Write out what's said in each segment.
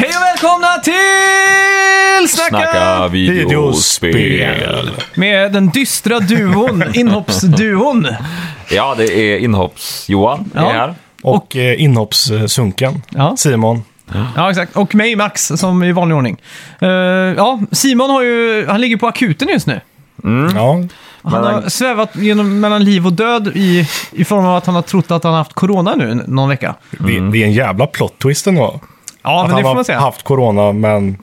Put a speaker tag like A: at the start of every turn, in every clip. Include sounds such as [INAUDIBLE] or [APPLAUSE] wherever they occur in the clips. A: välkomna till Snacka,
B: Snacka videospel.
A: Med den dystra
C: [LAUGHS]
A: duon, inhoppsduon.
B: Ja, det är inhopps-Johan
A: Ja.
B: är här.
C: Och eh, inhoppssunken
A: Ja.
C: Simon.
A: Ja, exakt. Och mig, Max, som i vanlig ordning. Eh, ja, Simon har ju, han ligger på akuten just nu.
B: Mm.
C: Ja.
A: Han
B: Men
A: har
B: han-
A: svävat genom, mellan liv och död i, i form av att han har trott att han har haft corona nu n- någon vecka.
B: Mm.
C: Det, det är en jävla plot twist ändå.
A: Ja, men
C: att
A: det
C: han
A: får man
C: har
A: säga.
C: haft corona men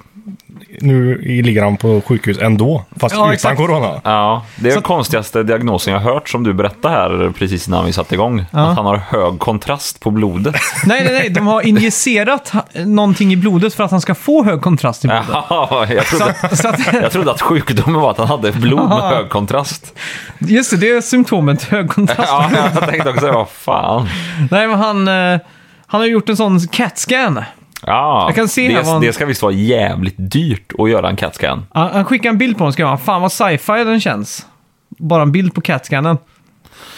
C: nu ligger han på sjukhus ändå. Fast
A: Ja,
C: utan
A: exakt.
C: corona.
B: Ja, det är
A: Så-
B: den konstigaste diagnosen jag har hört som du berättade här precis innan vi satte igång. Att han har hög kontrast
A: [LAUGHS]
B: på blodet.
A: Nej, nej, nej. De har injicerat ha- någonting i blodet för att han ska få hög kontrast i blodet.
B: Jaha, jag
A: Så
B: trodde,
A: att, [LAUGHS] så att,
B: jag trodde att sjukdomen var att han hade blod med hög kontrast.
A: just det, det är symptomet hög kontrast.
B: Ja, jag tänkte också, vad fan.
A: Nej, men han, eh, han har gjort en sån CAT-scan.
B: Ja,
A: Jag kan se här
B: det,
A: vad han-
B: det ska visst vara jävligt dyrt att göra en CAT-scan.
A: Han, han skickade en bild på den och skrev fan vad sci-fi den känns. Bara en bild på CAT-scannen.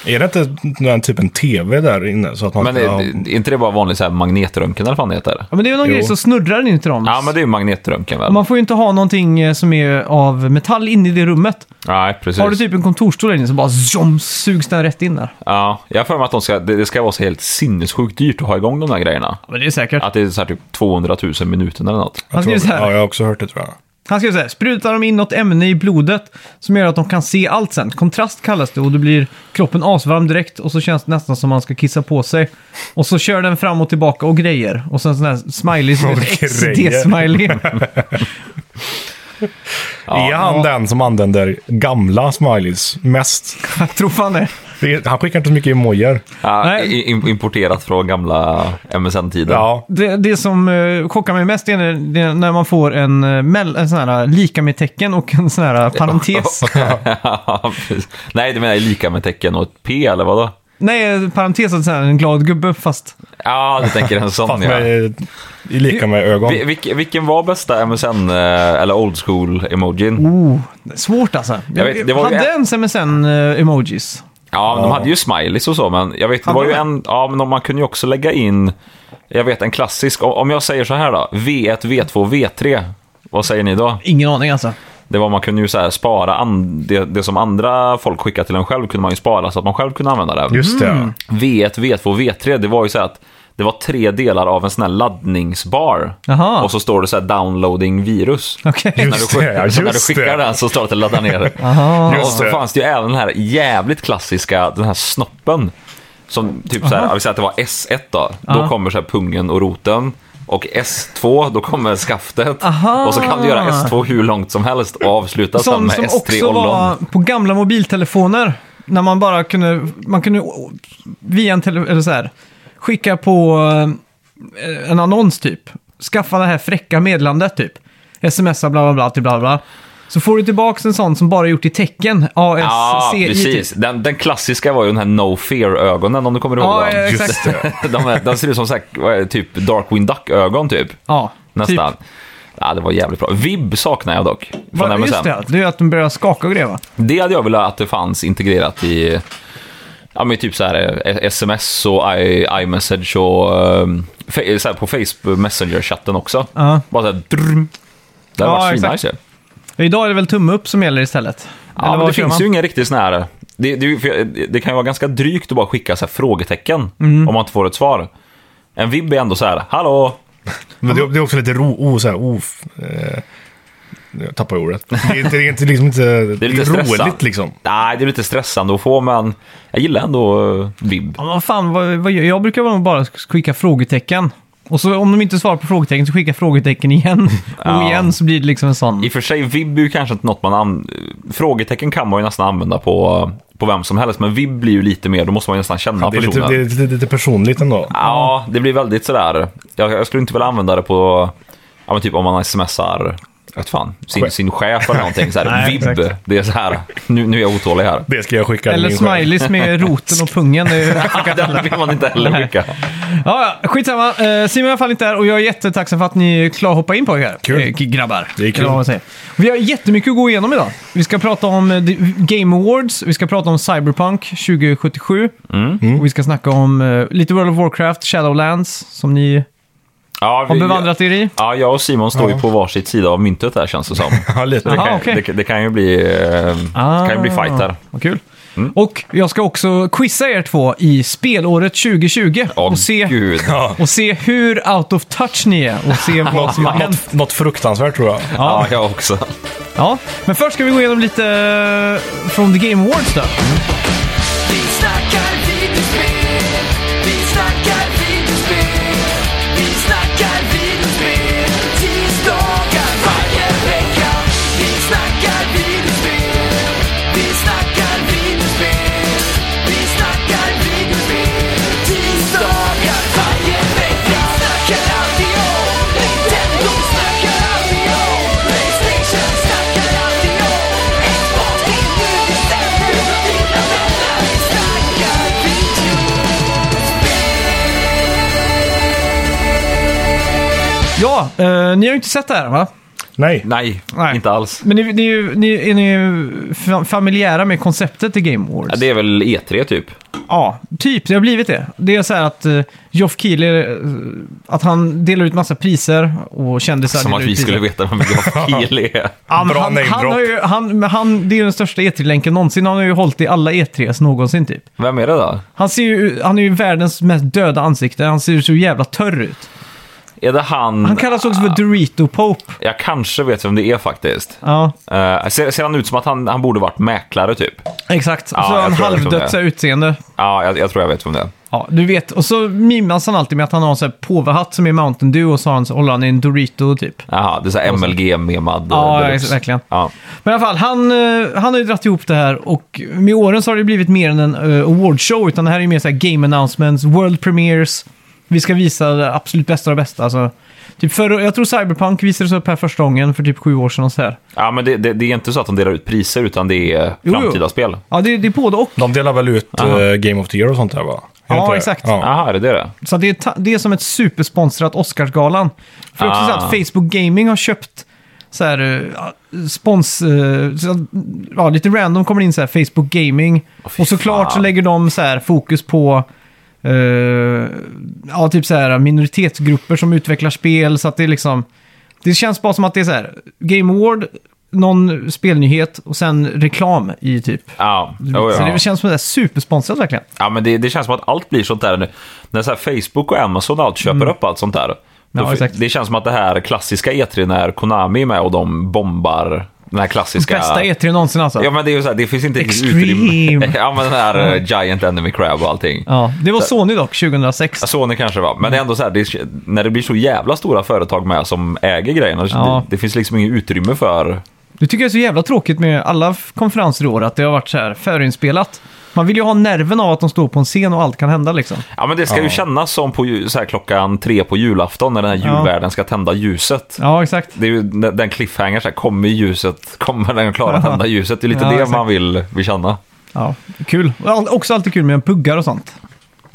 C: Är det inte den typen tv där inne? Så att man
B: Men
C: kan
B: är,
C: ha-
B: är inte det bara vanlig så här magnetröntgen eller vad fan det heter?
A: Ja, men det är ju någon
C: Jo.
A: grej som snurrar in till dem.
B: Ja, men det är ju magnetröntgen väl?
A: Man får ju inte ha någonting eh, som är av metall inne i det rummet.
B: Nej, precis.
A: Har du typ en kontorsstol där inne så bara zoom, sugs den rätt in där.
B: Ja, jag har för mig att de ska, det det ska vara så helt sinnessjukt dyrt att ha igång de där grejerna.
A: Ja, men det är säkert.
B: Att det är så här typ 200 000 minuter eller något.
C: jag,
A: skriver
C: tror,
A: så här.
C: ja, jag har också hört det tror jag.
A: Han skrev så här, sprutar de in något ämne i blodet som gör att de kan se allt sen. Kontrast kallas det och då blir kroppen asvarm direkt och så känns det nästan som man ska kissa på sig. Och så kör den fram och tillbaka och grejer. Och sen sån här smiley [LAUGHS]
B: [LAUGHS]
A: som
C: Och
A: heter
C: grejer.
A: XD-smiley.
C: är han den som använder gamla smileys mest?
A: Jag tror fan det.
C: Det- Han skickar inte så mycket emojier.
B: Ja,
A: Nej.
B: i- im- importerat från gamla MSN-tiden. [LAUGHS]
C: Ja.
A: Det, det som eh, chockar mig mest är när, det, när man får en, eh, mell- en sån här lika med tecken och en sån här eh,
B: [LAUGHS]
A: parentes.
B: precis. Nej, du menar lika med tecken och ett P eller vadå?
A: Nej, eh, parentes och sån här, en glad gubbe fast...
B: Ja, du tänker en sån
C: Fast
B: ja.
C: med, i lika med ögon.
B: Vi- vilk- vilken var bästa MSN eh, eller old school-emojin?
A: Oh, svårt alltså.
B: Jag vet, det var
A: Hade
B: ju
A: eh,
B: en-
A: ens MSN-emojis?
B: Ja, men de hade ju smileys och så, men jag vet, det
A: Hade
B: var ju
A: de?
B: en... Ja, men man kunde ju också lägga in... Jag vet, en klassisk... Om jag säger så här då. V1, V2, V3. Vad säger ni då?
A: Ingen aning alltså.
B: Det var man kunde ju så här spara an, det, det som andra folk skickade till en själv kunde man ju spara så att man själv kunde använda det.
C: Just det.
A: Mm.
B: V1, V2, V3, det var ju så här att det var tre delar av en sån här laddningsbar.
A: Jaha.
B: Och så står det så här downloading virus.
A: Okej.
B: När du,
C: Just det,
B: skickar,
C: ja,
B: så när du
C: just
B: skickar
C: det.
B: den så står det att ladda
A: [LAUGHS]
B: ner det.
A: Aha.
B: Och
C: Just
B: så
C: det.
B: fanns det ju även den här jävligt klassiska, den här snoppen. Som typ så här, vi säger att det var S1 då. Då
A: Ja.
B: kommer så här pungen och roten. Och S2, då kommer skaftet.
A: Aha.
B: Och så kan du göra S2 hur långt som helst och avsluta sen
A: Sån
B: med
A: som
B: S3
A: också
B: och
A: var
B: var...
A: på gamla mobiltelefoner. När man bara kunde, man kunde å- via en tele, eller så här, skicka på eh, en annons typ. Skaffa det här fräcka meddelandet typ. Smsa bla bla bla till bla bla. Så får du tillbaka en sån som bara är gjort i tecken. A, S, [LAUGHS]
B: Ja,
A: C, I.
B: precis.
A: Typ.
B: Den, den klassiska var ju den här No Fear-ögonen om du kommer ihåg
A: Ja,
B: dem.
A: ja,
C: Just
A: exakt.
B: [LAUGHS]
C: det.
B: De, är- de ser ut som så här, vad är det, typ Darkwing Duck-ögon typ.
A: Ja,
B: Nästan.
A: Typ.
B: Ja, det var jävligt bra. Vib saknar jag dock. Från
A: Va,
B: MSN.
A: just det, det är ju att de börjar skaka och grejer va?
B: Det hade jag velat att det fanns integrerat i ja, men typ så här, eh, sms och i- iMessage och ehm, fe- så här på Facebook Messenger-chatten också.
A: Ja.
B: Bara så här, drrm. Det hade
A: Ja,
B: varit
A: exakt.
B: svinnice ju.
A: Idag är det väl tumme upp som gäller istället? Eller
B: Ja, men
A: vad
B: det
A: kör
B: finns
A: man?
B: ju ingen riktig sån här... Det, det, är ju- för jag- det kan ju vara ganska drygt att bara skicka så här frågetecken
C: Mm.
B: om man inte får ett svar. En vibb är ändå så här, hallå!
C: Men det, det är också lite ro, o, så här, of, eh, jag tappar ordet. Det är, inte- det är inte, liksom inte
B: [LAUGHS] Det är lite stressande.
C: roligt liksom.
B: Nej, det är lite stressande att få, men jag gillar ändå eh, vibb.
A: Ja, men vad fan, vad, vad, gör- jag brukar väl bara skicka frågetecken. Och så om de inte svarar på frågetecken så skickar jag frågetecken igen. [LAUGHS] Och
B: Ja.
A: igen så blir det liksom en sån...
B: I och för sig, vibb är ju kanske inte något man an... Frågetecken kan man ju nästan använda på, på vem som helst, men vibb blir ju lite mer, då måste man ju nästan känna
C: Det är, lite,
B: personen.
C: det är lite, lite personligt ändå.
B: Ja, det blir väldigt sådär. Jag, jag skulle inte vilja använda det på, ja men typ om man smsar, jag vet fan, sin, sin chef eller någonting. Såhär,
A: [LAUGHS] Nej,
B: vibb.
A: exakt.
B: Det är så här. nu, nu är jag
A: [LAUGHS]
B: otålig här.
C: Det ska jag skicka till
A: Eller
C: min chef.
A: smileys med roten och pungen. Det är-
B: Den vill man inte heller skicka.
A: ja, ja, skitsamma. Eh, Simon är i alla fall inte där och jag är jättetacksam för att ni klarar hoppa in på er.
C: Kul.
A: Eh, grabbar.
C: Det är kul.
A: Eller vad man säger. Vi har jättemycket att gå igenom idag. Vi ska prata om eh, The Game Awards, vi ska prata om Cyberpunk 2077. Och vi ska snacka om eh, lite World of Warcraft, Shadowlands, som ni
B: Ja,
A: Har bevandrat er i?
B: Ja, jag och Simon står ju
C: Ja.
B: på varsitt sida av myntet där känns
A: [LAUGHS]
B: det som.
C: Ja, lite.
B: Det kan,
A: Ah, okej. Ah.
B: det, det kan ju bli, eh, det kan ju bli fight där.
A: Vad kul.
B: Mm.
A: Och jag ska också quizza er två i spelåret 2020
B: Åh,
A: och, se, [LAUGHS]
B: gud.
C: Ja.
A: och se hur out of touch ni är och
B: [LAUGHS]
A: se vad
C: Något,
A: som har hänt.
C: något, något fruktansvärt tror jag.
B: Ja, jag också.
A: Ja, men först ska vi gå igenom lite eh, från The Game Awards då.
D: Vi snackar videospel, vi snackar videospel, vi snackar videospel, tisdagar varje vecka. Vi snackar videospel, vi snackar videospel, vi snackar videospel, tisdagar varje vecka. Vi snackar alltid om Nintendo, snackar alltid om Playstation, snackar alltid om Xbox, det är nu vi sänder och dina vänner. Vi snackar videospel.
A: Ja, eh, ni har ju inte sett det här va?
C: Nej.
B: Nej,
A: Nej.
B: inte alls.
A: Men ni, ni, är ju- ni, är ni ju fa- familjära med konceptet i Game
B: Ja,
A: Awards?
B: Det är väl E3 typ.
A: Ja, typ. Det har blivit det. Det är så här att uh, Geoff Keighley, eh, att han delar ut massa priser och kändisar
B: Som
A: delar
B: att
A: ut
B: vi
A: priser.
B: skulle veta vem
A: [LAUGHS]
B: Geoff Keighley är.
A: Ja, men
C: Bra
A: han,
C: name
A: han,
C: drop.
A: har ju, han, men han, Det är ju den största E3-länken någonsin. Han har ju hållit i alla E3s någonsin typ.
B: Vem är det då?
A: Han, ser ju, han är ju världens mest döda ansikte. Han ser ju så jävla törr ut.
B: Är det han...
A: Han kallas också för Dorito Pope.
B: Jag kanske vet vem det är faktiskt.
A: Ja,
B: Eh, ser, ser han ut som att han, han borde varit mäklare typ? Ja,
A: exakt.
B: Ja,
A: så
B: jag
A: har han
B: tror jag vet vem
A: halvdött så
B: det
A: här utseende.
B: jag, jag tror jag vet vem det är.
A: Ja, du vet. Och så mimas han alltid med att han har en sån här påvehatt som är Mountain Dew och så, har han, så håller han i en Dorito typ.
B: Jaha, det är så här MLG-memad.
A: Ja, ja, verkligen.
B: Ja.
A: Men i alla fall, han, eh, han har ju dragit ihop det här och med åren så har det blivit mer än en eh, awardshow, utan det här är ju mer så här game announcements, world premieres. Vi ska visa det absolut bästa av det bästa. Alltså, typ för, jag tror Cyberpunk visades upp här första gången för typ sju år sedan. Och så här.
B: ja, men det, det, det är inte så att de delar ut priser, utan det är
A: Jo, jo.
B: framtida spel.
A: Ja, det, det är både och.
C: De delar väl ut
B: Aha.
C: eh, Game of the Year och sånt där va? Är det
A: Ja,
C: inte det?
A: exakt.
C: Ja.
B: Jaha, är det det?
A: Så det är, ta- det är som ett supersponsrat Oscarsgalan. För det är också så
B: Ah.
A: att Facebook Gaming har köpt så här, eh, spons... eh, så att, ja, lite random kommer det in så här Facebook Gaming.
B: fy
A: och såklart så
B: fan.
A: lägger de så här fokus på eh, ja, typ så här minoritetsgrupper som utvecklar spel. Så att det är liksom... Det känns bara som att det är så här Game Award, någon spelnyhet och sen reklam i typ.
B: Ja, oh, ja.
A: Så det känns som det är supersponsrat verkligen.
B: Ja, men det, det känns som att allt blir sånt där nu. När så här Facebook och Amazon och allt köper upp allt sånt där.
A: Mm. Ja,
B: då,
A: exakt.
B: Det känns som att det här klassiska E3 när Konami är med och de bombar den här klassiska...
A: Bästa E3 någonsin alltså.
B: Ja, men det är ju så här, det finns inte riktigt
A: Extreme.
B: utrymme. [LAUGHS] ja, men den här eh, Giant Enemy Crab och allting.
A: Ja, det var Sony dock, 2006.
B: Ja, Sony kanske var, men det är ändå så här, det, när det blir så jävla stora företag med som äger grejerna,
A: Ja.
B: det, det finns liksom inget utrymme för...
A: Det tycker jag är så jävla tråkigt med alla f- konferenser i år, att det har varit så här förinspelat. Man vill ju ha nerven av att de står på en scen och allt kan hända liksom.
B: Ja, men det ska ju kännas som på ju- så här, klockan tre på julafton när den här
A: Ja.
B: julvärden ska tända ljuset.
A: Ja, exakt.
B: Det är ju den den cliffhanger, så här, kommer ljuset, kommer den klara att tända ljuset? Det är lite
A: Ja,
B: det
A: exakt.
B: man vill, vill känna.
A: Ja, kul. Och all- också alltid kul med puggar och sånt.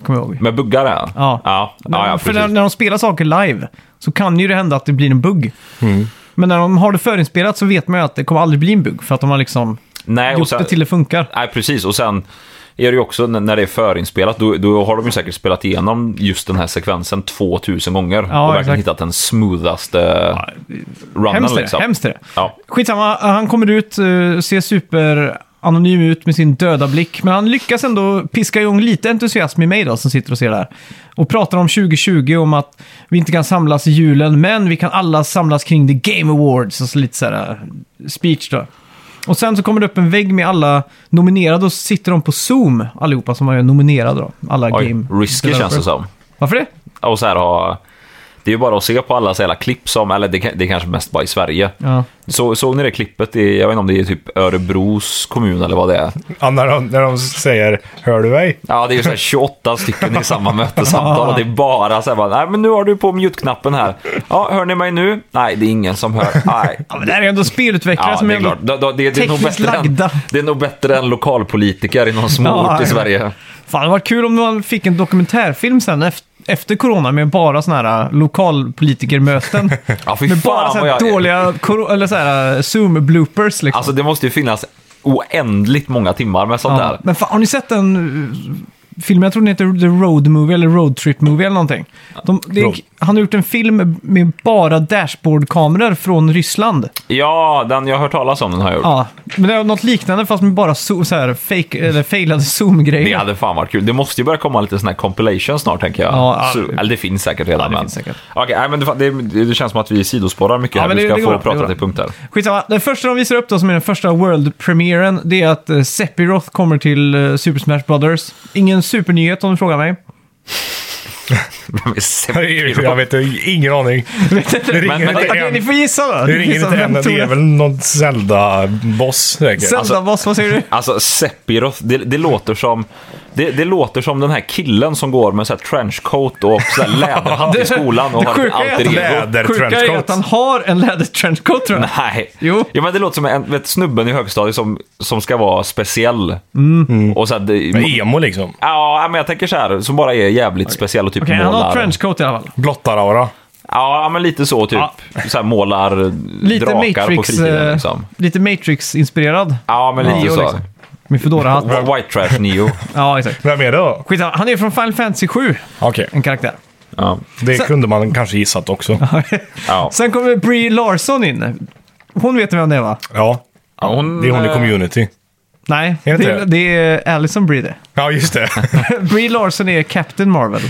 A: Kommer jag ihåg.
B: Med buggar ja.
A: Ja.
B: ja, ja,
A: För
B: ja precis.
A: när, när de spelar saker live så kan ju det hända att det blir en bugg.
B: Mm.
A: Men när de har det förinspelat så vet man ju att det kommer aldrig bli en bugg, för att de har liksom
B: Nej, och
A: gjort
B: sen,
A: det till det funkar.
B: nej, precis. Och sen är det ju också n- när det är förinspelat, då, då har de ju säkert spelat igenom just den här sekvensen 2000 gånger.
A: Ja,
B: och verkligen
A: exakt.
B: hittat den smoothaste runnen
A: Hemskt är
B: liksom.
A: det. Hemskt är det.
B: Ja.
A: Skitsamma, han kommer ut, eh, ser super anonym ut med sin döda blick. Men han lyckas ändå piska igång lite entusiasm i mig då, som sitter och ser det här. Och pratar om 2020, om att vi inte kan samlas i julen, men vi kan alla samlas kring The Game Awards. Och så lite så här eh, speech då. Och sen så kommer det upp en vägg med alla nominerade och så sitter de på Zoom, allihopa som är nominerade då. Alla
B: Oj,
A: game...
B: risky känns det som.
A: Varför det?
B: Och så här ha... Det är ju bara att se på alla så jävla klipp som, eller det, kan- det är kanske mest bara i Sverige.
A: Ja.
B: Så, såg ni det klippet i, jag vet inte om det är typ Örebros kommun eller vad det är?
C: Ja, när, de, när de säger “Hör du mig?” [LAUGHS]
B: Ja, det är ju så här 28 stycken i samma mötessamtal och det är bara så här, bara, nej men nu har du på mute-knappen här. Ja, hör ni mig nu? Nej, det är ingen som hör. Nej.
A: Ja, men det här är ändå spelutvecklare
B: Ja,
A: som
B: det är
A: ändå-
B: klart. Då- då- Det, det, är nog
A: tekniskt
B: bättre än,
A: lagda.
B: det är nog bättre än lokalpolitiker i någon
A: Ja,
B: småort
A: ja.
B: i Sverige.
A: Fan, det var kul om man fick en dokumentärfilm sen ef- efter corona med bara såna här äh, lokalpolitikermöten.
B: [LAUGHS] Ja, fy
A: med
B: fan
A: bara så här
B: vad jag-
A: dåliga kor- eller så här äh, Zoom-bloopers liksom.
B: Alltså det måste ju finnas oändligt många timmar med sånt
A: ja.
B: där.
A: Men fan, har ni sett äh, den uh, filmen, jag tror den heter The Road Movie eller Road Trip Movie eller någonting? De, det är,
C: Road-
A: han har gjort en film med bara dashboardkameror från Ryssland.
B: Ja, den jag har hört talas om den har jag gjort.
A: Ja, men det är något liknande fast med bara zo- så här fake, eller failade
B: Det
A: zoom-grejer.
B: hade fan varit kul. Det måste ju börja komma lite sån här compilation snart, tänker jag.
A: Ja, ja.
B: Så, eller det finns säkert
A: det
B: redan. men-
A: finns säkert.
B: Okej, nej, men det, fa- det, det känns som att vi sidospårar mycket
A: Ja,
B: här.
A: men
B: Vi
A: det-
B: ska
A: det går bra,
B: få
A: det går
B: prata
A: bra.
B: till punkter.
A: Skitsamma, den första de visar upp då som är den första World Premieren, det är att eh, Sephiroth kommer till eh, Super Smash Brothers. Ingen supernyhet om du frågar mig.
B: [LAUGHS]
C: Jag vet
A: [LAUGHS]
C: ingen aning. Det ringer
B: Men- men-
C: inte
A: Okej,
C: en.
A: ni får gissa då.
C: Det
A: Ni får
C: ringer
A: gissa
C: inte en.
A: Liksom, vem tog
C: Det är
A: den.
C: väl någon Zelda-boss säkert.
A: Zelda,
B: Alltså-
A: boss, vad säger du?
B: Alltså Sephiroth, det, det låter som... Det, det låter som den här killen som går med så här trenchcoat och
A: [LAUGHS]
B: så här läderhatt i skolan och
A: det
B: har ett
A: sjuka är att-
B: alter ego.
C: Läder
A: Sjuka är
C: trenchcoat.
A: att han har en lädertrenchcoat tror jag.
B: [LAUGHS] Nej.
A: Jo.
B: Ja, men det låter som en, vet, snubben i högstadiet som, som ska vara speciell.
A: Mm.
B: Och så här, det,
C: Emo liksom.
B: Ja, men jag tänker så här, som bara är jävligt speciell och typ
A: Okej, han
B: målar.
A: har trenchcoat i alla fall.
C: Blottaraura.
B: Ja, men lite så typ.
A: Ja.
B: Så här, målar
A: Lite
B: drakar på
A: Matrix,
B: fritiden
A: eh,
B: liksom.
A: lite Matrix-inspirerad.
B: Ja, men lite
A: Neo,
B: så.
A: liksom. Med Foodora-hatt.
B: Wh- White trash Neo.
A: Ja, exakt.
C: Vem är det då?
A: Skitsamma, han är Mm. från Final Fantasy 7,
C: Okej,
A: en karaktär.
B: ja.
C: det
A: Sen-
C: kunde man kanske gissat också.
B: Ja.
A: [LAUGHS] Sen kommer Brie Larson in. Hon vet vem det är va?
C: Ja,
B: Ja, hon,
C: det är hon i
B: eh,
C: community.
A: Nej,
C: Är det
A: det,
C: inte?
A: är- det är Alison Brie det. [LAUGHS]
C: Ja,
B: [LAUGHS]
C: just det.
A: Brie Larson är Captain Marvel.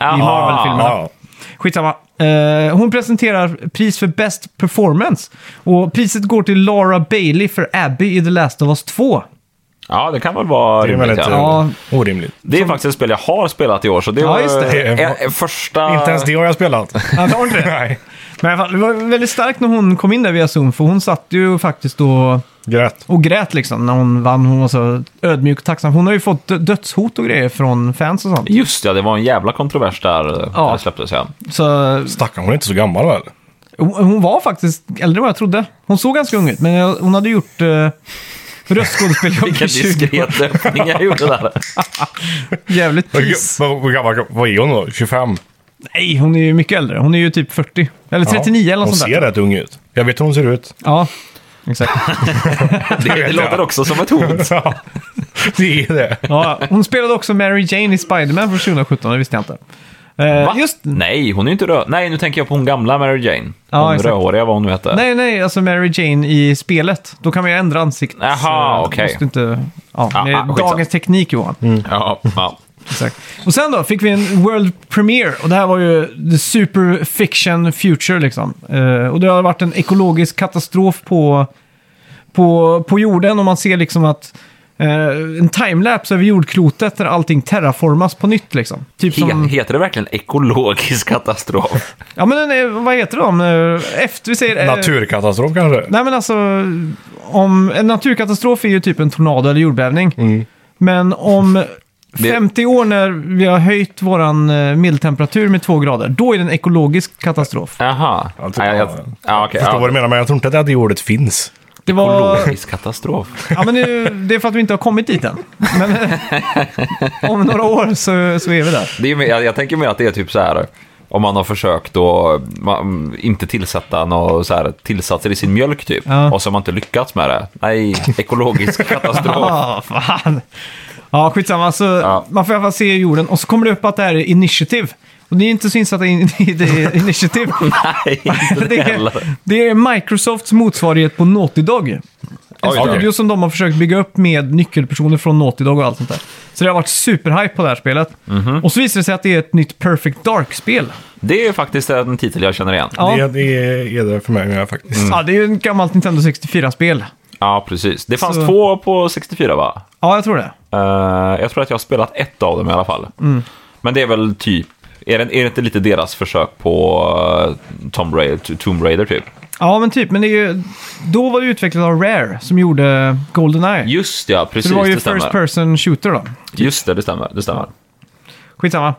B: ja,
A: i Marvel-filmerna.
C: Ja,
A: Skitsamma. Eh, hon presenterar pris för Best Performance. Och priset går till Laura Bailey för Abby i The Last of Us 2.
B: Ja, det kan väl vara
C: det är
B: rimligt.
C: väldigt
B: Ja.
A: Ja.
C: eh, orimligt.
B: Det är faktiskt ett spel jag har spelat i år, så det
A: Ja,
B: var
A: just det.
B: eh, eh, första...
C: Inte ens det har jag spelat.
A: Han har inte det.
C: [LAUGHS] Nej,
A: Men i alla fall, det var väldigt starkt när hon kom in där via Zoom, för hon satt ju faktiskt och,
C: grät.
A: och grät liksom när hon vann. Hon var så ödmjuk och tacksam. Hon har ju fått dö- dödshot och grejer från fans och sånt.
B: Just det, det var en jävla kontrovers där
A: Ja.
B: ja. det släpptes. Ja.
A: Så
C: Stackarn, hon är inte så gammal väl?
A: hon hon var faktiskt äldre än vad jag trodde. Hon såg ganska ung ut, men jag, hon hade gjort uh, röstskådespeljobb
B: Vilken
A: i 20 år. [LAUGHS]
B: diskret öppning jag gjorde där.
A: Jävligt
C: Vad-
A: piss.
C: Vad vad gammal vad är hon då? 25?
A: Nej, hon är ju mycket äldre. Hon är ju typ 40. Eller 39 eller något
C: Hon
A: sånt
C: ser
A: där.
C: rätt ung ut. Jag vet hur hon ser ut.
A: Ja, exakt.
B: Det, det
C: jag. [LAUGHS]
B: låter också som ett hot.
C: Ja, det är det.
A: [LAUGHS] Ja, hon spelade också Mary Jane i Spider-Man från 2017, det visste jag inte. Eh,
B: Va?
A: just
B: Nej, hon är ju inte röd. Nej, nu tänker jag på hon gamla Mary Jane.
A: Ja,
B: hon
A: exakt.
B: rödhåriga, vad hon nu hette.
A: Nej, nej, alltså Mary Jane i spelet. Då kan man ju ändra ansiktet.
B: Jaha,
A: Så
B: okej.
A: Måste inte... Ja,
B: Ja,
A: det
B: ja,
A: är
B: skitsamma.
A: dagens teknik, Johan.
B: Ja, ja.
A: Exakt. Och sen då fick vi en World Premiere. Och det här var ju the super fiction future, liksom. Eh, och det har varit en ekologisk katastrof på, på, på jorden. Och man ser liksom att... eh, en timelapse över jordklotet där allting terraformas på nytt, liksom. Typ
B: He-
A: som...
B: Heter det verkligen ekologisk katastrof?
A: Ja, men den är, vad heter de? Eh, Efter, vi säger... eh,
C: Naturkatastrof kanske?
A: Nej men alltså, om, en naturkatastrof är ju typ en tornado eller jordbävning. Men om 50 år när vi har höjt våran eh, medeltemperatur med två grader, då är det en ekologisk katastrof.
B: Jaha.
C: Ja, typ,
B: Ja, jag,
C: ja.
B: ja, okej,
C: Jag förstår vad
B: ja.
C: du menar, men jag tror inte att det ordet finns.
A: Det, var,
B: Ekologisk katastrof.
A: ja, men nu, det är för att vi inte har kommit dit än. Men eh, om några år så, så är vi där.
B: Det är, ju mer- jag, jag tänker mer att det är typ så här. Om man har försökt att man, inte tillsätta några så här, tillsatser i sin mjölk typ.
A: Ja.
B: Och så har man inte lyckats med det. Nej,
A: [LAUGHS]
B: ekologisk katastrof.
A: Ja, Ah, fan. Ja, skitsamma. Så
B: Ja.
A: Man får i alla fall se jorden. Och så kommer det upp att det här är initiativ. Och ni är inte så insatta i, i det initiativ.
B: Nej, inte
A: [LAUGHS] det,
B: det
A: är,
B: heller.
A: det är Microsofts motsvarighet på Naughty Dog. En
B: Oj,
A: studio som de har försökt bygga upp med nyckelpersoner från Naughty Dog och allt sånt där. Så det har varit superhype på det här spelet.
B: Mhm.
A: Och så visar det sig att det är ett nytt Perfect Dark-spel.
B: Det är faktiskt en titel jag känner igen.
A: Ja.
C: Det, det är det för mig med faktiskt.
B: Mm.
A: Ja, det är ju ett gammalt Nintendo 64-spel.
B: Ja, precis. Det fanns
A: Så-
B: två på 64 va?
A: Ja, jag tror det.
B: Eh, jag tror att jag har spelat ett av dem i alla fall.
A: Mm.
B: Men det är väl typ... Är det, är det inte lite deras försök på eh, Tomb Raider, to- Tomb Raider typ?
A: Ja, men typ. Men det är ju, då var det utvecklat av Rare som gjorde Goldeneye.
B: Just ja,
A: Så
B: precis.
A: det var ju
B: det stämmer.
A: First Person Shooter då.
B: Just det, det stämmer. Det stämmer.
A: Skitsamma.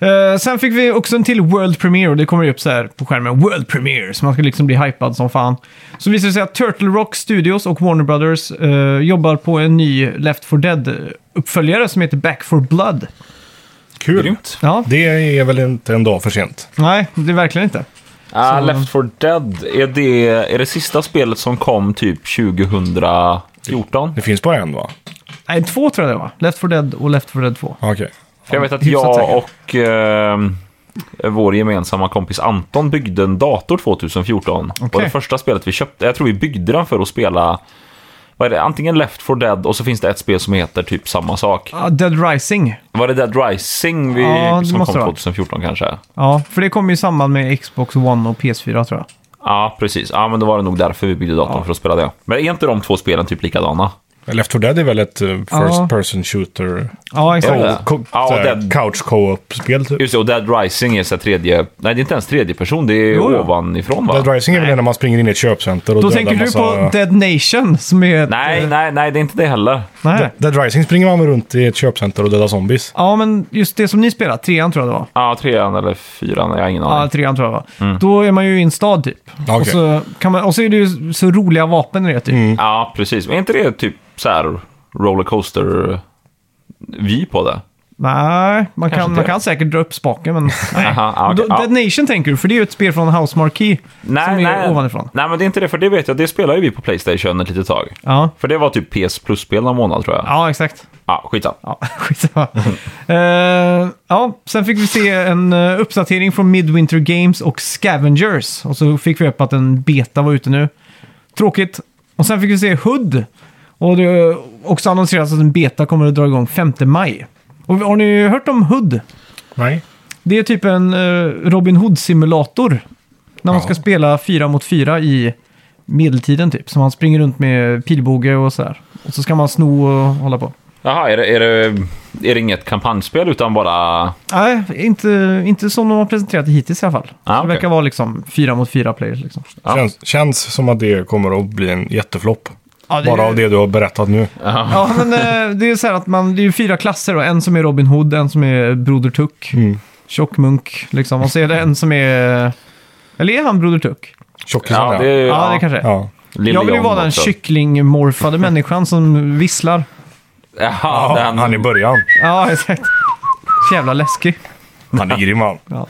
A: Eh, sen fick vi också en till World Premiere och det kommer ju upp så här på skärmen. World Premiere, så man ska liksom bli hypad som fan. Så visar det sig att Turtle Rock Studios och Warner Brothers eh, jobbar på en ny Left 4 Dead-uppföljare som heter Back 4 Blood.
C: Kul.
B: Grymt.
A: Ja,
C: Det är väl inte en dag för sent.
A: nej, det är verkligen inte.
B: Ah, Left 4 Dead, är det, är det sista spelet som kom typ 2014?
C: Det finns bara en va?
A: Nej, två tror jag det var. Left 4 Dead och Left 4 Dead 2.
C: Ah, Okej.
B: För jag vet att
A: hyfsat
B: jag
A: säker.
B: och... ehm, eh, vår gemensamma kompis Anton byggde en dator 2014. Och
A: Okej.
B: det första spelet vi köpte, jag tror vi byggde den för att spela vad är det? Antingen Left 4 Dead och så finns det ett spel som heter typ samma sak.
A: Ja, Dead Rising.
B: Var det Dead Rising vi,
A: Ja, det
B: som kom
A: måste det vara.
B: 2014 kanske?
A: Ja, för det kom ju i samband med Xbox One och PS4 tror jag.
B: Ja, precis. Ja, men då var det nog därför vi byggde datorn för att spela det. Men är inte de två spelen typ likadana?
C: Left 4 Dead är väl ett eh,
A: Ja.
C: first person shooter.
A: Ja, exakt.
B: Ja.
C: Co-
B: Ja,
C: såhär,
B: Dead-
C: couch co-op-spel typ.
B: Just det, och Dead Rising är så här tredje... Nej, det är inte ens tredje person, det är
A: Jo, jo.
B: ovanifrån va?
C: Dead Rising är väl när man springer in i ett köpcenter och
A: Då
C: dödar
A: tänker du
C: massa...
A: på Dead Nation som är... ett-
B: Nej, nej, nej, det är inte det heller.
A: nej.
C: Dead Rising springer man väl runt i ett köpcenter och dödar zombies.
A: Ja, men just det som ni spelar, trean tror jag det var.
B: Ja, trean eller fyran, jag har ingen
A: Ja,
B: aning.
A: trean tror jag det
B: Mm.
A: var. Då är man ju i en stad typ.
C: Ja,
A: Och,
C: okej.
A: så kan man, och så är det ju så roliga vapen i det typ.
B: Ja, precis. Men är inte det typ så här rollercoaster-vy på det?
A: Nej, man
B: Kanske
A: kan,
B: inte.
A: man kan säkert dra upp spaken, men... nej.
B: [LAUGHS] Aha, ja,
A: Men då-
B: okej, ja.
A: Dead Nation tänker du, för det är ju ett spel från House Marquee
B: Nej,
A: som är
B: nej.
A: ovanifrån.
B: Nej, men det är inte det, för det vet jag, det spelar ju vi på Playstation ett litet tag.
A: Ja.
B: För det var typ PS Plus-spel någon månad tror jag. Ja,
A: ja, exakt.
B: skitsamma.
A: Ja, [LAUGHS] skitsamma. Eh, ja, sen fick vi se en eh, uppdatering från Midwinter Games och Scavengers. Och så fick vi upp att en beta var ute nu. Tråkigt. Och sen fick vi se HUD. Och det har också annonserats att en beta kommer att dra igång 5 maj. Och har ni hört om HUD?
C: Nej.
A: Det är typ en eh, Robin Hood-simulator. När man
C: Ja.
A: ska spela fyra mot fyra i medeltiden typ. Så man springer runt med pilbåge och så här. Och så ska man sno och hålla på.
B: Jaha, är det, är, det, är det inget kampanjspel utan bara...
A: Nej, inte, inte som de har presenterat det hittills i alla fall.
B: Ah,
A: Så
B: okej.
A: Det verkar vara liksom fyra mot fyra players liksom.
B: Ja.
C: Känns, känns som att det kommer att bli en jätteflopp.
A: Ja, det-
C: Bara av det du har berättat nu.
A: Ja, men
B: [LAUGHS]
A: eh, det är ju så här att man, det är ju fyra klasser och en som är Robin Hood, en som är Broder Tuck,
B: Mm.
A: tjockmunk liksom. Och så är det en som är... Eller är han Broder Tuck?
C: Tjockisen
B: Ja, det, är-
A: Ja, det kanske är.
C: ja.
B: Lille
A: Jag vill ju
B: John
A: vara den
B: också. [LAUGHS]
A: kycklingmorfade människan som visslar.
B: Jaha,
C: Ja,
B: den,
C: han i början.
A: Ja, [LAUGHS] exakt. Så jävla läskig.
C: Han är grym han.
A: Ja.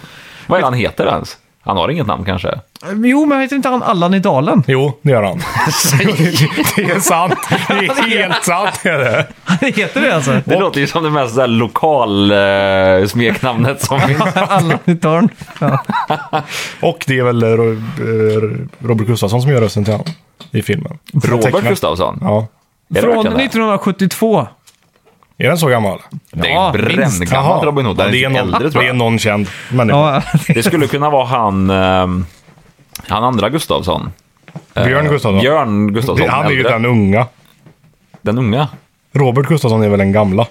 B: Vad är det han heter ens? Han har inget namn kanske?
A: Jo, men heter inte han Allan i
B: [LAUGHS]
A: dalen?
C: Jo, det gör han. [LAUGHS] det är sant. Det är helt sant. Är det.
A: heter det alltså?
B: Det låter ju som det mest så här lokal eh, smeknamnet
C: [LAUGHS]
B: som finns.
A: Allan i dalen. Ja.
C: Och det är väl eh, Ro- eh, Robert Gustafsson som gör rösten till honom i filmen.
B: Robert
C: Tecknat.
B: Gustafsson?
C: Ja.
B: Är det
A: Från
B: verkligen det?
A: 1972.
C: Är den så gammal?
B: Det
A: Ja, minst.
B: är bränngammalt Robin Hood. Den
C: Ja, det, är
B: är
C: någon,
B: äldre tror
C: det är
B: jag.
C: någon känd människa.
A: Ja,
B: Det skulle kunna vara han, ehm, han andra Gustafsson.
C: Björn Gustafsson.
B: Eh, Björn Gustafsson.
C: Det- han är ju
B: äldre.
C: den unga.
B: den unga.
C: Robert Gustafsson är väl den gamla?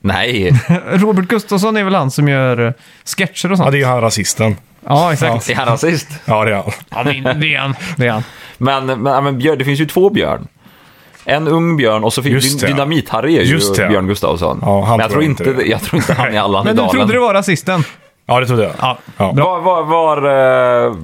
B: Nej, [LAUGHS]
A: Robert Gustafsson är väl han som gör eh, sketcher och
C: Ja,
A: sånt?
C: det är ju han rasisten.
A: Ja, exakt.
B: är han rasist?
C: Ja, det är han.
A: Ja, det är det är han. [LAUGHS] Det är han.
B: Men, men, ja, men Björn, det finns ju två Björn. En ung Björn och så
C: Just
B: finns
C: det.
B: Dyn- Dynamit-Harry är ju
C: Just det.
B: Björn Gustafsson.
C: Ja, han
B: men jag tror
C: tror
B: inte,
C: inte det.
B: jag tror inte han är Allan i
A: Men du
B: dalen.
A: trodde det var rasisten?
C: Ja, det trodde jag.
A: Ja.
C: Ja.
B: Var, var, var, eh,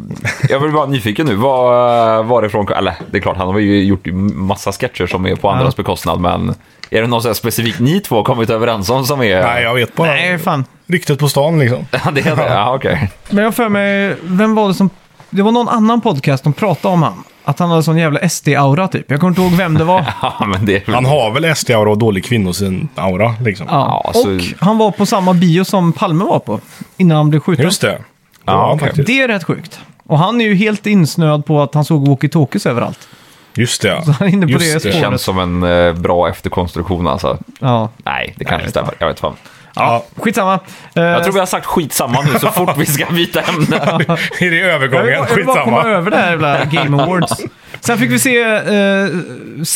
B: jag vill vara nyfiken nu. Var, eh, varifrån, eller det är klart, han har ju gjort ju massa sketcher som är på andras bekostnad, men är det någon sån här specifik ni två har kommit överens om som är...
C: Nej, jag vet bara.
A: Nej, fan.
C: Ryktet på stan liksom.
B: [LAUGHS] Ja, det är det. Ja, okej.
A: Men jag för mig, vem var det som... Det var någon annan podcast som pratade om han. Att han hade sån jävla SD-aura typ. Jag kommer inte ihåg vem det var.
B: Ja, men det är
C: Han har väl SD-aura och dålig kvinnosyn-aura liksom.
A: [LAUGHS] Ja. alltså-
B: Ja, så-
A: Och han var på samma bio som Palme var på. Innan han blev skjuten.
C: Just det. Det
B: Ja,
C: var han
B: okej.
C: faktiskt.
A: Det är rätt sjukt. Och han är ju helt insnöad på att han såg walkie-talkies överallt.
C: Just det.
A: han är inne på det
C: Just
B: Det
A: spåret.
B: känns som en eh, bra efterkonstruktion alltså.
A: Ja.
B: Nej, det kanske stämmer. Jag vet fan.
A: ja. Skitsamma.
B: Jag tror vi har sagt skitsamma nu så fort vi ska byta ämne.
C: [LAUGHS] Är det
A: Jag vill,
C: övergången?
A: bara, jag vill bara komma
C: Skitsamma.
A: över det här jävla Game Awards. Sen fick vi se eh,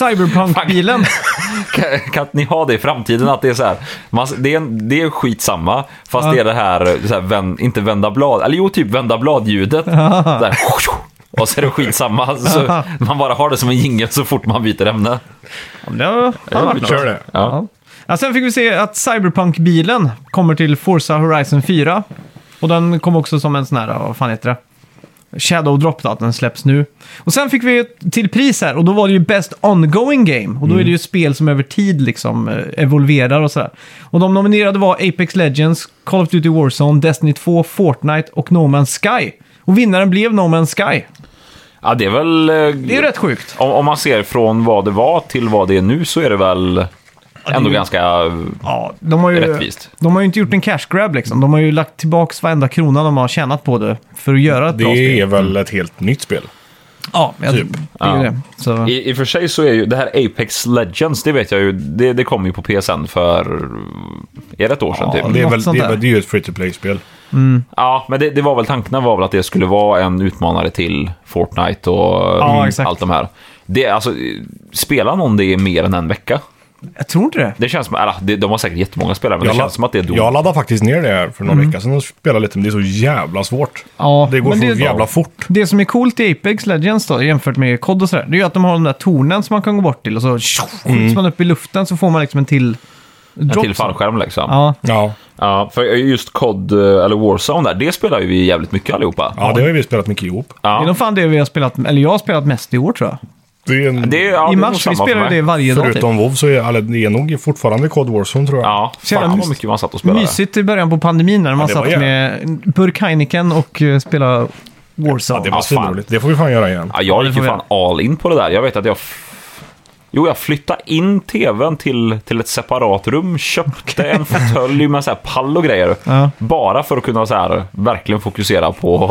A: Cyberpunk-bilen.
B: Kan, kan inte ni ha det i framtiden att det är så här, man, det, är, en- det är skitsamma, fast det är det här, så här vän, inte vända blad, eller jo typ vända blad-ljudet. Där, och så är det skitsamma, så man bara har det som en jingel så fort man byter ämne.
A: Ja, men det har har varit något.
C: Kör det.
B: Ja.
A: Ja. Ja, sen fick vi se att Cyberpunk-bilen kommer till Forza Horizon 4. Och den kom också som en sån här, vad fan heter det? Shadow Drop då, att den släpps nu. Och sen fick vi ett till pris här och då var det ju Best Ongoing Game. Och då är det ju spel som över tid liksom eh, evolverar och sådär. Och de nominerade var Apex Legends, Call of Duty Warzone, Destiny 2, Fortnite och No Man's Sky. Och vinnaren blev No Man's Sky.
B: ja, det är väl... eh,
A: Det är ju rätt sjukt.
B: Om, om man ser från vad det var till vad det är nu så är det väl Ändå
A: ju-
B: ganska eh,
A: Ja, de har ju,
B: Rättvist.
A: De har ju inte gjort en cash grab liksom. De har ju lagt tillbaka varenda krona de har tjänat på det för att göra ett bra
C: Det
A: spel.
C: är väl ett helt nytt spel.
A: Ja, jag,
C: typ.
A: det är ju
B: Ja.
A: det. Så,
B: I, I och för sig så är ju det här Apex Legends, det vet jag ju, det, det kom ju på PSN för... Är det ett år sedan
A: Ja,
B: typ?
C: Det är,
A: Något
C: väl, det,
A: sånt
C: är
A: där.
C: väl- det är ju ett free to play-spel.
B: Ja, men det, det var väl tanken var väl att det skulle vara en utmanare till Fortnite och
A: Ja,
B: mm,
A: exakt.
B: allt de här. Det, är alltså, spelar någon det i mer än en vecka?
A: jag tror inte det.
B: Det känns som, eller, det, de har säkert jättemånga spelare, men det
C: la-
B: känns som att det är
C: jag
B: dåligt.
C: laddade faktiskt ner det här för någon vecka sedan och spelade lite, men det är så jävla svårt.
A: Mm. Ja,
C: det går
A: men
C: så
A: det-
C: jävla fort.
A: Det som är coolt i Apex Legends då, jämfört med COD och sådär, det är ju att de har de där tornen som man kan gå bort till och så tjoff, skjuts man upp i luften så får man liksom en till drop.
B: En Mm. till fallskärm liksom. Ja.
A: Ja,
C: Ja,
B: för just COD, eh, eller Warzone där, det spelar ju vi jävligt mycket allihopa.
C: ja, det har ju vi spelat mycket ihop.
A: det är
B: Ja.
A: nog fan det vi har spelat, eller jag har spelat mest i år tror jag.
C: Det är en,
B: Det, ja, det
A: I
B: är nog
A: mars, vi
B: samma för
A: spelar ju
B: mig.
A: det varje dag typ.
C: förutom WoW så är eller, det är nog fortfarande Cod Warzone tror jag.
B: Ja,
A: Så jävla
B: fan vad
A: mysigt.
B: mycket man satt och spelade.
A: Mysigt i början på pandemin när man
C: det var
A: satt
C: jävla-
A: med en burk Heineken och eh, spelade Warzone.
C: Det var
B: Ja, fan.
C: svinroligt. Det får vi fan göra igen.
B: Ja, jag gick
A: får
B: ju
A: vi
B: fan all in på det där. Jag vet att jag... f- Jo, jag flyttade in tvn till, till ett separat rum, köpte en fåtölj med så här pall och grejer.
A: Ja.
B: Bara för att kunna så här, verkligen fokusera på,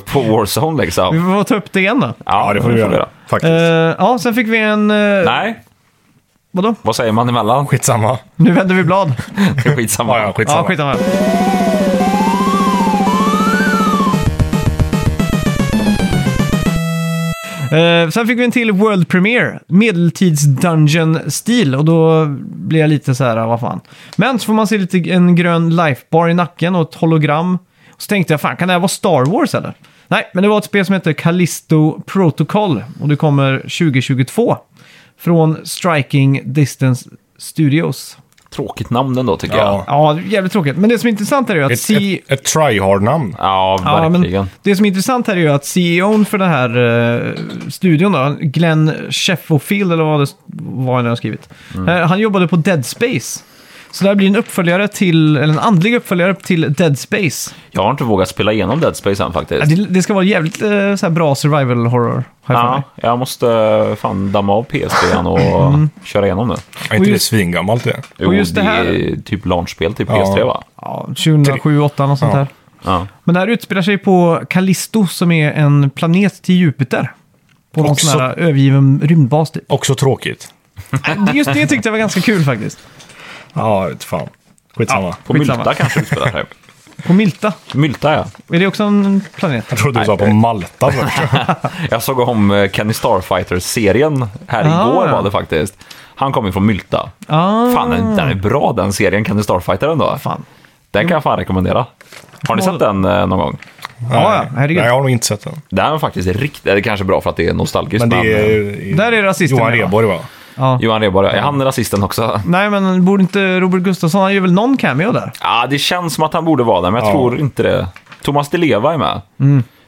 B: [LAUGHS] på Warzone liksom.
A: Vi
B: Ja,
A: får ta upp det igen då.
C: Ja, det får vi
B: vi
C: göra. Faktiskt.
A: Eh, ja, sen fick vi en... eh,
B: Nej,
A: Vadå?
B: vad säger man emellan?
C: Skitsamma.
A: Nu vänder vi blad.
B: Skitsamma.
C: [LAUGHS] Ja, ja, skitsamma.
A: ja, skitsamma. Eh, sen fick vi en till World Premiere, medeltids-dungeon-stil och då blir jag lite så här, ah, vad fan. Men så får man se lite en grön lifebar i nacken och ett hologram. Och så tänkte jag, fan kan det här vara Star Wars eller? Nej, men det var ett spel som heter Callisto Protocol och det kommer 2022. Från Striking Distance Studios.
B: Tråkigt namn ändå tycker jag.
C: Ja.
A: Ja, jävligt tråkigt. Men det som är intressant här är ju att
C: Ett,
A: C...
C: ett, ett tryhard-namn.
B: Ja,
A: Ja,
B: verkligen.
A: men det som är intressant här är ju att CEOn för den här eh, studion, då, Glenn Sheffield eller vad det var han har skrivit,
C: Mm.
A: eh, han jobbade på Dead Space. Så det här blir en uppföljare till, eller en andlig uppföljare till Dead Space.
B: Jag har inte vågat spela igenom Dead Space än faktiskt.
A: Ja, Det, det ska vara jävligt eh, så här bra survival horror. Har jag för
B: Ja,
A: mig.
B: jag måste eh, fan damma av PSP och
A: Mm.
B: köra igenom det.
C: Är inte det
A: just-
C: svingammalt det?
B: Jo,
A: just det
B: det
A: här-
B: är typ launchspel till
C: Ja.
B: PS3 va?
A: Ja, 2007, 2008 något sånt
C: Ja.
A: där.
B: Ja.
A: Men det här utspelar sig på Callisto som är en planet till Jupiter. På någon
C: Också-
A: sån här övergiven rymdbas typ.
C: Också tråkigt.
A: Nej, Just det tyckte jag var ganska kul faktiskt.
C: Ja, jag vet fan. Skitsamma.
B: På
A: Skitsamma.
B: Mylta kanske du spelar här.
A: På Milta.
B: Mylta ja.
A: Är det också en planet?
C: Jag trodde du sa på
A: [LAUGHS]
C: Malta först.
B: Jag såg om eh, Kenny Starfighter-serien här
A: Ah.
B: igår var det faktiskt. Han kom ju från Mylta.
A: Ah.
B: Fan, den, den är bra den serien, Kenny Starfighter ändå.
A: Fan.
B: Den kan jag fan rekommendera. Har ni sett den eh, någon gång?
A: Ja, ja,
C: Nej,
A: herregud.
C: jag har nog inte sett den.
B: Den är faktiskt riktigt... Det kanske är bra för att det är nostalgiskt,
C: Men det
B: eh,
C: är...
A: Där är rasisten
C: Johan
A: med, va?
C: Rheborg va?
A: Ja.
B: Johan Rheborg, är han rasisten också?
A: Nej, men borde inte Robert Gustafsson, han gör väl någon cameo där?
B: Ja, det känns som att han borde vara där, men jag
C: Ja.
B: tror inte det. Thomas Di Leva är med.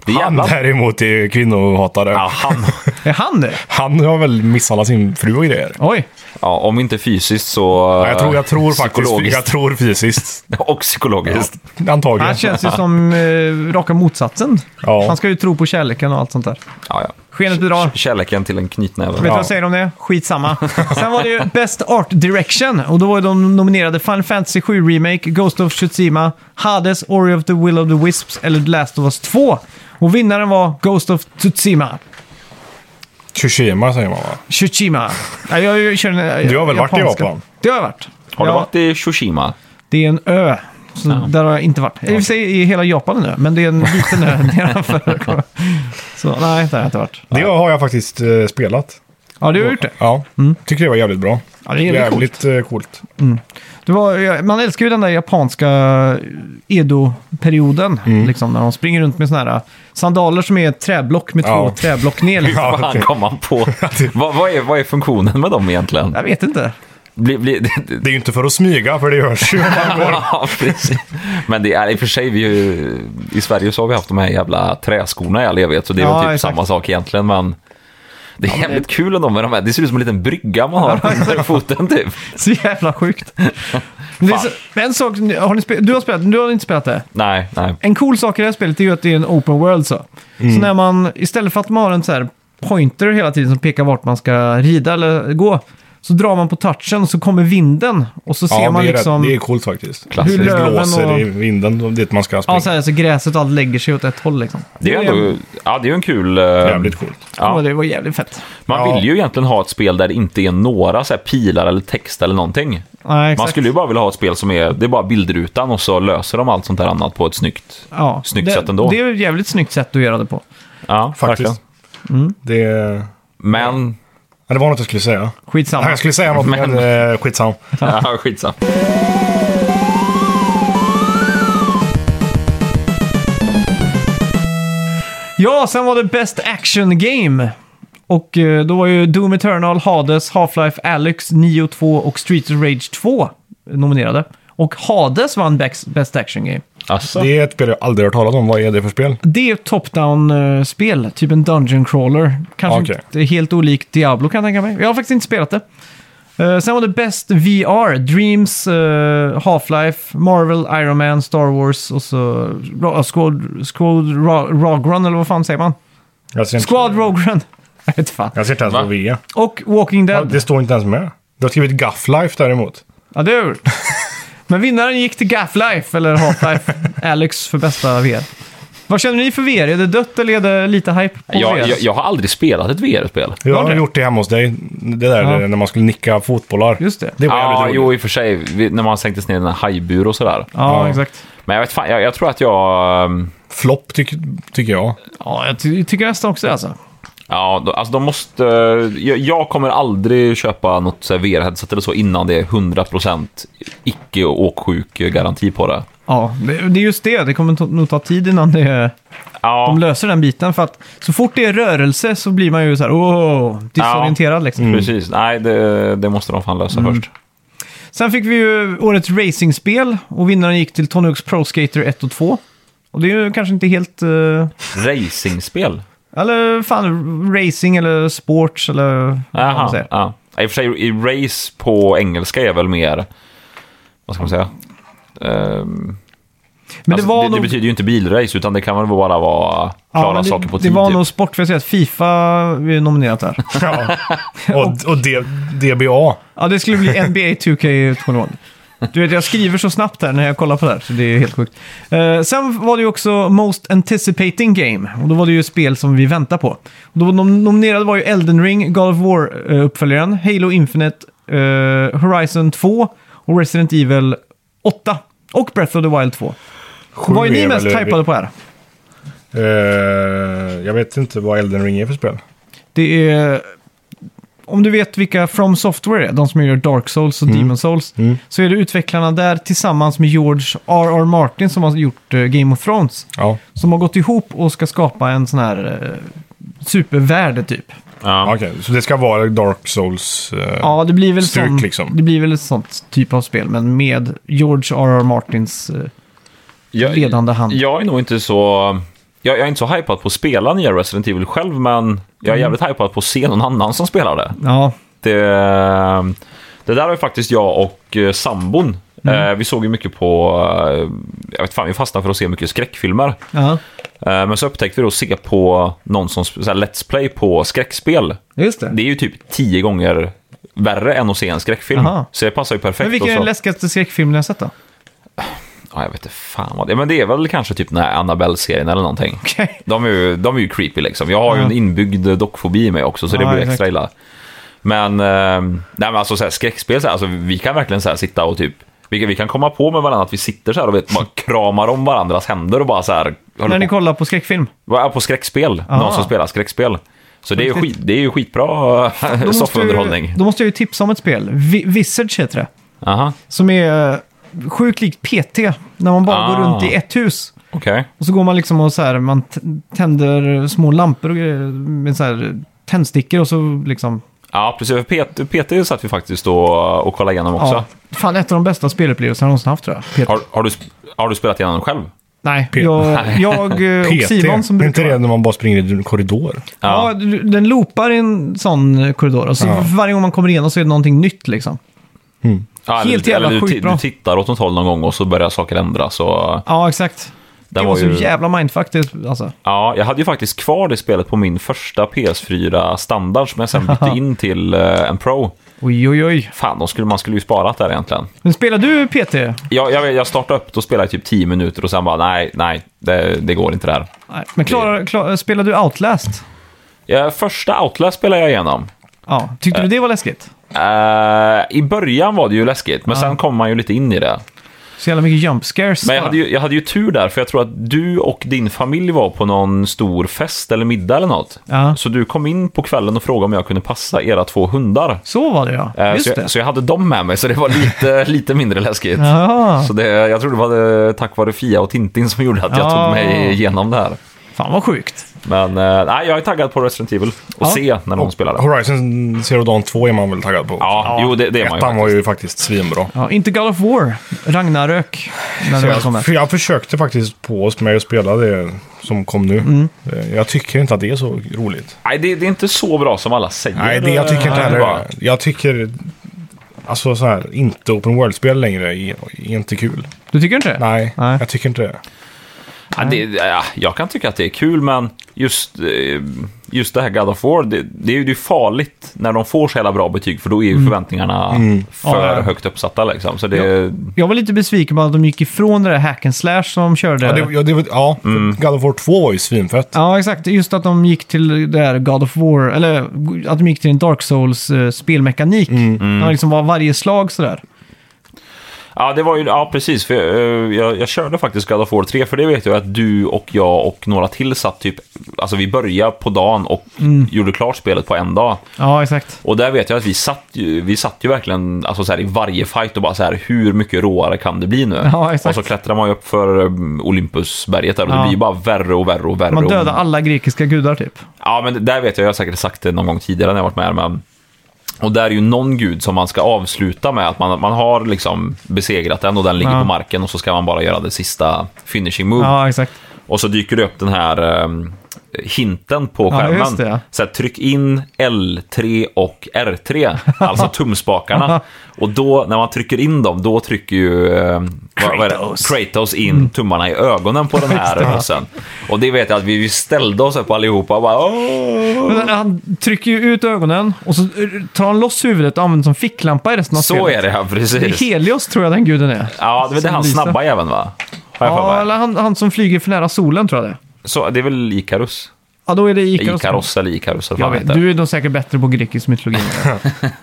B: Det är
C: Han
B: jävla...
C: däremot är kvinnohatare.
B: Ja, han...
A: Är han det?
C: Han har väl misshandlat sin fru och grejer.
A: Oj.
B: ja, om inte fysiskt så...
C: Ja, jag tror, jag tror faktiskt...
B: psykologiskt.
C: Jag
A: [LAUGHS]
C: tror fysiskt.
B: [LAUGHS] Och psykologiskt.
C: Antagligen.
A: Han känns ju som eh, raka motsatsen.
C: Ja.
A: Han ska ju tro på kärleken och allt sånt där.
B: Ja, ja.
A: Skenet bedrar. Vet
B: Kärleken till en
A: du
B: knytnäve.
A: vad jag säger om det?
C: [LAUGHS]
A: Skitsamma. Sen var det ju Best Art Direction och då var ju de nominerade Final Fantasy 7 Remake, Ghost of Tsushima, Hades, Ori of the Will of the Wisps eller The Last of Us 2. Och vinnaren var Ghost of Tsushima.
C: Tsushima säger man va?
A: Tsushima. Ja, jag, jag kör en, eh,
C: Du har väl varit i
A: japanska.
C: Japan?
A: Det har jag varit.
B: Har du
A: Ja,
B: varit i Tsushima?
A: Det är en ö. Så där har jag inte varit. I och för sig är hela Japan en ö, men det är en liten ö [LAUGHS] nedanför. Så nej, där har jag inte varit.
C: Det har jag faktiskt eh, spelat.
A: Ja, du har gjort det.
C: Ja, tycker det var jävligt bra.
A: Mm. Ja, det är jävligt
C: jävligt eh, coolt.
A: det var, ja, man älskar ju den där japanska Edo-perioden.
C: Mm.
A: Liksom, när de springer runt med såna här eh, sandaler som är ett träblock med två
C: Ja.
A: träblock ner. Liksom.
C: [LAUGHS] Ja,
B: Vad fan
C: okej.
B: kom han
C: [LAUGHS]
B: på? vad, vad, är, vad är funktionen med dem egentligen?
A: Jag vet inte.
B: Bli, bli, [LAUGHS]
C: Det är ju inte för att smyga, för
A: [LAUGHS]
C: det görs ju.
B: ja, precis. Men det är i och för sig, vi, är ju- i Sverige så har vi haft de här jävla träskorna i all evighet, så det är
A: Ja,
B: väl typ
A: exakt.
B: samma sak egentligen. Men det är jävligt kul ändå med de här. Det ser ut som en liten brygga
A: [LAUGHS]
B: man har under foten typ.
A: Så jävla sjukt. Men det är så, men en sak, har ni spe, du har spelat, du har inte spelat det?
B: Nej, nej.
A: En cool sak i det här spelet är ju att det är en open world. Så, så när man, istället för att man har en så här pointer hela tiden som pekar vart man ska rida eller gå, Så drar man på touchen så kommer vinden och så ser
C: Ja,
A: man
C: det, är,
A: liksom...
C: rätt- det är coolt faktiskt.
B: Klassiskt.
C: Det
A: Hur löven
C: blåser
A: och-
C: i vinden dit man ska springa.
A: Ja, så, här, så gräset och allt lägger sig åt ett håll liksom.
B: Det är ju ändå, ja, det är ju en kul... eh,
C: Jävligt coolt.
A: Ja.
B: Ja.
A: det var jävligt fett.
B: Man
C: Ja.
B: vill ju egentligen ha ett spel där det inte är några så här pilar eller text eller någonting.
A: Ja, exakt.
B: Man skulle ju bara vilja ha ett spel som är, det är bara bildrutan och så löser de allt sånt där annat på ett snyggt,
A: ja,
B: snyggt
A: det,
B: sätt ändå.
A: Det är ett jävligt snyggt sätt att göra det på.
B: ja,
C: Faktiskt.
B: verkligen.
C: Det, ja, [LAUGHS]
B: Men,
C: det var något jag skulle säga.
A: Skitsamma.
C: Nej, jag skulle säga något, men, men eh, skitsamma.
B: ja, skitsamma.
A: Ja, sen var det Best Action Game. Och eh, då var ju Doom Eternal, Hades, Half-Life, Alyx, Nio 2 och Streets of Rage 2 nominerade. Och Hades vann Bex- Best Action Game.
B: Alltså,
C: Det är ett spel jag aldrig hört talas om. Vad är det för spel?
A: Det är ett top-down-spel, typ en Dungeon Crawler. Kanske
C: Okej.
A: inte helt olikt Diablo kan jag tänka mig. Jag har faktiskt inte spelat det. Eh, sen var det Best VR, Dreams, eh, Half-Life, Marvel, Iron Man, Star Wars och så Ra- Squad, Squad Ra- Rogue Run, eller vad fan säger man?
C: Jag ser inte,
A: Squad Rogue Run! [LAUGHS] Jag vet inte fan.
C: jag ser inte ens
B: Va?
C: vad vi är.
A: Och Walking
C: Ja,
A: Dead.
C: det står inte ens med. Du har skrivit Gafflife däremot.
A: Ja, det har
C: [LAUGHS]
A: jag gjort. Men vinnaren gick till Gaff-Life, eller Half-Life.
C: [LAUGHS]
A: Alex för bästa VR. Vad känner ni för VR? Är det dött eller är det lite hype på VR?
B: jag, jag, jag har aldrig spelat ett VR-spel.
C: Jag
A: Var
C: har
A: det?
C: gjort det hemma hos dig. Det där
A: Ja.
C: när man skulle nicka fotbollar.
A: Just det.
C: Det var
B: Ja,
C: jävligt roligt.
B: jo i och för sig, vi- när man sänktes ner i den här hajbur och sådär.
A: Ja,
C: Ja.
A: exakt.
B: Men jag vet fan, jag, jag tror att jag... ehm,
C: Flopp tycker
A: [LAUGHS]
C: tycker jag.
A: Ja, jag ty- tycker nästan också det alltså.
B: Ja, då- alltså de måste... eh, Jag, jag kommer aldrig köpa något så här VR-headset eller så innan det är 100% icke åksjuk garanti på det.
A: Ja, det det är just det. Det kommer ta- nog ta tid innan det,
B: Ja,
A: de löser den biten. För att så fort det är rörelse så blir man ju så här, åh, disorienterad liksom.
B: precis. Nej, det, det måste de fan lösa
A: Mm.
B: först.
A: Sen fick vi ju årets racingspel och vinnaren gick till Tony Hawk's Pro Skater 1 och 2. Och det är ju kanske inte helt... eh,
B: Racingspel?
A: Eller fan, racing eller sports eller vad man
B: Jaha.
A: säger.
B: Ja. I och för sig, i race på engelska är väl mer... Vad ska man säga? Ehm,
A: Men
B: alltså,
A: det var
B: det,
A: nog...
B: betyder ju inte bilrace, utan det kan väl bara vara
A: ja,
B: klara
A: men det,
B: saker på
A: Det
B: tid.
A: var
B: typ.
A: nog sport, för jag ser att Fifa är nominerat där.
C: Ja. [LAUGHS] Och, och D, DBA.
A: ja, det skulle bli NBA 2K21. Du vet, jag skriver så snabbt här när jag kollar på det här, så det är helt sjukt. Eh, sen var det ju också Most Anticipating Game, och då var det ju spel som vi väntar på. Och då nom nominerade var ju Elden Ring, God of War-uppföljaren, Halo Infinite, eh, Horizon 2 och Resident Evil 8. Och Breath of the Wild 2.
C: Sju
A: Vad är ni mest
C: väl-
A: typade på här?
C: Eh, jag vet inte vad Elden Ring är för spel.
A: Det är... Om du vet vilka From Software är, de som gör Dark Souls och Demon Souls, så är det utvecklarna där tillsammans med George R.R. Martin som har gjort eh, Game of Thrones.
C: Ja,
A: Som har gått ihop och ska skapa en sån här eh, supervärld typ.
B: Ja.
C: okej. Så det ska vara Dark Souls? eh,
A: Ja, det blir väl,
C: Styrk,
A: sån,
C: liksom.
A: det blir väl ett sånt typ av spel, men med George R.R. Martins eh,
B: Jag-
A: ledande hand.
B: Jag är nog inte så... Jag, jag är inte så hypad på att spela nya Resident Evil själv, men
A: Mm.
B: jag är jävligt hypad på att se någon annan som spelar det.
A: Ja,
B: Det, eh, det där har ju faktiskt jag och eh, sambon.
A: Mm.
B: Eh, vi såg ju mycket på... Eh, jag vet fan, vi fastnade för att se mycket skräckfilmer.
A: ja.
B: Eh, men så upptäckte vi då att se på någon som... sp- Så här, let's play på skräckspel.
A: just det.
B: Det är ju typ tio gånger värre än att se en skräckfilm.
A: Aha.
B: Så det passar ju perfekt.
A: men vilken
B: och
A: är
B: så-
A: den läskigaste skräckfilmen ni har sett då? [LAUGHS]
B: Ja, jag vet inte fan vad det är. Men det är väl kanske typ den här Annabelle-serien eller någonting.
A: Okej.
B: De, är ju, de är ju creepy liksom. Jag har ju
A: Ja.
B: en inbyggd dockfobi i mig också, så det
A: Ja,
B: blir
A: exakt.
B: extra illa. Men, eh, nej, men alltså, så här, skräckspel, så här, alltså, vi kan verkligen så här, sitta och typ... Vi kan, vi kan komma på med varandra att vi sitter så här och vet, bara kramar om varandras händer och bara så här...
A: När
B: håller
A: ni
B: På,
A: kollar på skräckfilm?
B: Ja, på skräckspel.
A: Ah.
B: Någon som spelar skräckspel. Så det är ju, skit, det är ju skitbra eh,
A: Då måste
B: soffunderhållning.
A: jag ju- Då måste jag ju tipsa om ett spel. Vi- Visage heter det.
B: Aha,
A: Som är eh, sjukt likt PT. När man bara går
B: Ah.
A: runt i ett hus.
B: okej.
A: Och så går man liksom och så här, man t- tänder små lampor och grejer med så här eh, tändstickor och så liksom...
B: Ja, precis. För PT, PT satt vi faktiskt och, och kollade igenom också.
A: Ja, fan, ett av de bästa spelupplevelserna jag någonsin haft tror jag. PT.
B: Har, har, du, sp- har du spelat igenom den själv?
A: Nej,
C: P-
A: jag, jag
C: [LAUGHS]
A: eh, och
C: PT.
A: Simon som
C: Är
A: brukar...
C: inte det när man bara springer i en korridor?
A: Ja, du- den loopar i en sån korridor. Och så
C: Ja.
A: varje gång man kommer igenom så är det någonting nytt liksom.
B: Ja,
A: Helt jävla
B: du,
A: sjukt
B: ti-
A: bra.
B: du tittar åt något håll någon gång och så börjar saker ändras. Och,
A: Ja, exakt. Det var, så jävla mindfuck det, alltså.
B: Ja, jag hade ju faktiskt kvar det spelet på min första PS4 standard som jag
A: [LAUGHS]
B: sen bytte in till eh, en Pro.
A: Oj, oj, oj.
B: Fan, de skulle, man skulle ju sparat där egentligen.
A: Men spelar du PT?
B: Jag, jag, jag startade upp, då spelade jag typ 10 minuter och sen bara nej, nej, det, det går inte där.
A: Nej. Men klarar, klar, spelar du Outlast?
B: Ja, första Outlast spelade jag igenom.
A: Ja. Tyckte du det var läskigt?
B: Eh, I början var det ju läskigt, men sen kom man ju lite in i det.
A: Så jävla mycket jump scares.
B: Men jag
A: bara.
B: hade, ju, jag hade ju tur där, för jag tror att du och din familj var på någon stor fest eller middag eller något.
A: Ja.
B: Så du kom in på kvällen och frågade om jag kunde passa era två hundar.
A: Så var det ja.
B: Eh,
A: Just
B: så,
A: det.
B: jag, så jag hade dem med mig, så det
A: [LAUGHS]
B: var lite, lite mindre läskigt.
A: Ja.
B: Så det, jag tror det var eh, tack vare Fia och Tintin som gjorde att jag
A: Ja.
B: tog mig igenom det här.
A: Fan vad sjukt.
B: Men eh, nej, jag är taggad på Resident Evil och
A: Ja.
B: se när någon spelar det. Ja,
C: Horizon Zero Dawn 2 är man väl taggad på?
B: jo det, det är man ju.
C: Ettan var ju faktiskt svinbra.
A: Ja, inte God of War. Ragnarök. När
C: Så
A: det var som
C: jag,
A: mest.
C: för jag försökte faktiskt på oss med att spela det som kom nu.
A: Mm.
C: Eh, Jag tycker inte att det är så roligt.
B: Nej, det, det är inte så bra som alla säger.
C: Nej, det, jag tycker inte
B: eh,
C: heller
B: bara.
C: det. Jag tycker... Alltså så här, inte Open World-spel längre är, är inte kul.
A: Du tycker inte det?
C: Nej,
A: Nej.
C: jag tycker inte det.
B: Ja, det, ja, jag kan tycka att det är kul, men just, eh, just det här God of War, det, det är ju det är farligt när de får så jävla bra betyg, för då är ju förväntningarna för
A: Mm. Ja.
B: högt uppsatta. Liksom. Så det,
A: Jag var lite besviken på att de gick ifrån det där hack and slash som de körde.
C: Ja, det, Mm. ja, det, var- ja för God of War 2 var ju svinfett.
A: Ja, exakt. Just att de gick till det här God of War, eller att de gick till en Dark Souls-spelmekanik.
B: Mm,
A: När det liksom var varje slag sådär.
B: Ja, det var ju, ja precis. För, eh, jag, jag körde faktiskt God of War 3, för det vet jag att du och jag och några till satt typ, alltså vi började på dagen och
A: Mm.
B: gjorde klart spelet på en dag.
A: Ja, exakt.
B: Och där vet jag att vi satt ju, vi satt ju verkligen alltså så här, i varje fight och bara så här, hur mycket råare kan det bli nu?
A: Ja, exakt.
B: Och så klättrar man ju upp för um, Olympusberget där och
A: Ja.
B: det blir ju bara värre och värre och värre.
A: Man
B: och-
A: dödade alla grekiska gudar typ.
B: Ja, men där vet jag, jag har säkert sagt det någon gång tidigare när jag varit med här, men... Och där är ju någon gud som man ska avsluta med, att man, man har liksom besegrat den och den ligger
A: Ja.
B: på marken och så ska man bara göra det sista finishing move.
A: Ja, exakt.
B: Och så dyker det upp den här ehm, hinten på
A: Ja,
B: skärmen.
A: just det, ja.
B: Så här, tryck in L3 och R3,
A: [LAUGHS]
B: alltså tumspakarna. och då, när man trycker in dem, då trycker ju ehm, vad- vad är det?
A: Kratos.
B: Kratos in
A: Mm.
B: tummarna i
A: [LAUGHS]
B: ögonen på den här bossen. Och det vet jag att vi, vi ställde oss upp allihopa och bara Åh!
A: Men han trycker ju ut ögonen och så tar han loss huvudet och använder som ficklampa i resten av
B: Så
A: spelet.
B: är det, ja,
A: Det
B: precis.
A: är Helios tror jag den guden är.
B: Ja, det är väl det
A: Som
B: han
A: lyser.
B: snabba även va? Har jag för mig.
A: Ja, eller han, han som flyger för nära solen tror jag det är.
B: Så det är väl Ikarus?
A: Ja, då är det Ikaros.
B: Ikaros eller Ikarus eller
A: Jag
B: vad han
A: vet,
B: heter.
A: du är nog säkert bättre på grekisk mytologi.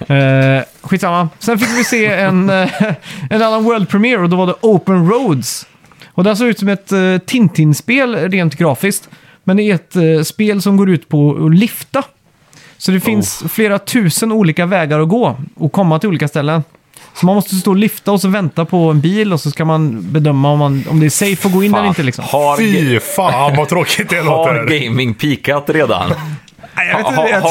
A: uh, skitsamma. Sen fick vi se en, eh, [LAUGHS] en annan World Premiere och då var det Open Roads. Och det här såg ut som ett eh, Tintin-spel rent grafiskt. Men det är ett eh, spel som går ut på att lifta. Så det finns flera tusen olika vägar att gå och komma till olika ställen. Så man måste stå och lifta och så vänta på en bil och så ska man bedöma om, man, om det är safe att gå in
B: Fan,
A: eller inte. Liksom.
B: Har,
C: Fy fan vad tråkigt det
B: har
C: låter.
B: gaming pikat
A: [LAUGHS]
B: redan?
A: Nej, jag
B: Ha- ha-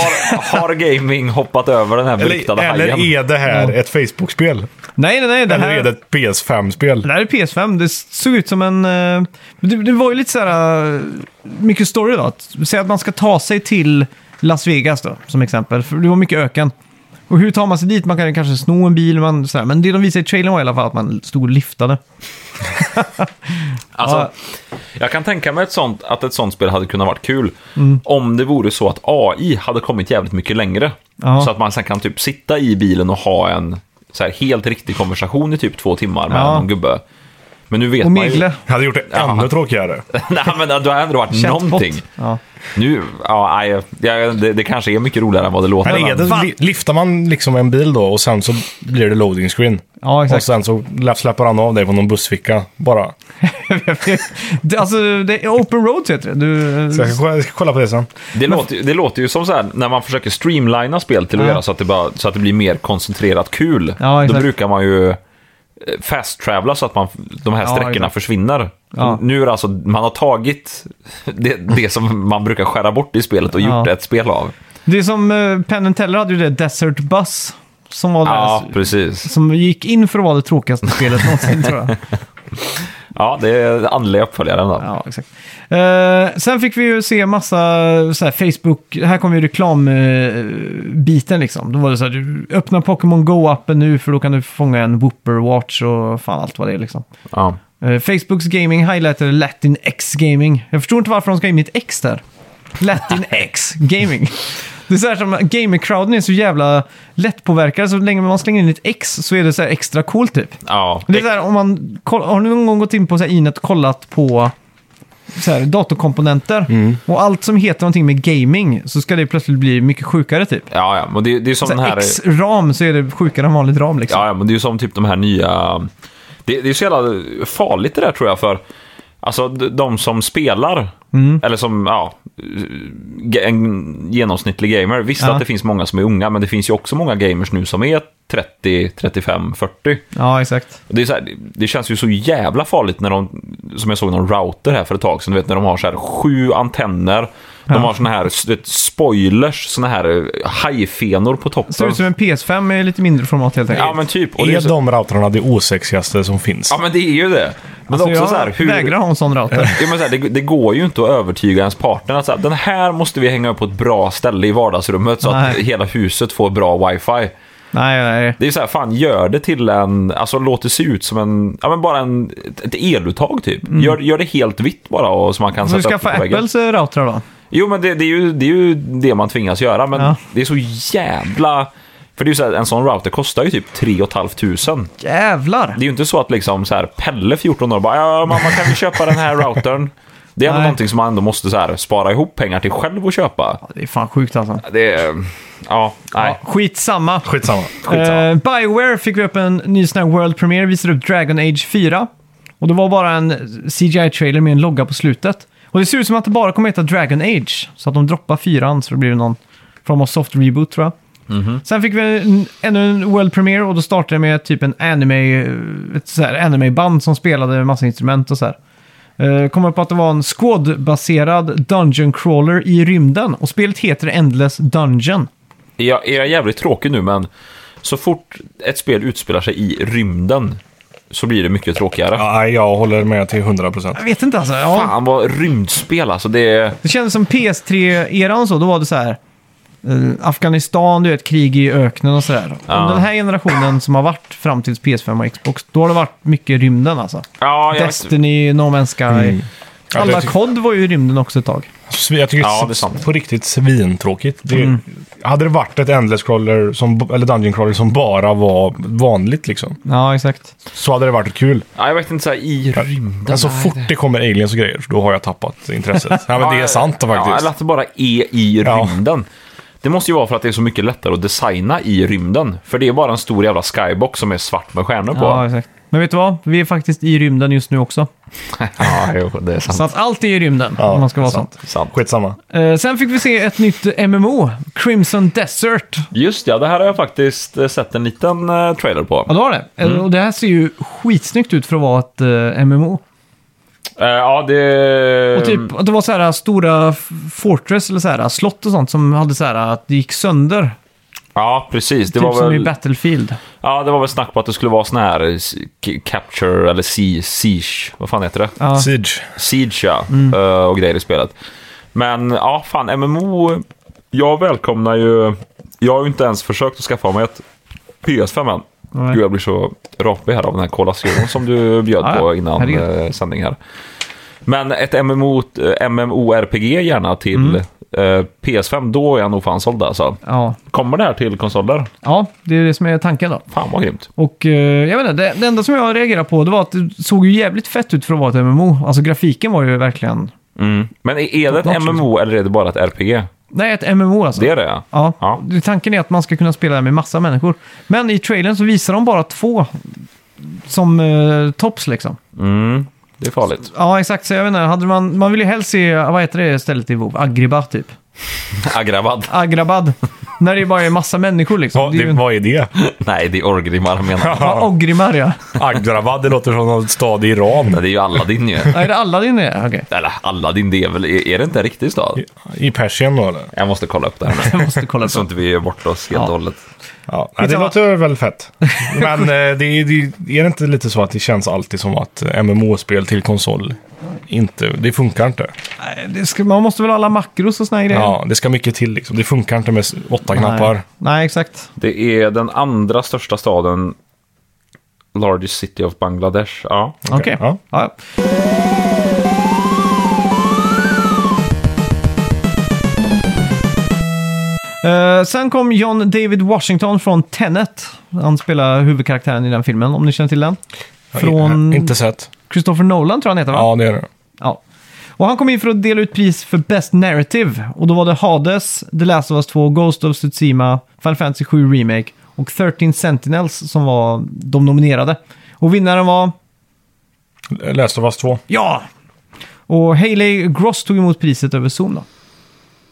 B: har, har gaming hoppat över den här
C: Eller,
B: beryktade
C: eller
B: hajen?
C: är det här ett Facebook-spel?
A: Nej, nej, Mm. nej. Det
C: Eller är
A: här...
C: det ett PS5-spel?
A: Det här är PS5. Det såg ut som en... eh, Det, det var ju lite så här... eh, Mycket story då. Att- Säg att man ska ta sig till Las Vegas då, som exempel. För det var mycket öken. Och hur tar man sig dit? Man kan ju kanske sno en bil, man, så här. men det de visade i trailern var i alla fall att man stod och liftade.
B: Alltså, jag kan tänka mig ett sånt, att ett sånt spel hade kunnat varit kul
A: Mm.
B: om det vore så att AI hade kommit jävligt mycket längre.
A: Ja.
B: Så att man sen kan typ sitta i bilen och ha en så här, helt riktig konversation i typ två timmar med
A: Ja.
B: någon gubbe. Men nu vet
A: Och
B: man ju...
A: megla.
C: Jag hade gjort det ännu tråkigare.
B: [LAUGHS] Nej, men det har ändå varit
A: Chatbot.
B: någonting.
A: Ja. [LAUGHS]
B: Nu, ja, nej, jag- det, det kanske är mycket roligare än vad det låter.
C: Men är det, li- lyfter man liksom en bil då och sen så blir det loading screen.
A: Ja, exakt.
C: Och sen så lä- släpper han av dig på någon bussficka bara.
A: det, alltså, det är open roads heter det. Du,
C: Så jag ska, jag ska kolla på det sen.
B: Det, låter, ju- det låter ju som så här, när man försöker streamlina spel till att
A: Ja.
B: göra så att, det bara, så att det blir mer koncentrerat kul.
A: Ja,
B: då
A: exakt.
B: brukar man ju fast-travla så att man, de här
A: Ja,
B: sträckorna
A: exakt.
B: försvinner.
A: Ja.
B: Nu är det alltså, man har tagit [LAUGHS] det, det som man brukar skära bort i spelet och gjort
A: Ja.
B: ett spel av.
A: det är som uh, Penn Teller hade ju det, Desert Bus. Som var
B: Ja,
A: deras,
B: precis.
A: som gick in för att vara det tråkigaste spelet någonsin tror jag.
B: Ja, det är andliga uppföljaren då.
A: Ja, exakt. Eh, sen fick vi ju se massa så här, Facebook, här kom ju reklambiten liksom. Då var det så här, du öppnar Pokémon Go-appen nu för då kan du fånga en Whooper Watch och fan allt vad det är liksom.
B: Ja.
A: Eh, Facebooks gaming highlighter Latin X Gaming. Jag förstår inte varför de ska ha in mitt X där. Latin X Gaming. Det är så här som gamer-crowden är så jävla lättpåverkade. Så länge man slänger in ett X så är det så här extra coolt typ.
B: Ja,
A: Det är så här, om man, koll- har ni någon gång gått in på så här, Inet och kollat på så här, datorkomponenter?
B: Mm.
A: Och allt som heter någonting med gaming så ska det plötsligt bli mycket sjukare typ.
B: ja, ja. Men det, det är som
A: Så
B: den
A: här,
B: här...
A: X-ram så är det sjukare än vanligt ram liksom.
B: Ja, ja, men det är ju som typ de här nya... Det, det är så jävla farligt det där tror jag för... Alltså d- de som spelar,
A: Mm.
B: eller som, ja, ge- en genomsnittlig gamer. Visst
A: Ja.
B: att det finns många som är unga, men det finns ju också många gamers nu som är 30, 35, 40.
A: ja exakt.
B: Och Det, är så här, det- det känns ju så jävla farligt när de, som jag såg någon router här för ett tag sedan, du vet när de har så här sju antenner, de har såna här du vet, spoilers, såna här eh, hajfenor på toppen.
A: Ser ut som en PS5 med lite mindre format helt enkelt.
B: Ja men typ. Och det är
C: Är
B: så,
C: de routrarna det osexigaste som finns?
B: ja men det är ju det. Men
A: Så
B: också
A: Alltså, jag
B: så här, hur,
A: vägrar ha en sån
B: [LAUGHS]
A: router.
B: Ja, men så här, det, det går ju inte att övertyga ens partner att så här, den här måste vi hänga upp på ett bra ställe i vardagsrummet så att
A: Nej.
B: hela huset får bra wifi.
A: nej, nej.
B: Det är så här, fan gör det till en, alltså låt det se ut som en, ja men bara en, ett- ett eluttag typ. Gör, gör det helt vitt bara och så man kan
A: Får Mm. du
B: sätta upp
A: skaffa
B: det på väggen.
A: Apples eh, routrar då?
B: Jo men det, det, är ju, det är ju det man tvingas göra men
A: Ja.
B: det är så jävla, för det är ju så här, en sån router kostar ju typ 3 500.
A: Jävlar!
B: Det är ju inte så att liksom så här, Pelle 14 år bara ja, mamma kan vi köpa den här routern? Det är ändå
A: Nej.
B: någonting som man ändå måste så här, spara ihop pengar till själv och köpa.
A: Det är fan sjukt alltså.
B: Det är... Ja, nej.
A: Ja, skitsamma.
C: Skitsamma.
B: skitsamma.
A: Eh, Bioware fick vi upp en ny sån här World Premiere, visade upp Dragon Age 4. Och det var bara en CGI-trailer med en logga på slutet. Och det ser ut som att det bara kommer heta Dragon Age. Så att de droppar fyran så det blir någon form av soft reboot tror jag. Sen fick vi en, ännu en World Premiere och då startade det med typ en anime, eh, ett så här anime-band som spelade en massa instrument och så här. Eh, Kom upp att det var en squad-baserad Dungeon Crawler i rymden. Och spelet heter Endless Dungeon.
B: Jag är jag jävligt tråkig nu men så fort ett spel utspelar sig i rymden så blir det mycket tråkigare.
C: Ja, jag håller med till 100 procent.
A: Jag vet inte alltså. Ja.
B: Fan vad rymdspel alltså. Det är...
A: Det kändes som PS3-eran så, då var det så här. eh, Afghanistan, du vet, krig i öknen och sådär.
B: Ja.
A: Den här generationen som har varit fram till PS5 och Xbox, då har det varit mycket rymden alltså.
B: Ja, jag vet.
A: Destiny, No Man's Sky.
C: Ja,
A: Alla
C: det tyck-
A: kod var ju i rymden också ett tag.
C: Svi- Jag tycker
B: Ja,
C: ja,
B: det är sant.
C: på riktigt svintråkigt. Det,
A: Mm.
C: Hade det varit ett Endless Crawler, som, eller Dungeon Crawler, som bara var vanligt liksom,
A: Ja, exakt.
C: så hade det varit kul.
B: Ja, jag vet inte så här, i rymden.
C: Men så fort det kommer aliens och grejer, då har jag tappat
A: [LAUGHS]
C: intresset. ja, men det är sant
B: Ja, eller
C: faktiskt.
B: att det bara är i
C: Ja.
B: rymden. Det måste ju vara för att det är så mycket lättare att designa i rymden. För det är bara en stor jävla skybox som är svart med stjärnor på.
A: Ja,
B: Ja,
A: exakt. Men vet du vad? Vi är faktiskt i rymden just nu också.
B: jo, det är sant.
A: Så att allt är i rymden,
C: Ja,
A: om man ska vara sånt.
C: sant.
B: sant.
C: Skitsamma.
A: Eh, sen fick vi se ett nytt MMO, Crimson Desert.
B: Just ja, det här har jag faktiskt eh, sett en liten eh, trailer på.
A: Ja, det var det. Eh, Och det här ser ju skitsnyggt ut för att vara ett eh, MMO.
B: Eh, ja, det...
A: Och typ att det var så här stora f- fortress eller så här äh, slott och sånt som hade så här äh, att det gick sönder.
B: Ja, precis. Det
A: typ
B: var
A: som i
B: väl...
A: Battlefield.
B: Ja, det var väl snack på att det skulle vara sån här eh, c- capture eller sie- siege, vad fan heter det?
A: Ja.
C: Siege.
B: Siege ja,
A: Mm.
B: eh, och grejer i spelet. Men ja, fan MMO, jag välkomnar ju... Jag har ju inte ens försökt att skaffa mig ett PS5 än.
A: Nej.
B: Gud, jag blir så rapig här av den här Cola Zero som du bjöd
A: Ja,
B: på
A: ja.
B: innan
A: Herregud.
B: eh, sändning här. Men ett MMO, eh, MMORPG gärna till
A: Mm.
B: eh, PS5, då är jag nog fan såld alltså.
A: Ja.
B: Kommer det här till konsoler?
A: ja, det är det som är tanken då.
B: Fan vad grymt.
A: Och eh, jag vet inte, det, det enda som jag reagerade på det var att det såg ju jävligt fett ut för att vara ett MMO. Alltså grafiken var ju verkligen...
B: Mm. Men är- är det
A: Top
B: ett
A: notch,
B: MMO eller är det bara ett RPG?
A: Nej, ett MMO alltså.
B: Det är det ja.
A: Ja.
B: Ja.
A: Det- Tanken är att man ska kunna spela det med massa människor. Men i trailern så visar de bara två som eh, tops liksom.
B: Mm. Det
A: [LAUGHS]
B: är farligt.
A: Ja, exakt. Så jag vet inte, hade man, man vill ju helst se, vad heter det stället i WoW? Agriba typ.
B: Agravad.
A: Agrabad. när det bara är massa människor liksom.
C: Ja,
A: det är ju
C: det,
A: en...
C: vad är det?
B: Nej, det är orgrimmar menar jag.
A: Ja, Ogrimar ja.
C: Agdravad, det låter som någon stad i Iran.
B: Nej, Det är ju Aladdin ju.
A: Ja, Är det Aladdin det är? Okej.
B: Eller Aladdin, det är väl... Är är det inte en riktig stad?
C: I Persien då eller?
B: Jag måste kolla upp det här
A: Jag måste kolla
B: nu. Så
A: på.
B: inte vi gör bort oss helt
A: Ja.
B: och hållet.
C: Ja, nej, det
A: Skitsamma.
C: låter
A: [LAUGHS]
C: väl fett. Men eh, det, är- det, är det inte lite så att det känns alltid som att MMO-spel till konsol inte, det funkar inte?
A: Nej, det ska, man måste väl ha alla makros och såna här grejer?
C: Ja, det ska mycket till liksom. Det funkar inte med s- åtta
A: Nej.
C: knappar.
A: Nej, exakt.
B: Det är den andra största staden largest city of Bangladesh. Ja.
A: Okej.
C: ja.
A: Ja. Eh, sen kom John David Washington från Tenet. Han spelar huvudkaraktären i den filmen, om ni känner till den. Från
C: Ja, Inte sett.
A: Christopher Nolan tror jag han heter va?
C: Ja, det är det.
A: Ja. Och han kom in för att dela ut pris för Best Narrative. Och då var det Hades, The Last of Us 2, Ghost of Tsushima, Final Fantasy 7 Remake och 13 Sentinels som var de nominerade. Och vinnaren var...
C: Läst av oss två.
A: Ja! Och Hailey Gross tog emot priset över Zoom då.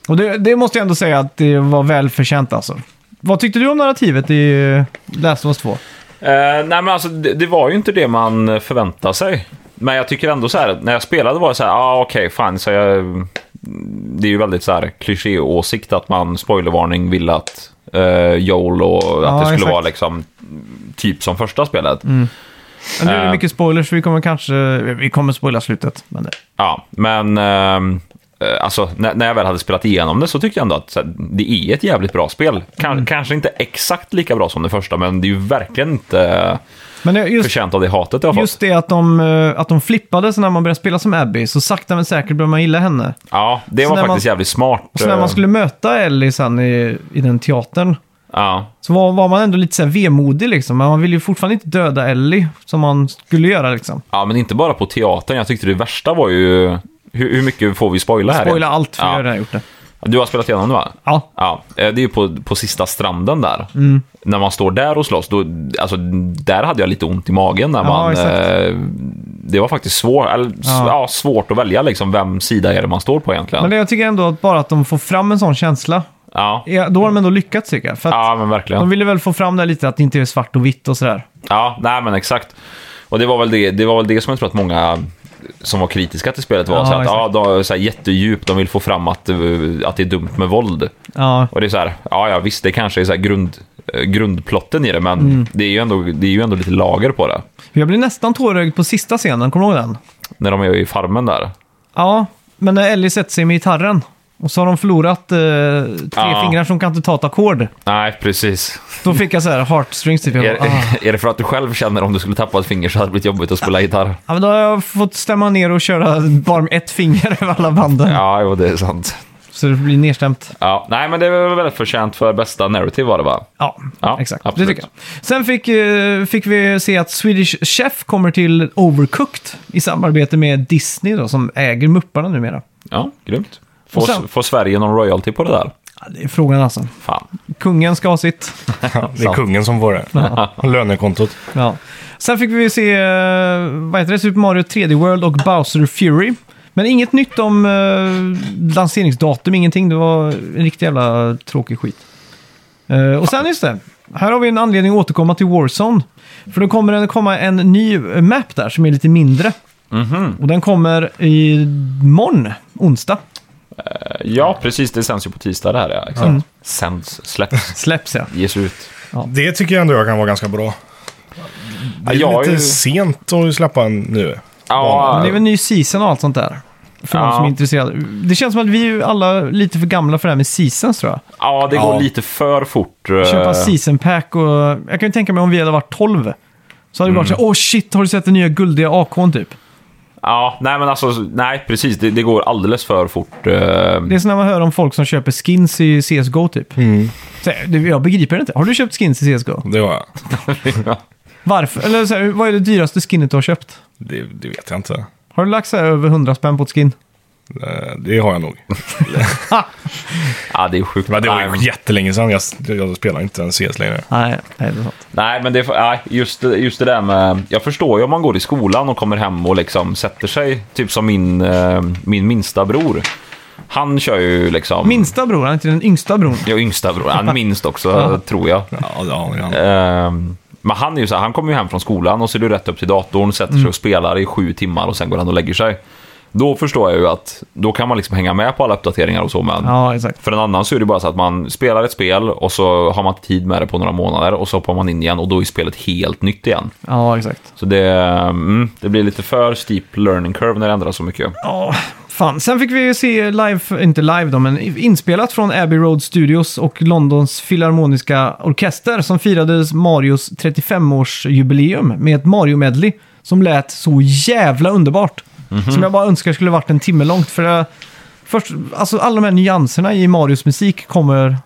A: Och det, det måste jag ändå säga att det var välförtjänt alltså. Vad tyckte du om narrativet i Last of Us 2?
B: Eh, nej men alltså det, det var ju inte det man förväntade sig. Men jag tycker ändå så här, när jag spelade var det så här, ah, okej, fan, så jag... Det är ju väldigt så här klichéåsikt att man, spoilervarning, ville att eh, Joel och att
A: Ja,
B: det skulle
A: exakt.
B: vara liksom typ som första spelet.
A: Men nu är det
B: Eh.
A: mycket spoilers så vi kommer kanske... Vi kommer spoila slutet. Men det,
B: Ja, men ehm, eh, alltså, när, när jag väl hade spelat igenom det så tyckte jag ändå att så här, det är ett jävligt bra spel. Kan,
A: Mm.
B: Kanske inte exakt lika bra som det första, men det är ju verkligen inte
A: men det- just
B: förtjänt av det hatet jag har
A: Just
B: fått.
A: det att de, eh, att de flippade så när man började spela som Abby, så sakta men säkert började man gilla henne.
B: Ja, det
A: Så
B: var
A: när man-
B: faktiskt jävligt smart.
A: Och så när
B: eh,
A: man skulle möta Ellie sen i, i den teatern,
B: Ja,
A: så var, var man ändå lite så här vemodig liksom. Men man ville ju fortfarande inte döda Ellie, som man skulle göra liksom.
B: Ja, men inte bara på teatern. Jag tyckte det värsta var ju... Hur, hur mycket får vi spoila här?
A: Spoila
B: egentligen?
A: allt, för jag har
B: ja.
A: redan gjort det.
B: Du har spelat igenom det, va?
A: Ja,
B: Ja, eh, det är ju på, på sista stranden där.
A: Mm.
B: När man står där och slåss, då, alltså, där hade jag lite ont i magen. När
A: Ja,
B: man,
A: exakt.
B: eh, det var faktiskt svår, eller, s-
A: Ja.
B: ja, svårt att välja liksom, vem sida är det man står på egentligen.
A: men det, jag tycker ändå att bara att de får fram en sån känsla,
B: Ja.
A: ja, då har de ändå lyckats tycker jag. För att
B: ja, men verkligen.
A: de ville väl få fram det lite, att det inte är svart och vitt och sådär.
B: Ja, nej men exakt. Och det var väl det, det, var väl det som jag tror att många som var kritiska till spelet var.
A: Ja,
B: så här att,
A: exakt.
B: ja, de, så här, jättedjup, de vill få fram att, eh, att det är dumt med våld.
A: Ja,
B: Och det är så här, ja, ja visst, det kanske är så här grund, eh, grundplotten i det, men
A: Mm.
B: det, är ju ändå, det är ju ändå lite lager på det.
A: jag blev nästan tårögd på sista scenen, kommer du ihåg den?
B: När de är i farmen där.
A: Ja, men när Ellie sätter sig med gitarren och så har de förlorat eh, tre
B: Ja.
A: fingrar som kan inte ta ett ackord.
B: Nej, precis.
A: Då fick jag så här heartstrings typ. Jag
B: Är,
A: bara, ah.
B: är det för att du själv känner om du skulle tappa ett finger så hade det blivit jobbigt att spela gitarr?
A: ja, men då har jag fått stämma ner och köra bara med ett finger över alla banden.
B: [LAUGHS] Ja, jo, det är sant.
A: Så det blir nedstämt.
B: Ja, nej, men det var väldigt förtjänt för bästa narrative var det, va?
A: Ja,
B: Ja,
A: exakt.
B: absolut.
A: Det tycker jag. Sen fick, eh, fick vi se att Swedish Chef kommer till Overcooked i samarbete med Disney då, som äger Mupparna numera.
B: Ja, grymt. Får,
A: Och sen-
B: får Sverige någon royalty på det där?
A: Ja, det är frågan alltså.
B: Fan.
A: Kungen ska ha sitt.
C: Ja, det är kungen som får det. [LAUGHS] Lönekontot.
A: Ja. Sen fick vi se eh, vad heter det? Super Mario 3D World och Bowser Fury. Men inget nytt om eh, lanseringsdatum, ingenting. Det var en riktig jävla tråkig skit. Eh, och sen just det, här har vi en anledning att återkomma till Warzone. För då kommer det komma en ny eh, map där som är lite mindre. Och den kommer i morgon, onsdag.
B: Ja, precis. Det sänds ju på tisdag det här, ja. Exakt.
A: Mm.
B: Sänds, släpps,
A: Släpps ja.
B: ges ut.
C: Det tycker jag ändå jag kan vara ganska bra. Det är
B: jag
C: lite
B: är ju-
C: sent att släppa en nu.
A: Men
B: Ja,
A: det är väl en ny season och allt sånt där. För de
B: Ja.
A: som är intresserade. Det känns som att vi är ju alla lite för gamla för det här med seasons tror jag.
B: ja, det går
C: Ja.
B: lite för fort. eh,
A: Köpa season pack och... Jag kan ju tänka mig om vi hade varit 12. Så hade det varit så här, åh shit, har du sett den nya guldiga AK'n typ?
B: Ja, nej men alltså, nej precis. Det, det går alldeles för fort. eh,
A: Det är som när man hör om folk som köper skins i CSGO typ. Så här, det- jag begriper det inte. Har du köpt skins i CSGO?
C: Det, var,
A: Varför? Eller så här, vad är det dyraste skinnet du har köpt?
C: det, det vet jag inte.
A: Har du lagt så här över 100 spänn på ett skin?
C: Eh, Det har jag nog.
B: Ja, det är sjukt.
C: Men det var
B: nej,
C: ju jättelänge sedan. Jag, jag spelar inte ens CS längre.
A: Nej, nej det är sant.
B: nej, men det, är för- nej, just, det- just det där med... Jag förstår ju om man går i skolan och kommer hem och liksom sätter sig. Typ som min, eh, min minsta bror. Han kör ju liksom...
A: Minsta bror, han är inte den yngsta bron.
B: Ja, yngsta bror. Han är minst också, tror jag.
C: Ja, ja, ja.
B: Ehm, men han är ju så här, han kommer ju hem från skolan och så är det rätt upp till datorn, sätter sig och spelar i sju timmar och sen går han och lägger sig. Då förstår jag ju att då kan man liksom hänga med på alla uppdateringar och så, men
A: Ja, exakt.
B: för en annan så är det bara så att man spelar ett spel och så har man inte tid med det på några månader och så hoppar man in igen och då är spelet helt nytt igen.
A: Ja, exakt.
B: Så det, mm, det blir lite för steep learning curve när det ändras så mycket.
A: Ja, Fan, sen fick vi ju se live, inte live då, men inspelat från Abbey Road Studios och Londons filharmoniska orkester som firade Marios 35-årsjubileum med ett Mario-medley som lät så jävla underbart. Som jag bara önskar skulle varit en timme långt. För det, först, alltså alla de här nyanserna i Marios musik kommer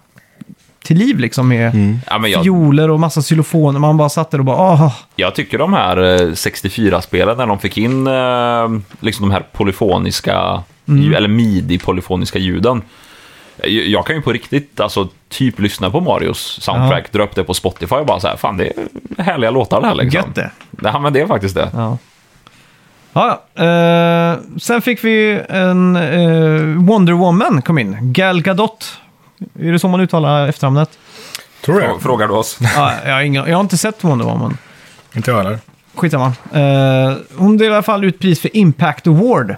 A: till liv liksom med
B: Ja, men jag,
A: fioler och massa xylofoner. Man bara satt där och bara ah.
B: jag tycker de här 64-spelen, när de fick in eh, liksom de här polyfoniska,
A: Mm.
B: ju- eller midi-polyfoniska ljuden. Jag, jag kan ju på riktigt, alltså typ lyssna på Marios soundtrack, dra upp det på Spotify och bara så här, fan det är härliga låtar det här liksom.
A: Gött det.
B: Ja, men det är faktiskt det.
A: Ja. Ja, ja. Eh, sen fick vi en eh, Wonder Woman kom in. Gal Gadot. Är det så man uttalar efternamnet?
C: Tror
B: Frå-
C: jag.
B: Frågar du oss?
A: ja, jag, har inga, jag har inte sett Wonder Woman.
C: Inte jag heller.
A: Skitsamma. Eh, hon delar i alla fall ut pris för Impact Award.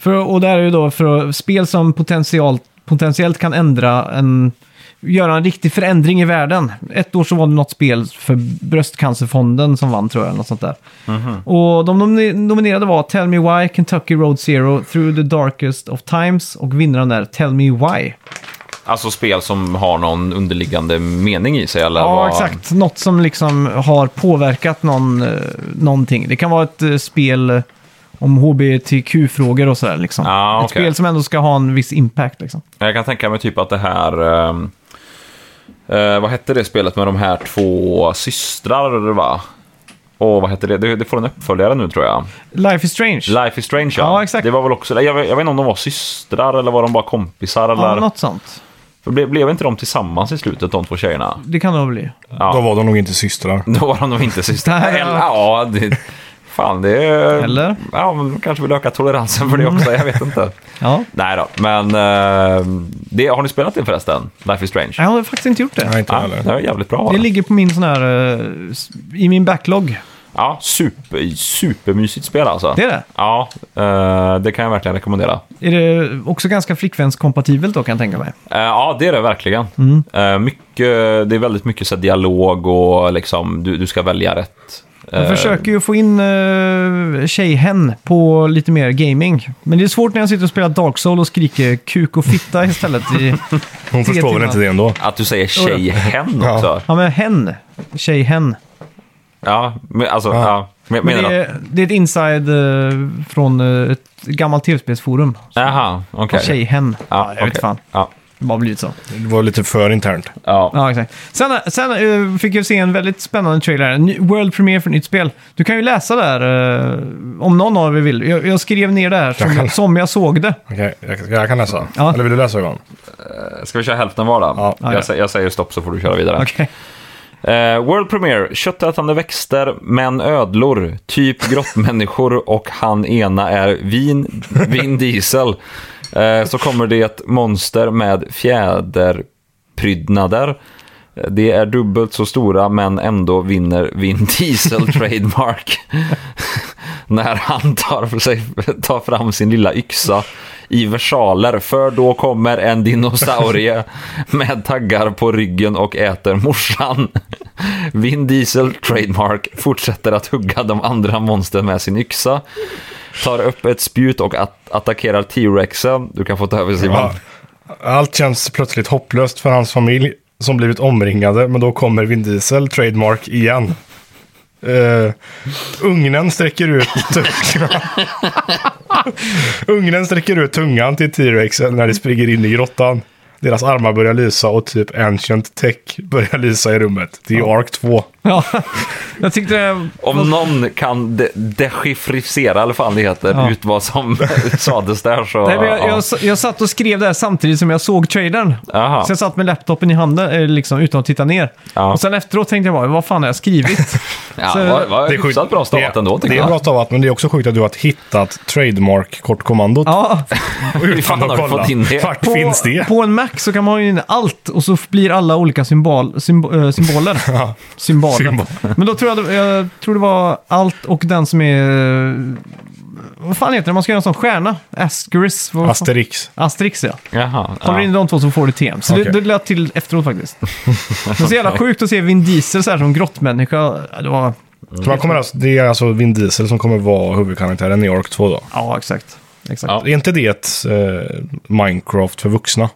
A: För, och det här är ju då för spel som potentiellt, potentiellt kan ändra en... Göra en riktig förändring i världen. Ett år så var det något spel för Bröstcancerfonden som vann tror jag, eller något sånt där. Och de nomine- nominerade var Tell Me Why, Kentucky Road Zero, Through the Darkest of Times och vinnaren är Tell Me Why.
B: Alltså spel som har någon underliggande mening i sig eller?
A: Ja,
B: vad-
A: exakt. Något som liksom har påverkat någon, eh, någonting. Det kan vara ett eh, spel om hbtq-frågor och sådär. Liksom.
B: Ja,
A: Ett
B: okej.
A: spel som ändå ska ha en viss impact. Liksom.
B: Jag kan tänka mig typ att det här... ehm, eh, vad hette det spelet med de här två systrar, va? Åh, vad hette det? det? Det får en uppföljare nu, tror jag.
A: Life is strange.
B: Life is Strange,
A: Ja, exakt.
B: Det var väl också... Jag, vet- jag vet inte om de var systrar eller var de bara kompisar
A: ja,
B: eller...
A: något sånt.
B: För ble, blev inte de tillsammans i slutet, de två tjejerna? [LAUGHS]
A: Det kan det nog bli.
B: Ja.
C: Då var de nog inte systrar.
B: Då var de nog inte systrar.
A: Nej, ja.
B: eller, ja, det... Fan, det... är-
A: Eller?
B: Ja, men de kanske vill öka toleransen för det också, jag vet inte.
A: Ja.
B: Nej då, men... eh, det, har ni spelat det förresten? Life is Strange?
A: Jag har faktiskt inte gjort det.
C: Nej, inte jag
B: Ja, det
C: heller.
B: är jävligt bra.
A: Det ligger på min sån här... eh, s- I min backlog.
B: Ja, super, supermysigt spel alltså.
A: Det är det?
B: Ja, eh, det kan jag verkligen rekommendera.
A: Är det också ganska flickvänskompatibelt då kan jag tänka mig.
B: Eh, ja, det är det verkligen.
A: Mm.
B: Eh, mycket, det är väldigt mycket så här, dialog och liksom, du, du ska välja rätt.
A: Jag
B: Eh,
A: försöker ju få in uh, tjejhen på lite mer gaming. Men det är svårt när jag sitter och spelar Dark Souls och skriker kuk och fitta istället. I,
C: Hon
A: tre
C: förstår väl
A: timmar.
C: inte det ändå.
B: Att du säger tjejhen
C: Ja.
B: också.
A: Ja, men hen. Tjejhen.
B: Ja, men, alltså, ja.
C: Ja.
B: men,
A: Men
B: menar
A: det,
B: du?
A: är, det är ett inside eh, från eh, ett gammalt tv-spelsforum.
B: Jaha, okej.
A: Tjejhen. Ja, jag vet
B: okej.
A: fan. Det
B: Ja,
A: har bara blivit så.
C: Det var lite för internt.
B: ja.
A: Ja, exakt. Sen, sen eh, fick jag se en väldigt spännande trailer. En ny- World Premiere för ett nytt spel. Du kan ju läsa där eh, om någon av er vill. Jag, jag skrev ner det här som, som jag såg det.
C: Okej, jag, jag kan läsa.
A: Ja.
C: Eller vill du läsa Johan?
B: Ska vi köra hälften var då?
C: Ja.
B: jag, sä- jag säger stopp så får du köra vidare.
A: Okej.
B: Eh, world Premiere, köttätande växter, men ödlor, typ grottmänniskor och han ena är vin, Vin Diesel. Eh, så kommer det ett monster med fjäderprydnader. Eh, Det är dubbelt så stora men ändå vinner Vin Diesel trademark. När han tar, för sig, tar fram sin lilla yxa i versaler, för då kommer en dinosaurie med taggar på ryggen och äter morsan. Vin Diesel Trademark fortsätter att hugga de andra monstren med sin yxa. Tar upp ett spjut och att attackerar T-Rexen. Du kan få ta över Simon.
C: Ja. Allt känns plötsligt hopplöst för hans familj som blivit omringade, men då kommer Vin Diesel, trademark, igen. Uh, ugnen sträcker ut tungan. [LAUGHS] ugnen sträcker ut tungan till T-Rexen när de springer in i grottan. Deras armar börjar lysa och typ Ancient Tech börjar lysa i rummet. Det är ju Ark 2.
A: Ja. [LAUGHS] Jag tyckte det
B: Om någon kan de- dechiffrisera, eller vad fan det heter,
A: Ja.
B: ut vad som [LAUGHS] sades där så...
A: Nej, men jag,
B: ja.
A: jag, jag satt och skrev det här samtidigt som jag såg trailern.
B: Aha.
A: Så jag satt med laptopen i handen eh, liksom, utan att titta ner.
B: Ja.
A: Och sen efteråt tänkte jag bara, vad fan har jag skrivit?
B: [LAUGHS] Ja,
A: så-
B: var, var
C: Det
B: det
C: är sjukt.
B: hyfsat bra stavat
C: Det-
B: ändå, tycker
C: Det är
B: jag.
C: bra stavat, men det är också sjukt att du har hittat trademark-kortkommandot.
B: [LAUGHS]
A: ja.
C: [LAUGHS]
B: Hur fan har du fått in det?
C: Vart finns det?
A: på en Mac så kan man ju in allt och så blir alla olika symbol, symb- eh, symboler.
B: [LAUGHS]
A: Symboler.
C: Symbol.
A: Men då tror jag, det- jag tror det var allt och den som är... eh, Vad fan heter det? Man ska göra en sån stjärna. Asterisk. vad fan?
C: Asterix.
A: Asterix, ja.
B: Jaha.
A: Håller
B: Ja.
A: in de två så får du TM. Så det,
C: Okej.
A: det lät till efteråt faktiskt. Men så
C: [LAUGHS]
A: jävla sjukt att se Vin Diesel så här som grottmänniska. Ja, Det var...
C: Så man kommer alltså, det är alltså Vin Diesel som kommer vara huvudkaraktären i Ark 2 då.
A: Ja, exakt. Exakt.
B: Ja.
C: Är inte det ett eh, Minecraft för vuxna?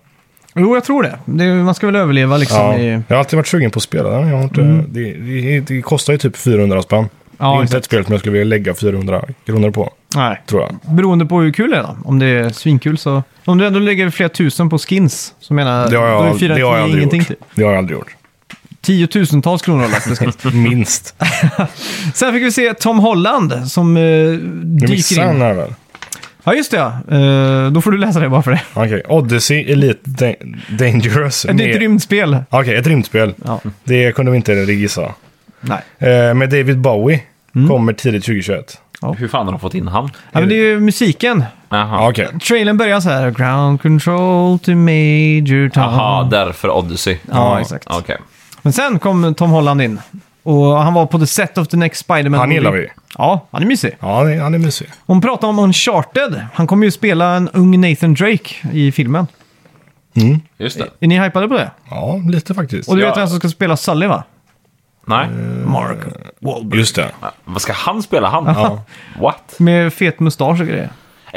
A: Jo, jag tror det. det är- man ska väl överleva liksom
C: Ja.
A: i...
C: Jag har alltid varit sugen på att spela den. Jag har inte, det, det, det kostar ju typ 400 spänn.
A: Ja,
C: det är inte
A: exakt.
C: ett spel som jag skulle vilja lägga 400 kronor på,
A: Nej.
C: tror jag.
A: Beroende på hur kul det är då. Om det är svinkul så... Om du ändå lägger flera tusen på skins, så menar
C: Det har
A: då
C: jag,
A: är fyra
C: det har jag
A: tio
C: aldrig
A: ingenting
C: gjort.
A: typ.
C: Det har jag aldrig gjort.
A: Tiotusentals kronor har jag lagt på
C: [LAUGHS]
A: skins. [LAUGHS]
C: Minst.
A: Sen fick vi se Tom Holland som eh,
C: Nu
A: dyker
C: missade
A: in.
C: han här väl?
A: Ja, just det ja. Eh, då får du läsa det bara för det. [LAUGHS]
C: Okej, Odyssey Elite Dan- Dangerous.
A: Det är ett
C: med-
A: rymdspel.
C: Okej, ett rymdspel.
A: Ja.
C: Det kunde vi inte gissa.
A: Nej.
C: Eh, med David Bowie
A: Mm.
C: kommer tidigt 2021.
B: Hur fan har de fått in han?
A: Ja, men det är ju musiken.
B: Jaha.
C: Ja, Okej.
A: Trailern börjar så här. Ground control to Major Tom.
B: Aha, därför Odyssey.
A: Ja,
C: Ja,
A: exakt.
B: Okej.
A: Men sen kom Tom Holland in. Och han var på the set of the next Spider-Man.
C: Han gillar vi.
A: Ja, han är mysig.
C: Ja, han är, han är mysig.
A: Hon pratar om Uncharted. Han kommer ju spela en ung Nathan Drake i filmen.
B: Just det.
A: Är ni hypade på det?
C: Ja, lite faktiskt.
A: Och du
B: Ja.
A: vet vem som ska spela Sully va?
B: Nej.
A: Mark Wahlberg.
C: Just det.
B: Vad ska han spela han?
C: Ja.
B: What? I
A: Med fet mustasch och grejer.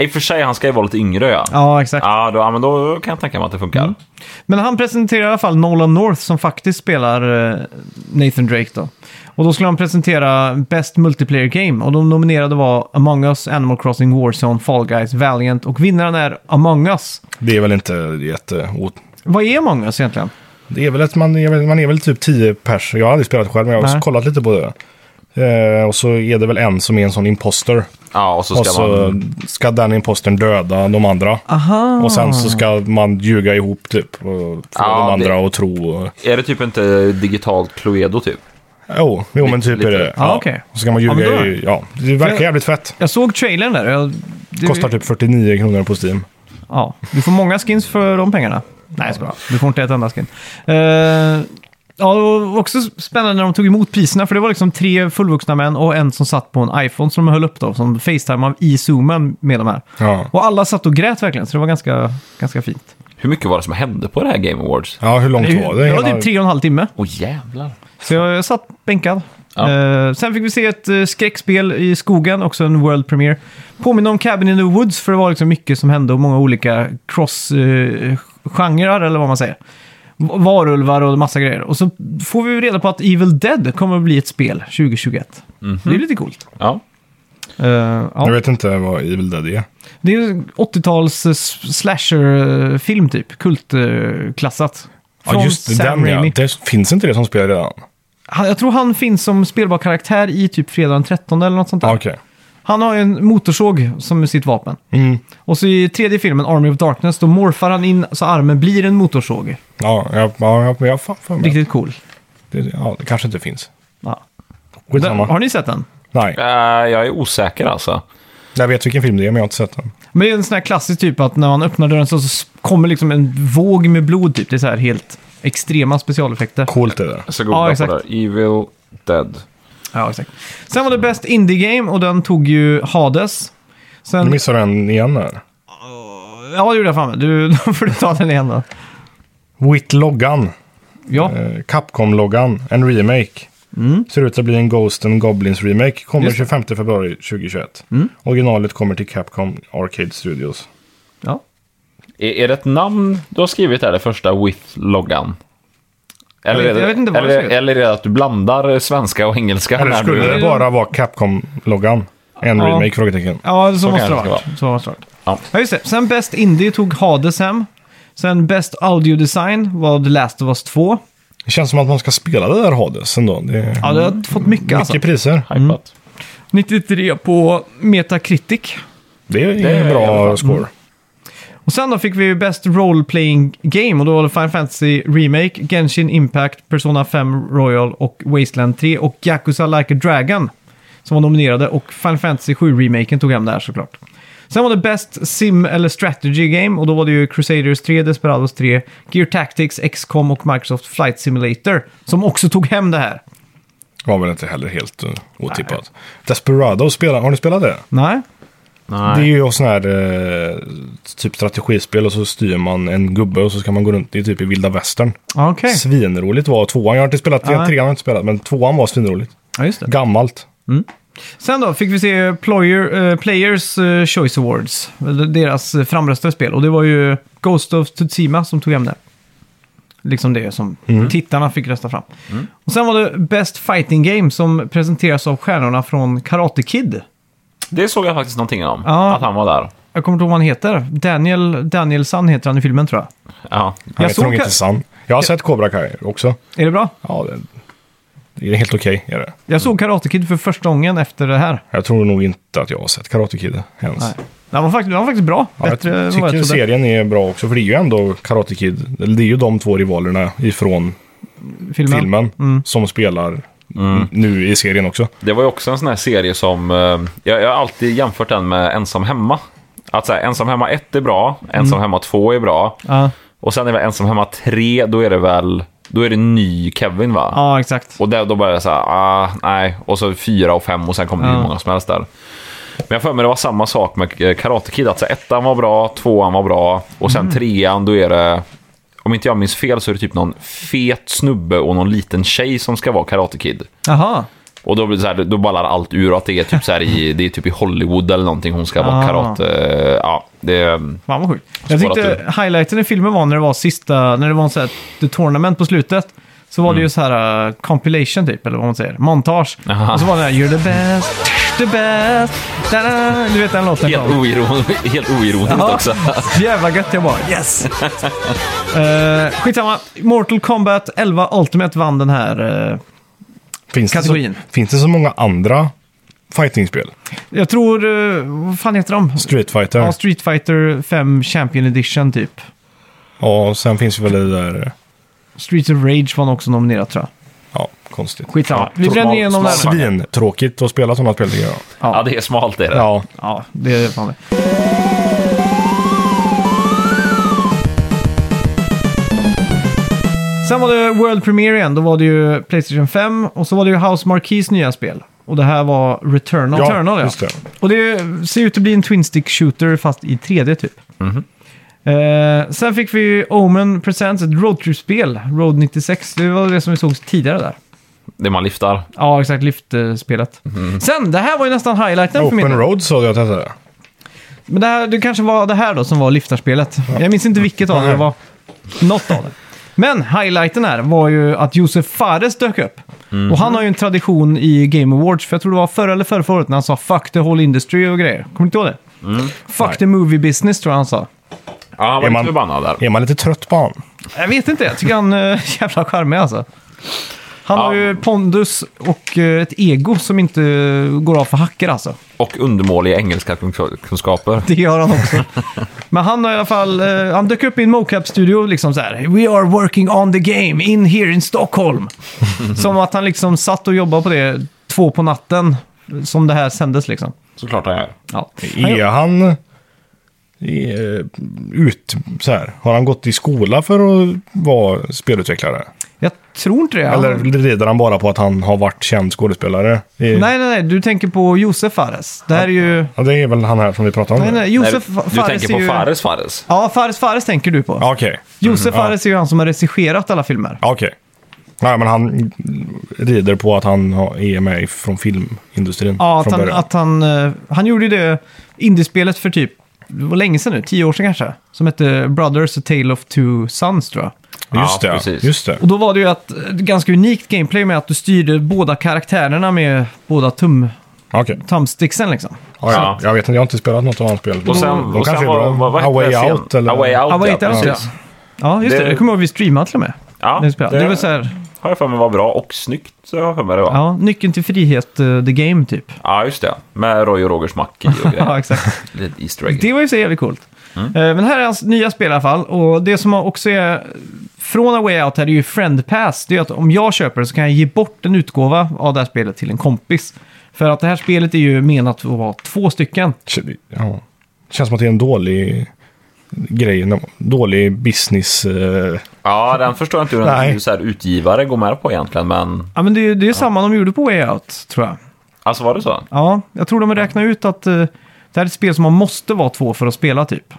B: och för sig, han ska ju vara lite yngre ja.
A: Ja, exakt.
B: Ja, då, ja, men då kan jag tänka mig att det funkar.
A: Men han presenterar i alla fall Nolan North som faktiskt spelar eh, Nathan Drake då. Och då skulle han presentera Best Multiplayer Game och de nominerade var Among Us, Animal Crossing, Warzone, Fall Guys, Valiant och vinnaren är Among Us.
C: Det är väl inte jätte... ot-
A: Vad är Among Us egentligen?
C: Det är väl att man är väl, man är väl typ 10 pers. Jag har aldrig spelat själv, men jag har
A: Nej.
C: också kollat lite på det. Eh, och så är det väl en som är en sån imposter.
B: Ja, och så ska
C: Och så
B: man...
C: ska den impostern döda de andra.
A: Aha.
C: Och sen så ska man ljuga ihop typ. Och få
B: Ja,
C: de andra
B: det-
C: att tro. och-
B: Är det typ inte digitalt Cluedo typ?
C: Jo, jo men typ
B: Lite-
C: är det.
A: Ja, okej.
C: Och så ska man
A: Ja, men
C: ljuga
A: då-
C: i... Ja, det
A: För jag-
C: verkar jävligt fett.
A: Jag såg trailern där. Jag, det,
C: Kostar typ 49 kronor på Steam.
A: Ja, du får många skins för de pengarna. Nej, jag skojar. Du får inte ett enda skin. Eh, ja, det var också spännande när de tog emot priserna, för det var liksom tre fullvuxna män och en som satt på en iPhone som de höll upp då, som facetimade i zoomen med de här.
C: Ja.
A: Och alla satt och grät verkligen, så det var ganska, ganska fint.
B: Hur mycket var det som hände på det här Game Awards?
C: Ja, hur långt var det?
A: Det var
C: Hela-
A: typ tre och en halv timme,
B: Åh jävlar.
A: så jag, jag satt bänkad.
B: Ja.
A: Eh, sen fick vi se ett eh, skräckspel i skogen, också en world premiere. Påminner om Cabin in the Woods, för det var liksom mycket som hände och många olika cross-genrer, eller vad man säger. V- Varulvar och massa grejer. Och så får vi reda på att Evil Dead kommer att bli ett spel 2021. Det är lite coolt.
B: Ja.
A: Eh,
C: Jag
A: ja.
C: vet inte vad Evil Dead är.
A: Det är ju 80-tals eh, s- slasher-film typ, kultklassat.
C: Ja, just det, den ja. Det finns inte det som spel redan?
A: Han, jag tror han finns som spelbar karaktär i typ fredag den 13 eller något sånt där.
C: Ja, Ah, Okej.
A: Han har ju en motorsåg som sitt vapen.
C: Mm.
A: Och så i tredje filmen, Army of Darkness, då morfar han in så armen blir en motorsåg.
C: Ja, jag, ja, jag, jag har fan för mig.
A: Riktigt cool.
C: Det, ja, det kanske inte finns.
A: Ja. Där,
C: Skitsamma.
A: har ni sett den?
C: Nej,
B: Eh, jag är osäker alltså.
C: jag vet vilken film det är men jag har inte sett den.
A: Men det är en sån här klassisk typ att när man öppnar dörren så, så s- kommer liksom en våg med blod typ. Det är så här helt extrema specialeffekter.
C: Coolt är det.
B: Jag ska googla
A: Ja,
B: på
A: exakt.
B: det. här. Evil Dead.
A: Ja, exakt. Sen var det Best Indie Game och den tog ju Hades.
C: Nu
A: Sen,
C: missar du en igen där.
A: ja, det gjorde jag fan med. Du, [LAUGHS] då får du ta den igen då.
C: Wit-loggan.
A: Ja,
C: Eh, Capcom-loggan. En remake. Ser ut att bli en Ghost and Goblins remake. Kommer
A: Mm. Just det. Mm.
C: 25 februari 2021. Originalet kommer till Capcom Arcade Studios.
A: ja.
B: Är, är det ett namn du har skrivit här, det första with-loggan? Eller,
A: Jag vet-
B: är det-
A: jag vet inte vad jag
B: eller,
A: skrivit.
B: eller är det att du blandar svenska och engelska?
C: Eller
B: när
C: skulle
B: du,
C: det bara vara Capcom-loggan? En
A: Ja.
C: remake? Frågetecken.
A: Ja, så måste
B: kanske
A: det
B: det
A: ha varit.
B: ska
A: Så måste det ha varit.
B: Ja.
A: Ja, just det. Sen Best Indie tog Hades hem. Sen Best Audio Design var The Last of Us 2.
C: Det känns som att man ska spela det där Hades ändå. Det är
A: Ja, det har fått mycket alltså.
C: mycket priser.
B: Hypat.
A: 93 på Metacritic.
C: Det är
B: Det är
C: en
B: i alla fall.
C: bra score.
A: Mm. Och sen då fick vi ju Best Role Playing Game och då var det Final Fantasy Remake, Genshin Impact, Persona 5 Royal och Wasteland 3 och Yakuza Like a Dragon som var nominerade och Final Fantasy 7-remaken tog hem det här såklart. Sen var det Best Sim eller Strategy Game och då var det ju Crusaders 3, Desperados 3, Gear Tactics, XCOM och Microsoft Flight Simulator som också tog hem det här.
C: Var väl inte heller helt uh, otippat. Desperado spelar, har ni spelat det?
A: Nej?
C: Det är
B: Nej.
C: ju sån här eh, typ strategispel och så styr man en gubbe och så ska man gå runt. Det är typ i vilda västern.
A: Ja, Okej.
C: Svinroligt var tvåan. Jag har inte spelat,
A: Nej.
C: trean har jag inte spelat, men tvåan var svinroligt.
A: Ja, just det.
C: Gammalt.
A: Sen då fick vi se Ployer, eh, Players eh, Choice Awards. eller Deras eh, framröstade spel. Och det var ju Ghost of Tsushima som tog hem det. Liksom det som
C: Mm.
A: tittarna fick rösta fram. Och sen var det Best Fighting Game som presenteras av stjärnorna från Karate Kid.
B: Det såg jag faktiskt någonting om.
A: Ja.
B: Att han var där.
A: Jag kommer inte ihåg vad han heter. Daniel Danielson heter han i filmen tror jag.
B: Ja.
C: Han
A: Jag
C: heter
A: såg
C: nog
A: ka-
C: inte San. Jag har sett Cobra Kai också.
A: Är det bra?
C: Ja, det, det är helt okej. är det.
A: Jag såg Karate Kid för första gången efter det här.
C: jag tror nog inte att jag har sett Karate Kid ens.
A: Nej. Den var faktiskt, den var faktiskt bra.
C: Ja, jag
A: Bättre än vad
C: tycker
A: jag trodde.
C: serien är bra också, för det är ju ändå Karate Kid. Eller det är ju de två rivalerna ifrån
A: Filmen.
C: filmen
A: Mm.
C: som spelar nu i serien också.
B: Det var ju också en sån här serie som... eh, Jag, jag har alltid jämfört den med Ensam Hemma. Att så här, Ensam Hemma 1 är bra, Ensam Hemma 2 är bra.
A: Ja.
B: Och sen är det Ensam Hemma 3, då är det väl... Då är det ny Kevin va?
A: ja, exakt.
B: Och där, då började jag så här, ah, nej. Och så fyra och fem och sen kom det hur
A: Ja.
B: många som helst där. Men jag har för mig det var samma sak med eh, Karate Kid. Att så här, ettan var bra, tvåan var bra och
A: Mm.
B: sen trean då är det... Om inte jag minns fel så är det typ någon fet snubbe och någon liten tjej som ska vara Karate Kid.
A: Jaha.
B: Och då, blir det så här, då ballar allt ur och att det är typ, så här i, det är typ i Hollywood eller någonting hon ska vara
A: Ah.
B: karate... Ja, det... mm,
A: Fan vad sjukt. Jag
B: Spårat
A: tyckte highlighten i filmen var när det var sista, när det var en sån här the tournament på slutet. Så
B: Mm.
A: var det ju så här uh, compilation typ, eller vad man säger. Montage.
B: Aha.
A: Och så var det här You're the best, the best. Da -da. Du vet den låten.
B: Helt,
A: kom.
B: oiron- [LAUGHS] helt oironiskt
A: Ja.
B: också.
A: Så jävla gött jag bara.
B: [LAUGHS]
A: Yes! uh, skitsamma. Mortal Kombat 11 Ultimate vann den här. eh,
C: Finns det, så,
A: Kategorin.
C: finns det så många andra fightingspel?
A: jag tror, eh, vad fan heter de?
C: Street Fighter.
A: Ja, Street Fighter 5 Champion Edition typ.
C: Ja, och sen finns ju väl det där...
A: Streets of Rage var också nominerad tror jag.
C: Ja, konstigt.
A: Skitsamma.
B: Ja,
A: Vi bränner
B: smal-
A: igenom det här nu.
B: smal-
C: Svintråkigt att spela sådana spel tycker jag.
B: Ja, det är smalt det är det.
C: Ja,
A: Ja, det är fan det. Sen var det World Premiere igen. Då var det ju Playstation 5 och så var det ju House Marquis nya spel. Och det här var Return of
C: Ja,
A: Turnal.
C: just det.
A: Och det ser ut att bli en Twin Stick Shooter fast i 3D typ.
C: Mhm.
A: Eh, sen fick vi ju Omen Presents, ett roadtrip-spel. Road 96. Det var det som vi såg tidigare där.
B: Det man lyftar.
A: Ja, exakt. Lyft-spelet. Sen, det här var ju nästan highlighten för min
C: Mhm. Open Road sa jag att jag testade.
A: Men det, här, det kanske var det här då som var lyftarspelet. Jag minns inte vilket av det det var. Något av det. Men highlighten här var ju att Josef Fares dök upp. Och han har ju en tradition i Game Awards, för jag tror det var förra eller förra året när han sa “Fuck the whole industry” och grejer. Kommer du inte ihåg det? “Fuck
C: Nej.
A: the movie business” tror jag han sa.
B: Ja, han var
C: Är
B: inte
C: man-
B: förbannad där.
C: Är man lite trött på han?
A: Jag vet inte, jag tycker han är [LAUGHS] jävla charmig alltså. Han
B: Ja.
A: har ju pondus och eh, ett ego som inte går av för hacker alltså.
B: Och undermåliga engelska kun- kunskaper.
A: [LAUGHS] Det gör han också. Men han har i alla fall, eh, han dök upp i en mocap-studio liksom så här. We are working on the game in here in Stockholm. som att han liksom satt och jobbade på det två på natten som det här sändes liksom.
B: Såklart han gör.
A: Ja. Han,
C: Är han... är- ut, så här. Har han gått i skola för att vara spelutvecklare?
A: jag tror inte det. Han-
C: Eller rider han bara på att han har varit känd skådespelare? I,
A: Nej, nej, nej. Du tänker på Josef Fares. Det här är ju...
C: Ja, det är väl han här som vi pratar om?
A: Nej,
C: nu.
A: nej.
B: Nej,
A: Josef Fares
B: du tänker på
A: är ju...
B: Fares Fares?
A: Ja, Fares Fares tänker du på.
C: Ja, Okej.
A: Josef Fares är ju han som har regisserat alla filmer.
C: Ja, Okej. Nej, men han rider på att han har- är med från filmindustrin
A: Ja, att
C: från
A: han,
C: början.
A: att han, eh, han gjorde ju det indiespelet för typ, det var länge sedan nu, tio år sedan kanske. Som hette Brothers A Tale of Two Sons tror jag.
C: Just
B: Ja,
C: det,
B: precis.
C: just det.
A: Och då var det ju att, eh, ganska unikt gameplay med att du styrde båda karaktärerna med båda tum,
C: Okej.
A: thumbsticksen liksom.
B: Ja.
C: Ja, ja. Jag vet inte, jag har inte spelat något av hans spel.
B: Och sen,
C: De
B: och sen
C: kanske
B: var,
C: är bra.
B: vad, vad
C: A
B: hette
C: Way
B: det
C: Out
B: sen?
C: eller?
B: A Way Out,
A: Ja, vad heter den?
B: precis.
A: Ja, ja just det.
B: Det-
A: Det kommer jag ihåg vi streamade till och med.
B: Ja,
A: När vi spelade.
B: det-
A: det var så här,
B: Har jag för mig var bra och snyggt, så har jag för mig det var. Ja,
A: ja, nyckeln till frihet, eh, the game typ.
B: just det. Med Roy och Rogers
A: [LAUGHS]
B: Mackie och
A: Ja,
B: grejer.
A: exakt.
B: Lite Easter egg.
A: Det var ju så jävligt coolt. Eh, Men här är hans nya spel i alla fall. Och det som också är från A Way Out här är ju Friend Pass. Det är att om jag köper det så kan jag ge bort en utgåva av det här spelet till en kompis. För att det här spelet är ju menat att vara två stycken.
C: Ja. Känns som att det är en dålig grej, en dålig business. eh,
B: Ja, den förstår jag inte hur en
C: Nej.
B: hur så här, utgivare går med på egentligen, men...
A: Ja, men det är ju det är ju samma de gjorde på Way Out, tror jag.
B: Alltså var det så?
A: Ja, jag tror de har räknat ut att eh, det här är ett spel som man måste vara två för att spela, typ.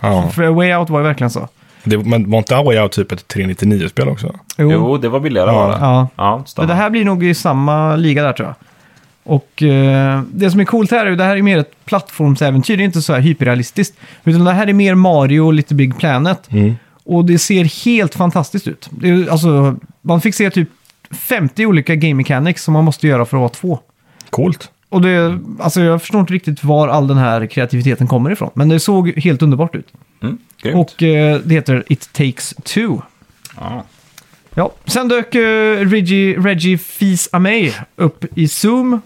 C: Ja.
A: För A Way Out var ju verkligen så.
C: Det, men var inte A Way Out typ ett 399-spel också?
B: Jo, det var billigare
C: Ja.
B: var det.
A: Ja.
B: ja
A: Men
B: stämmer.
A: det här blir nog i samma liga där, tror jag. Och eh, det som är coolt här är ju det här är mer ett plattformsäventyr. Det är inte så här hyperrealistiskt. Utan det här är mer Mario och lite Big Planet. Och det ser helt fantastiskt ut. Det är, ju- alltså, man fick se typ 50 olika game mechanics som man måste göra för att vara två.
C: Coolt.
A: Och det, alltså jag förstår inte riktigt var all den här kreativiteten kommer ifrån. Men det såg helt underbart ut.
B: Mm, grymt.
A: Och eh, det heter It Takes Two.
B: Ja.
A: Ja, sen dök eh, Reggie, Reggie Fils-Aimé upp i Zoom.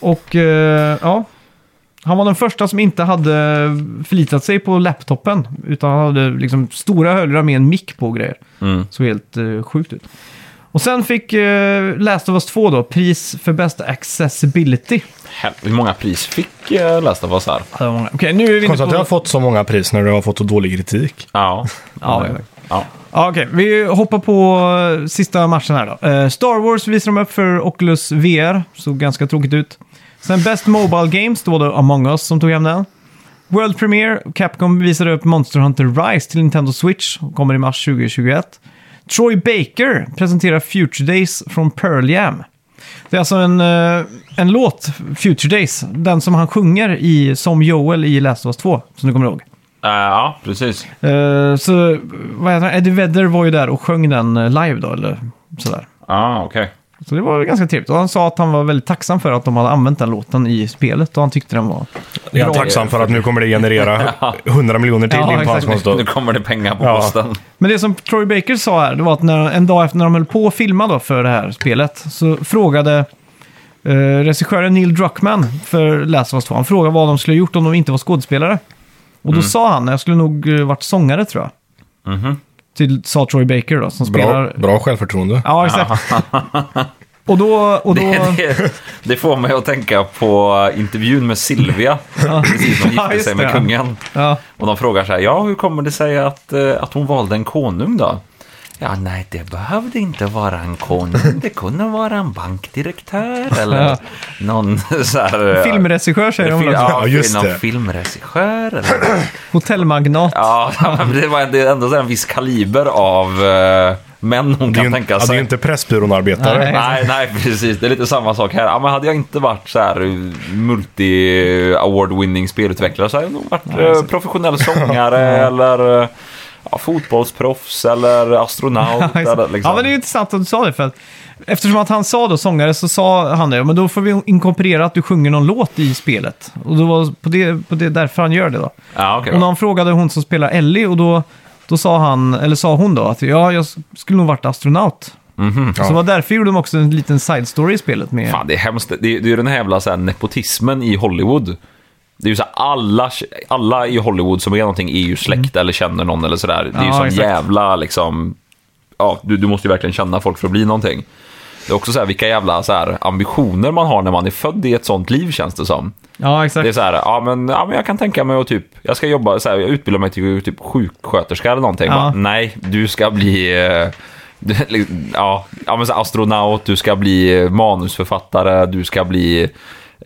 A: Och eh, ja, han var den första som inte hade förlitat sig på laptopen. Utan han hade liksom stora hörlurar med en mick på och grejer.
B: Mm.
A: Såg helt eh, sjukt ut. Och sen fick eh, Last of Us 2 då pris för bästa accessibility.
B: Hel- Hur många pris fick eh, Last of Us här?
A: Ja, det var många. Okej, nu är vi inne
C: Konstigt att du har
A: på...
C: fått så många pris när du har fått så dålig kritik.
A: [LAUGHS]
B: Ja.
A: Ja, exakt.
B: ja.
A: Ja, okej. Vi hoppar på eh, sista matchen här då. Eh, Star Wars visar de upp för Oculus VR. Såg ganska tråkigt ut. Sen Best Mobile Games, då var det Among Us som tog hem den. World Premiere, Capcom visade upp Monster Hunter Rise till Nintendo Switch. Kommer i mars 2021. Troy Baker presenterar Future Days från Pearl Jam. Det är alltså en, eh, en låt, Future Days, den som han sjunger i, som Joel i Last of Us 2, som du kommer ihåg.
B: Eh, ja, precis.
A: Eh, så vad heter han? Eddie Vedder var ju där och sjöng den eh, live då, eller sådär.
B: Ja, okej.
A: Så det var ju ganska trevligt. Och han sa att han var väldigt tacksam för att de hade använt den låten i spelet och han tyckte den var...
C: Jag är
B: Bra.
C: tacksam för att nu kommer det [LAUGHS] generera 100 miljoner till
A: Ja,
C: in på hans
A: exakt.
C: konto.
B: Nu kommer det pengar på
C: Ja.
B: posten.
A: Men det som Troy Baker sa här, det var att när, en dag efter när de höll på att filma då för det här spelet så frågade eh, regissören Neil Druckmann för Last of Us 2, han frågade vad de skulle ha gjort om de inte var skådespelare. Och då sa han, jag skulle nog eh, varit sångare tror jag. Till, sa Troy Baker då, som
C: Bra,
A: spelar...
C: bra självförtroende.
A: Ja,
B: [LAUGHS]
A: exakt. och då... Och då...
B: Det, det, det får mig att tänka på intervjun med Silvia. Precis, hon
A: [LAUGHS] Ja,
B: gifte
A: just
B: sig
A: det.
B: med kungen.
A: Ja.
B: Och de frågar så här, ja hur kommer det sig att, eh, att hon valde en konung då? Ja, nej, det behövde inte vara en konung. Det kunde vara en bankdirektör
A: Ja.
B: eller någon så här... eh,
A: Filmregissör säger de
B: fil-
A: väl också.
B: Ja,
C: just
B: just
C: det.
B: det. filmregissör eller...
A: Hotellmagnat.
B: Ja, [LAUGHS] men det var det är ändå så här en viss kaliber av eh, män hon
C: Det är
B: kan
C: ju
B: tänka
C: ja, det är
B: sig.
C: ju inte Pressbyrån-arbetare.
A: Nej. [LAUGHS]
B: Nej, nej, precis. Det är lite samma sak här. Ja, men hade jag inte varit så här eh, multi-award-winning spelutvecklare så hade jag nog varit eh,
A: [LAUGHS]
B: professionell sångare eller eh, ja, fotbollsproffs eller astronaut.
A: [LAUGHS] Ja, [LAUGHS]
B: eller,
A: exakt.
B: liksom.
A: Ja, men det är ju intressant att du sa det. För att, eftersom att han sa då sångare så sa han det. "Ja, Men då får vi inkorporera att du sjunger någon låt i spelet. Och det var på det, på det därför han gör det då.
B: ja, okej,
A: Och när
B: va.
A: han frågade hon som spelar Ellie och då, då sa han, eller sa hon då att ja, jag skulle nog varit astronaut. Så det var därför gjorde de också en liten side story i spelet med...
B: Mhm, Fan, det är hemskt. Det är, det är ju den här jävla så här, nepotismen i Hollywood. Det är ju så här, alla, alla i Hollywood som är någonting är ju släkt eller känner någon eller sådär. Det är
A: Mm.
B: ju
A: Ja,
B: sån
A: exakt.
B: jävla liksom... Ja, du, du måste ju verkligen känna folk för att bli någonting. Det är också så här vilka jävla så här, ambitioner man har när man är född i ett sånt liv känns det som.
A: Ja, exakt.
B: Det är så här, ja men, ja men jag kan tänka mig att typ, jag ska jobba, så här, jag utbildar mig till typ sjuksköterska eller någonting.
A: Ja.
B: Bara, nej, du ska bli, eh, [LAUGHS] du- liksom, ja, ja men så här, astronaut, du ska bli eh, manusförfattare, du ska bli, eh,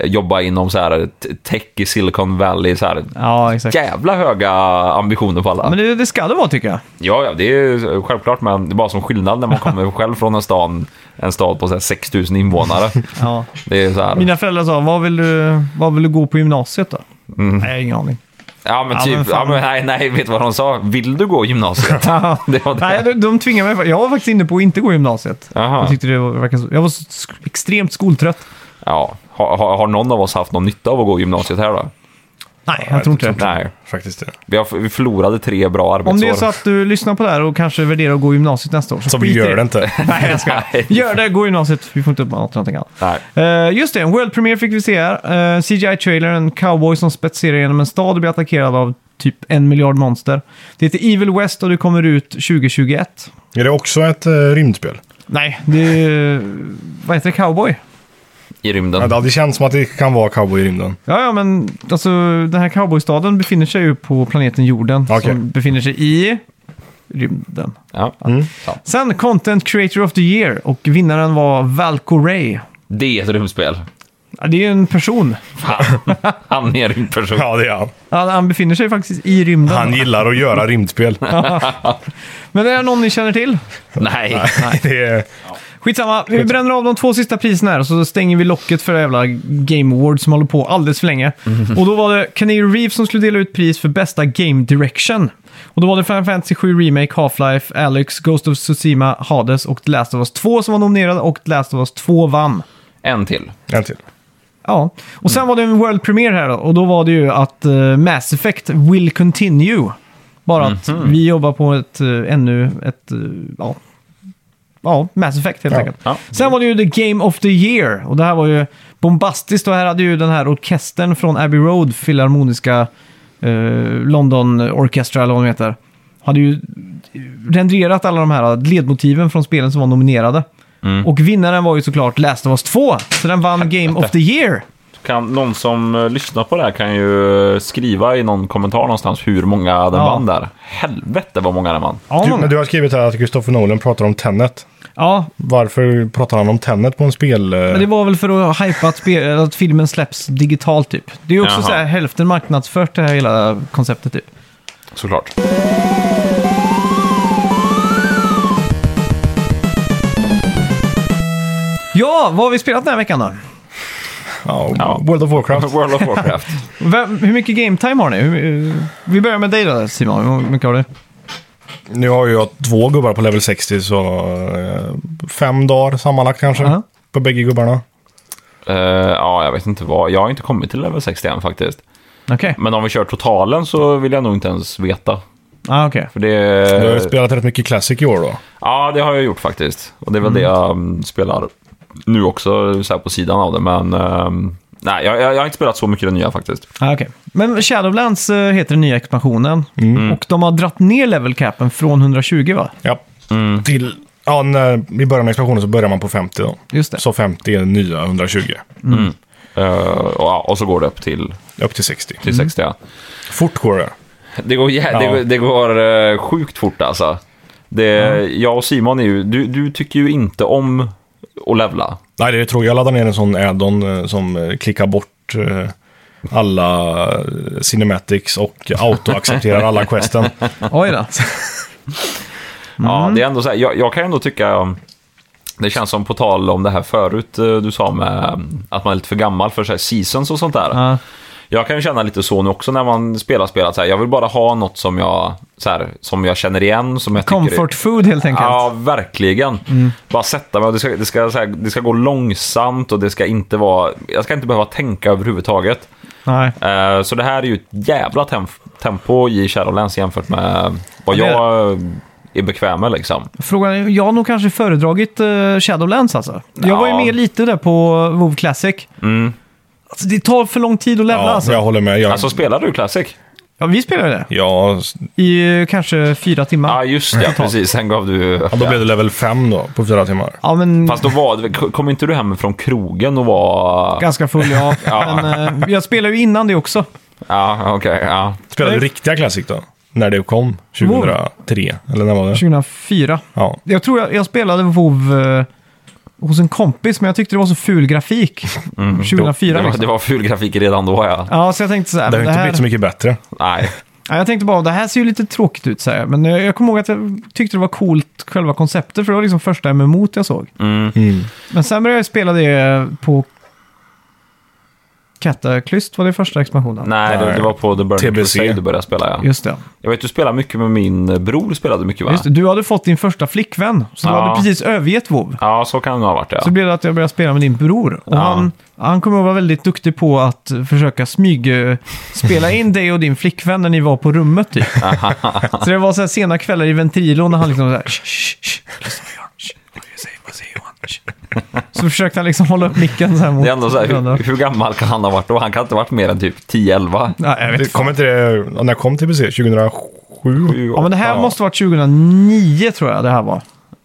B: jobba inom så här t- tech i Silicon Valley, så här.
A: Ja, exakt.
B: Jävla höga ambitioner på alla.
A: Men det, det ska det vara tycker jag.
B: Ja, ja, det är ju självklart, men det är bara som skillnad när
A: [LAUGHS]
B: man kommer själv från en stad, en stad på så här 6 000 invånare.
A: Ja.
B: Det är så här,
A: Mina föräldrar sa, vad vill du, vad vill du gå på gymnasiet då? Nej, ingen aning.
B: Ja men
A: Ja,
B: typ,
A: men fan.
B: ja, men nej, nej, vet du vad de sa? Vill du
A: [LAUGHS]
B: gå gymnasiet? det var det.
A: Nej, de, de tvingade mig. Jag var faktiskt inne på att inte gå gymnasiet.
B: Aha.
A: Jag, tyckte det var, verkade så- jag var så sk- extremt skoltrött.
B: Ja, har, har har någon av oss haft någon nytta av att gå gymnasiet här då?
A: Nej, jag tror inte det.
B: Nej,
C: Faktiskt det.
B: vi, har, vi förlorade tre bra arbetsår.
A: Om det är så att du lyssnar på det här och kanske värderar att gå gymnasiet nästa år, så,
C: Som
A: skit i
C: gör det [LAUGHS] inte.
A: [LAUGHS] Nej, jag ska.
B: Nej.
A: Gör det, gå gymnasiet. Vi får inte upp något någonting annat.
B: Nej.
A: Eh, just det, en World Premiere fick vi se här. Eh, CGI-trailer, en cowboy som spetserar genom en stad och blir attackerad av typ en miljard monster. Det heter Evil West och det kommer ut 2021.
C: Är det också ett eh, rymdspel?
A: Nej, det är... Vad heter det? Cowboy?
B: I
C: Ja,
B: rymden.
C: det hade känts som att det kan vara cowboy i rymden.
A: Ja, ja, men alltså den här cowboystaden befinner sig ju på planeten jorden
C: Okej.
A: som befinner sig i rymden.
B: Ja.
A: Mm. Sen Content Creator of the Year och vinnaren var Valko Ray.
B: Det är ett rymdspel.
A: Ja, det är ju en person.
B: Fan. Han är en person.
C: Ja, det är han.
A: Han, han befinner sig faktiskt i rymden.
C: Han gillar att göra [LAUGHS] rymdspel.
A: Men det är någon ni känner till.
B: Nej.
C: Det är,
A: Skitsamma, vi bränner av de två sista priserna här och så stänger vi locket för det jävla Game Awards som håller på alldeles för länge. Och då var det Canary Reef som skulle dela ut pris för bästa Game Direction. Och då var det Final Fantasy 7 Remake, Half-Life, Alex, Ghost of Tsushima, Hades och The Last of Us 2 som var nominerade och The Last of Us 2 vann.
B: En till.
C: en till.
A: Ja, och sen var det en World Premiere här då, och då var det ju att eh, Mass Effect will continue. Bara att vi jobbar på ett eh, ännu ett, eh, ja, ja, Mass Effect helt
C: Ja.
A: enkelt.
B: Ja.
A: Sen var det ju The Game of the Year och det här var ju bombastiskt och här hade ju den här orkestern från Abbey Road, Filharmoniska eh, London Orchestra eller vad de heter, hade ju renderat alla de här ledmotiven från spelen som var nominerade. Och vinnaren var ju såklart Last of Us 2, så den vann Game of the Year.
B: Kan, någon som eh, lyssnar på det här kan ju eh, skriva i någon kommentar någonstans hur många den
A: Ja.
B: vann där. Helvete vad många den vann.
A: Ja,
C: Du,
A: många.
C: men du har skrivit här att Christopher Nolan pratar om Tenet.
A: ja
C: Varför pratar han om Tenet på en spel... eh,
A: men det var väl för att hypa att, spel, att filmen släpps digitalt typ. Det är ju också
B: Jaha.
A: så här, hälften marknadsfört det här hela konceptet typ.
B: Såklart.
A: Ja, vad har vi spelat den här veckan då?
C: ja,
B: Ja.
C: World of
B: [LAUGHS]
C: Warcraft.
B: World of Warcraft.
A: Vem, hur mycket game time har ni? Hur, eh, vi börjar med dig då Simon, hur mycket har du?
C: Nu har ju jag två gubbar på level 60 så eh, fem dagar sammanlagt kanske.
A: Ja.
C: På bägge gubbarna.
B: Eh, ja, jag vet inte vad. Jag har inte kommit till level 60 än faktiskt.
A: Okej,
B: Men om vi kör totalen så vill jag nog inte ens veta.
A: ah, okej.
B: För det...
C: Du har ju spelat rätt mycket Classic i år då.
B: Ja, det har jag gjort faktiskt. Och det är väl det jag mm, spelar nu också, så här på sidan av det. Men ehm, nej, jag, jag jag har inte spelat så mycket det nya faktiskt.
A: Ah, okej. Men Shadowlands eh, heter den nya expansionen. Och de har dratt ner level capen från 120
B: [LAUGHS]
A: va?
C: Ja. Till, ja när, I början av expansionen så börjar man på 50 då.
A: Just det.
C: Så 50 är nya 120.
B: Eh, och, ja, och så går det upp till,
C: Upp till 60.
B: till 60. ja.
C: Fort går det.
B: Det går, jä-
C: Mm. Ja.
B: det, går- det går eh, sjukt fort alltså. Det, Jag och Simon är ju, du, du tycker ju inte om att levla.
C: Nej, det är tråkigt. Jag laddade ner en sån add-on eh, som eh, klickar bort eh, alla eh, cinematics och autoaccepterar [LAUGHS] alla questen.
A: Oj då. Mm.
B: Ja, det är ändå så här, jag, jag kan ju ändå tycka, um, det känns som på tal om det här förut eh, du sa med um, att man är lite för gammal för så här seasons och sånt där.
A: Ja.
B: Jag kan ju känna lite så nu också när man spelar spelat så här, jag vill bara ha något som jag, så här, som jag känner igen, som jag tycker är-
A: Comfort Mm. food helt enkelt.
B: Ja, verkligen. Bara sätta mig och det ska, det, ska, så här, det ska gå långsamt och det ska inte vara... Jag ska inte behöva tänka överhuvudtaget.
A: Nej.
B: Eh, så det här är ju ett jävla temp- tempo i Shadowlands jämfört med vad
A: Ja, det är
B: jag eh, är bekväm med liksom.
A: Frågan är, jag har nog kanske föredragit eh, Shadowlands alltså. Jag var ju
B: Ja.
A: med lite där på WoW Classic. Alltså, det tar för lång tid att levla
C: Mm. Ja,
A: alltså.
C: jag håller med. Jag,
B: Alltså spelar du Classic?
A: Ja, vi spelade det.
C: jag,
A: I eh, kanske fyra timmar.
B: Ja, just det. Precis, sen gav du...
C: ja, då blev det level 5 då, på fyra timmar.
A: Ja, men
B: Fast då var det, kom inte du hem från krogen och var...
A: ganska full
C: [LAUGHS]
A: ja. Men, eh, jag spelade ju innan det också.
B: Ja, okej. ja.
C: Spelade du
A: Nej.
C: riktiga Classic då? När det kom? 2003? Eller när var det?
A: 2004.
C: Ja.
A: Jag tror jag, jag spelade WoW eh, hos en kompis, men jag tyckte det var så ful grafik.
C: Mm,
A: 2004
B: Det var,
A: liksom.
B: det var ful grafik redan då, ja.
A: Ja, så jag tänkte så här.
C: Det
A: men
C: har ju
A: det
C: inte
A: här...
C: blivit så mycket bättre.
B: Nej.
A: Ja, jag tänkte bara, det här ser ju lite tråkigt ut, så här. men jag, jag kommer ihåg att jag tyckte det var coolt, själva konceptet, för det var liksom första MMO jag såg.
B: Mm.
A: Men sen började jag spela det på Cataclyst, var det första expansionen?
B: Nej, det,
C: Nej.
B: det var på The Burning
C: TBC.
B: Crusade du började spela, ja.
A: Just det.
B: Jag vet, du spelade mycket med min bror, spelade mycket va?
A: Just det. Du hade fått din första flickvän, så du
B: Ja.
A: hade precis övergett WoW.
B: Ja, så kan det ha varit, ja.
A: Så blev det att jag började spela med din bror. Och
B: Ja.
A: han, han kommer att vara väldigt duktig på att försöka smyg eh, spela in dig och din flickvän när ni var på rummet
B: [LAUGHS]
A: typ. så det var så här sena kvällar i Ventrilo när han liksom så här... "Shh, shh, shh, lyssna på Johan. Shh, vad säger- vad säger Johan? Shh." Så försökte han liksom hålla upp micken så här mot...
B: Det är ändå så här,
A: varandra.
B: hur, hur gammal kan han ha varit då? Han kan inte ha varit mer än typ 10-11.
A: Nej, jag vet
C: Det
A: inte.
C: kom inte det, när kom TBC? 2007?
A: Ja, men det här
C: Ja.
A: måste varit 2009 tror jag det här var.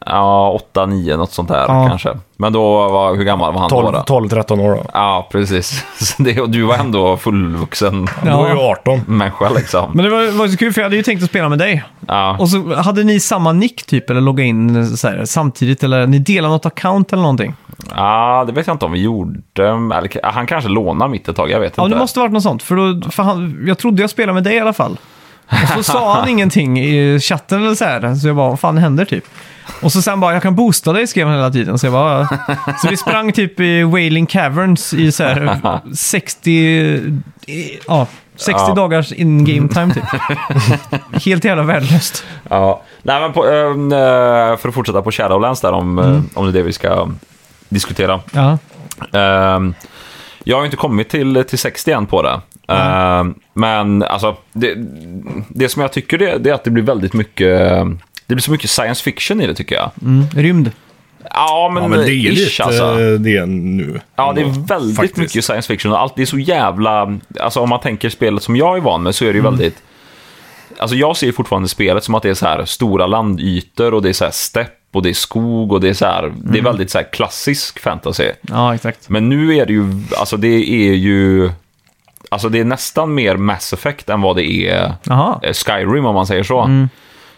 B: Ja, 8-9, något sånt där
A: Ja.
B: kanske. Men då, var, hur gammal var han då?
C: 12,
B: då?
C: 12 13 år då.
B: Ja, precis. [LAUGHS] Så det, och du var ändå fullvuxen
C: Då
A: Ja.
C: var jag 18.
B: människa liksom.
A: Men det var, var så kul för jag hade ju tänkt att spela med dig.
B: Ja.
A: Och så hade ni samma nick typ, eller logga in så här, samtidigt, eller ni delade något account eller någonting.
B: Ah, det vet jag inte om vi gjorde. Eller, han kanske lånade mitt ett tag, jag vet
A: Ja,
B: inte.
A: det måste varit något sånt. För, då, för han, jag trodde jag spelade med dig i alla fall. Och så sa
B: [LAUGHS]
A: han ingenting i chatten eller så här. Så jag bara, vad fan händer typ? Och så sen bara, jag kan boosta dig skrev han hela tiden. Så jag bara, "Ja." Så vi sprang typ i Wailing Caverns i så här
B: [LAUGHS]
A: 60, eh, ja, 60
B: Ja.
A: dagars in-game time
B: [LAUGHS]
A: typ. Helt jävla värdelöst.
B: Ja. Nej, men på, ehm, eh, för att fortsätta på Shadowlands där, om,
A: Mm.
B: eh, om det är det vi ska diskutera.
A: Ja,
B: Ehm, jag har ju inte kommit till, till 60 än på det. Ehm, men alltså, det, det som jag tycker det, det är att det blir väldigt mycket... Det blir så mycket science fiction i det tycker jag.
A: mm, rymd.
B: Ja, men,
C: Ja, men det är
B: ish,
C: lite
B: alltså.
C: eh, det nu.
B: Ja, det är väldigt
C: Faktiskt.
B: mycket science fiction. och Allt, det är så jävla... Alltså om man tänker spelet som jag är van med så är det ju väldigt... Alltså jag ser ju fortfarande spelet som att det är så här stora landytor och det är så här stepp och det är skog och det är så här... Det är väldigt så här klassisk fantasy.
A: Ja, exakt.
B: Men nu är det ju... Alltså det är ju... Alltså det är nästan mer Mass Effect än vad det är
A: Jaha.
B: eh, Skyrim om man säger så.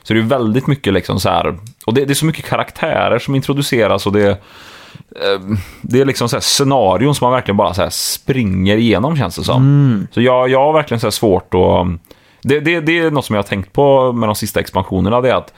B: Så det är väldigt mycket liksom så här, och det, det är så mycket karaktärer som introduceras och det, eh, det är liksom så här scenarion som man verkligen bara så här springer igenom känns det som.
A: Mm.
B: Så jag, jag har verkligen så här svårt att, um, det, det, det är något som jag har tänkt på med de sista expansionerna, det är att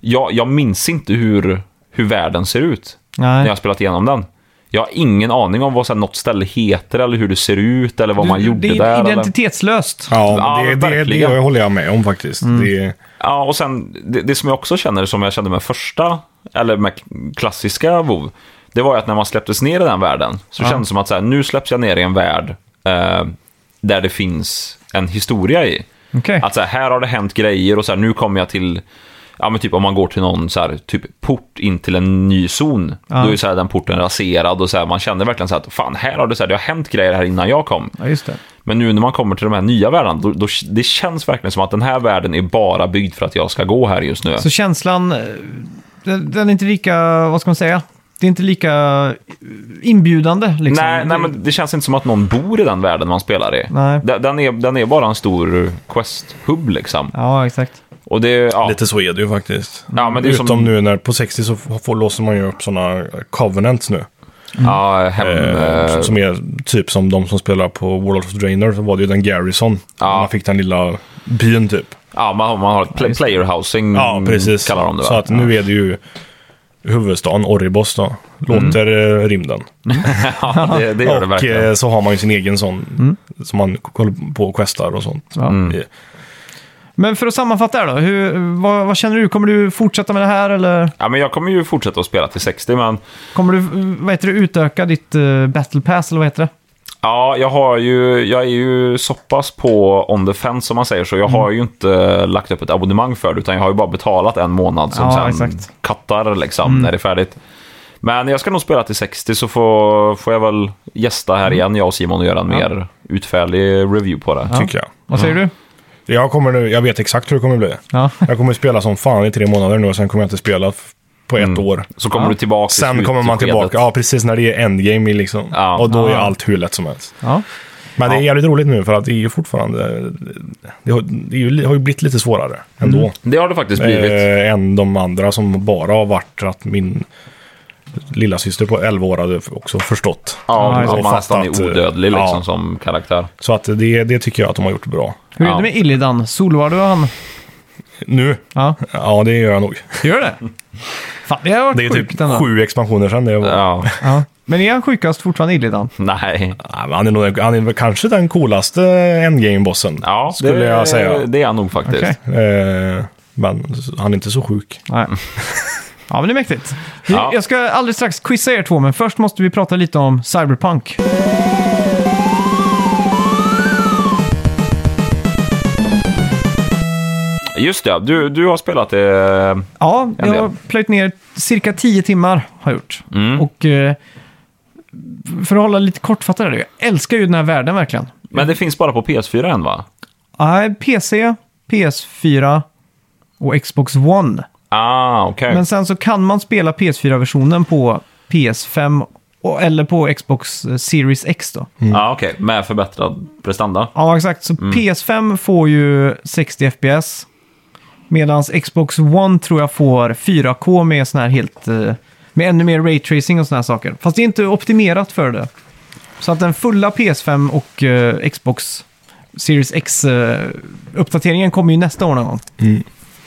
B: jag, jag minns inte hur, hur världen ser ut när
A: Nej.
B: jag har spelat igenom den. Jag har ingen aning om vad så här, något ställe heter eller hur det ser ut eller vad man
A: Du-
B: gjorde
A: det
B: där.
A: är
B: eller-
A: identitetslöst.
C: Ja,
B: Ja,
C: men det, det, det
B: verkligen.
C: håller jag med om faktiskt. Det,
B: Ja, och sen det, det som jag också känner, som jag kände med första, eller med klassiska WoW det var ju att när man släpptes ner i den världen så kändes det som att så här, nu släpps jag ner i en värld eh, där det finns en historia i.
A: Okej.
B: Att så här, här har det hänt grejer och så här, nu kommer jag till, ja men typ om man går till någon så här, typ port in till en ny zon, då är ju så här, den porten raserad och så här, man känner verkligen så här att fan, här har det, så här, det har hänt grejer här innan jag kom.
A: Ja, just det.
B: Men nu när man kommer till de här nya världarna, då, då, det känns verkligen som att den här världen är bara byggd för att jag ska gå här just nu.
A: Så känslan, eh, den den är inte lika, vad ska man säga? Det är inte lika eh, inbjudande liksom.
B: nej, nej, men det känns inte som att någon bor i den världen man spelar i.
A: Nej.
B: Den, den är, den är bara en stor quest-hub liksom.
A: Ja, exakt.
B: Och det, ja,
C: Lite så är det ju faktiskt.
B: ja, men det är
C: Utom
B: som
C: nu när på 60 så får, låser man ju upp sådana covenants nu.
B: ja, hem,
C: Eh,
B: eh,
C: Som är typ som de som spelar på World of Draenor så var det ju den Garrison.
B: Ja.
C: Man fick den lilla byn typ.
B: ja, man, har- man har ett pl- player housing,
C: Ja, precis.
B: Mm, kallar de det
C: så
B: va?
C: att nu är det ju huvudstaden Oribos då. Låter eh, rymden.
B: [LAUGHS] Ja, Mm. det, det gör det
C: och
B: verkligen.
C: eh, så har man ju sin egen sån som man k- kollar på och questar och sånt.
A: Mm. Ja.
B: Mm.
C: Eh,
A: Men för att sammanfatta här då, hur, vad, vad känner du? Kommer du fortsätta med det här eller
B: Ja, men jag kommer ju fortsätta att spela till 60, men
A: kommer du eh, vad heter det, utöka ditt eh, battle pass eller vad heter det?
B: Ja, jag, har ju, jag är ju så pass på on the fence som man säger, så jag
C: Mm.
B: har ju inte lagt upp ett abonnemang för det, utan jag har ju bara betalat en månad som
A: Ja,
B: sen
A: exakt.
B: kattar liksom,
C: Mm.
B: när det är färdigt. Men jag ska nog spela till 60, så får, får jag väl gästa
C: Mm.
B: här igen, jag och Simon, och göra en mer utfärlig review på det.
C: Tycker jag.
A: Vad säger du?
C: Jag, kommer nu, jag vet exakt hur det kommer bli.
A: Ja.
C: Jag kommer spela som fan i tre månader nu och sen kommer jag inte spela f- på ett år.
B: Mm. Så kommer du tillbaka i
C: Sen kommer man
B: slutskedet.
C: tillbaka, ja precis när det är endgame i liksom.
B: Ja.
C: och då är
A: Ja.
C: allt hur lätt som helst.
A: ja.
C: Men det är jävligt roligt nu för att det är ju fortfarande, det har, det är ju, li- har ju blivit lite svårare ändå.
B: Det har det faktiskt Mm. blivit.
C: Eh, än de andra som bara har varit att min lilla syster på 11 år hade också förstått.
B: ja,
A: ja,
B: att man nästan
C: fattat,
B: är odödlig liksom,
C: ja.
B: som karaktär.
C: Så att det, det tycker jag att de har gjort bra.
A: Hur är
B: Ja.
A: det med Illidan? Soloar du han?
C: Nu?
A: Ja,
C: Ja, det gör jag nog.
A: gör det? Fan, det har varit
C: Det är
A: sjukt
C: typ
A: ändå.
C: sju expansioner sedan det var. [LAUGHS]
B: Ja,
A: Ja. Men är han sjukast fortfarande Illidan?
B: nej.
C: Ja, men Han är, nog, han är väl kanske den coolaste endgame-bossen.
B: Ja,
C: skulle
B: det,
C: jag säga.
B: Det är han nog faktiskt.
A: Okej.
C: Eh, men han är inte så sjuk.
A: [LAUGHS] Nej. Ja, men det är mäktigt.
B: Ja.
A: Jag ska alldeles strax quizza er två, men först måste vi prata lite om Cyberpunk.
B: Just det, du, du har spelat det.
A: Ja,
B: En
A: jag har
B: del.
A: plöjt ner cirka 10 timmar har jag gjort. Och eh, för att hålla lite kortfattat här, jag älskar ju den här världen verkligen.
B: Men det finns bara på PS4 än va?
A: Nej, PC, PS4 och Xbox One.
B: Ah, okej.
A: Men sen så kan man spela PS4-versionen på PS5 och, eller på Xbox eh, Series X då.
B: Ah, okej. Med förbättrad prestanda.
A: Ja, exakt. Så PS5 får ju 60 FPS. Medan Xbox One tror jag får 4K med sån här helt eh, Med ännu mer raytracing och sådana här saker. Fast det är inte optimerat för det. Så att den fulla PS5 och eh, Xbox Series X-uppdateringen kommer ju nästa år någon gång.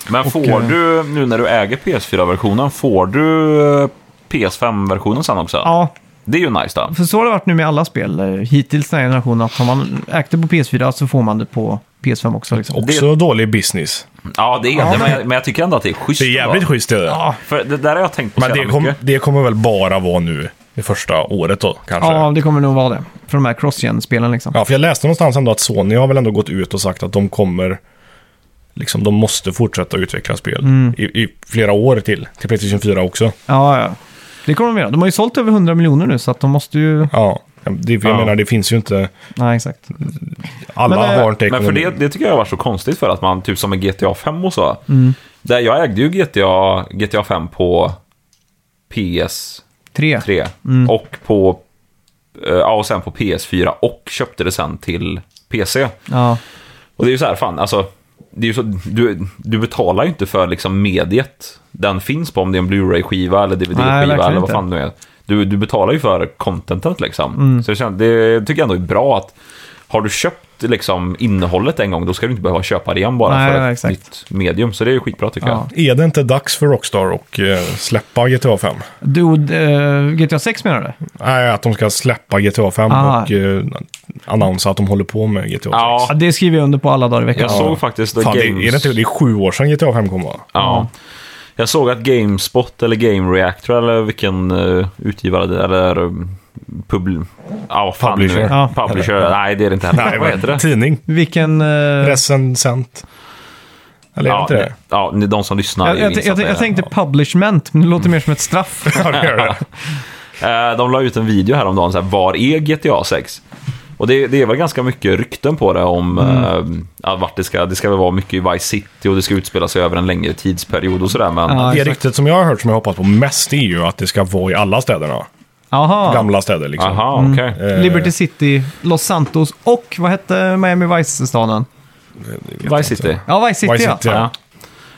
B: Men får
A: eh,
B: du, nu när du äger PS4-versionen, får du eh, PS5-versionen sen också?
A: Ja,
B: Det är ju nice då.
A: för så har det varit nu med alla spel eh, hittills den här generationen. Att har man ägt det på PS4 så får man det på PS5 också. Liksom.
C: Också dålig business.
B: Ja, det är det, men... jag- men jag tycker ändå att det är schysst.
C: Det är jävligt
B: ändå.
C: schysst är det.
A: Ja,
B: För det där har jag tänkt på
C: Men
B: så
C: det,
B: jävla
C: kom,
B: mycket.
C: det kommer väl bara vara nu det första året då kanske?
A: ja,
C: Ja.
A: det kommer nog vara det. För de här cross-gen-spelen liksom.
C: för jag läste någonstans ändå att Sony har väl ändå gått ut och sagt att de kommer... Liksom de måste fortsätta utveckla spel
A: Mm.
C: i, i flera år till. Till Playstation 4 också.
A: Ja, ja. Det kommer de göra. De har ju sålt över 100 miljoner nu så att de måste ju...
C: Ja, det, jag
B: Ja.
C: menar det finns ju inte...
A: Nej, exakt.
C: Alla
A: Men, eh,
C: har inte
B: Men för det,
C: ekonomi.
B: det tycker jag var så konstigt för att man, typ som med GTA 5 och så.
A: Mm.
B: Där jag ägde ju GTA, GTA 5 på PS3
A: Tre. Mm.
B: och på eh, ja, och sen på PS4 och köpte det sen till PC.
A: Ja.
B: Och det är ju så här, fan, alltså, det är ju så, du, du betalar ju inte för liksom mediet den finns på, om det är en Blu-ray-skiva eller
A: Nej, verkligen
B: DVD-skiva eller vad
A: inte.
B: fan det nu är. Du, du betalar ju för contentet liksom.
A: Mm.
B: Så det, känns, det tycker jag ändå är bra att har du köpt liksom innehållet en gång, då ska du inte behöva köpa det igen bara
A: Nej,
B: för
A: ja,
B: ett
A: exakt.
B: nytt medium. Så det är ju skitbra tycker
A: Ja.
C: Är det inte dags för Rockstar att eh, släppa GTA 5?
A: Dude, eh, GTA 6 menar du?
C: Nej, att de ska släppa GTA 5
A: Aha.
C: och eh, annonsa att de håller på med GTA 6.
B: Ja.
A: Ja, det skriver jag under på alla dagar i
B: jag.
A: veckan.
B: Jag såg faktiskt att
C: Fan, det, är det,
B: Games...
C: inte, det är sju år sedan GTA 5 kom va?
B: ja. Jag såg att Gamespot eller Game Reactor eller vilken eh, utgivare det är, eller um, pub... Ja, vad fan
C: Publisher.
B: Nu.
A: Ja.
B: Publisher. Nej, det är det inte heller. vad heter det?
C: Tidning.
A: Vilken... eh,
C: Recensent. Eller är det
B: Ja,
C: inte det?
B: ja, ni- de som lyssnar
A: jag,
B: är
A: jag, jag,
B: insatta i
A: jag
B: det.
A: tänkte publishment, men det
C: Mm.
A: låter mer som ett straff.
C: [LAUGHS] [LAUGHS] Ja, det gör det.
B: Eh, De la ut en video häromdagen, så här, var är GTA 6? Och det, det är väl ganska mycket rykten på det om mm. vart det ska, det ska väl vara mycket i Vice City och det ska utspela sig över en längre tidsperiod och sådär. Men
A: Ja.
C: Det
A: exakt.
C: ryktet som jag har hört som jag hoppas på mest är ju att det ska vara i alla städerna.
A: Jaha.
C: Gamla städer liksom.
B: aha,
A: Mm.
B: okej.
A: Liberty City, Los Santos och vad hette Miami Vice-staden?
B: Vice City.
A: Eh, Ja, Vice City,
C: Vice
A: ja.
C: City, ja.
B: Ja.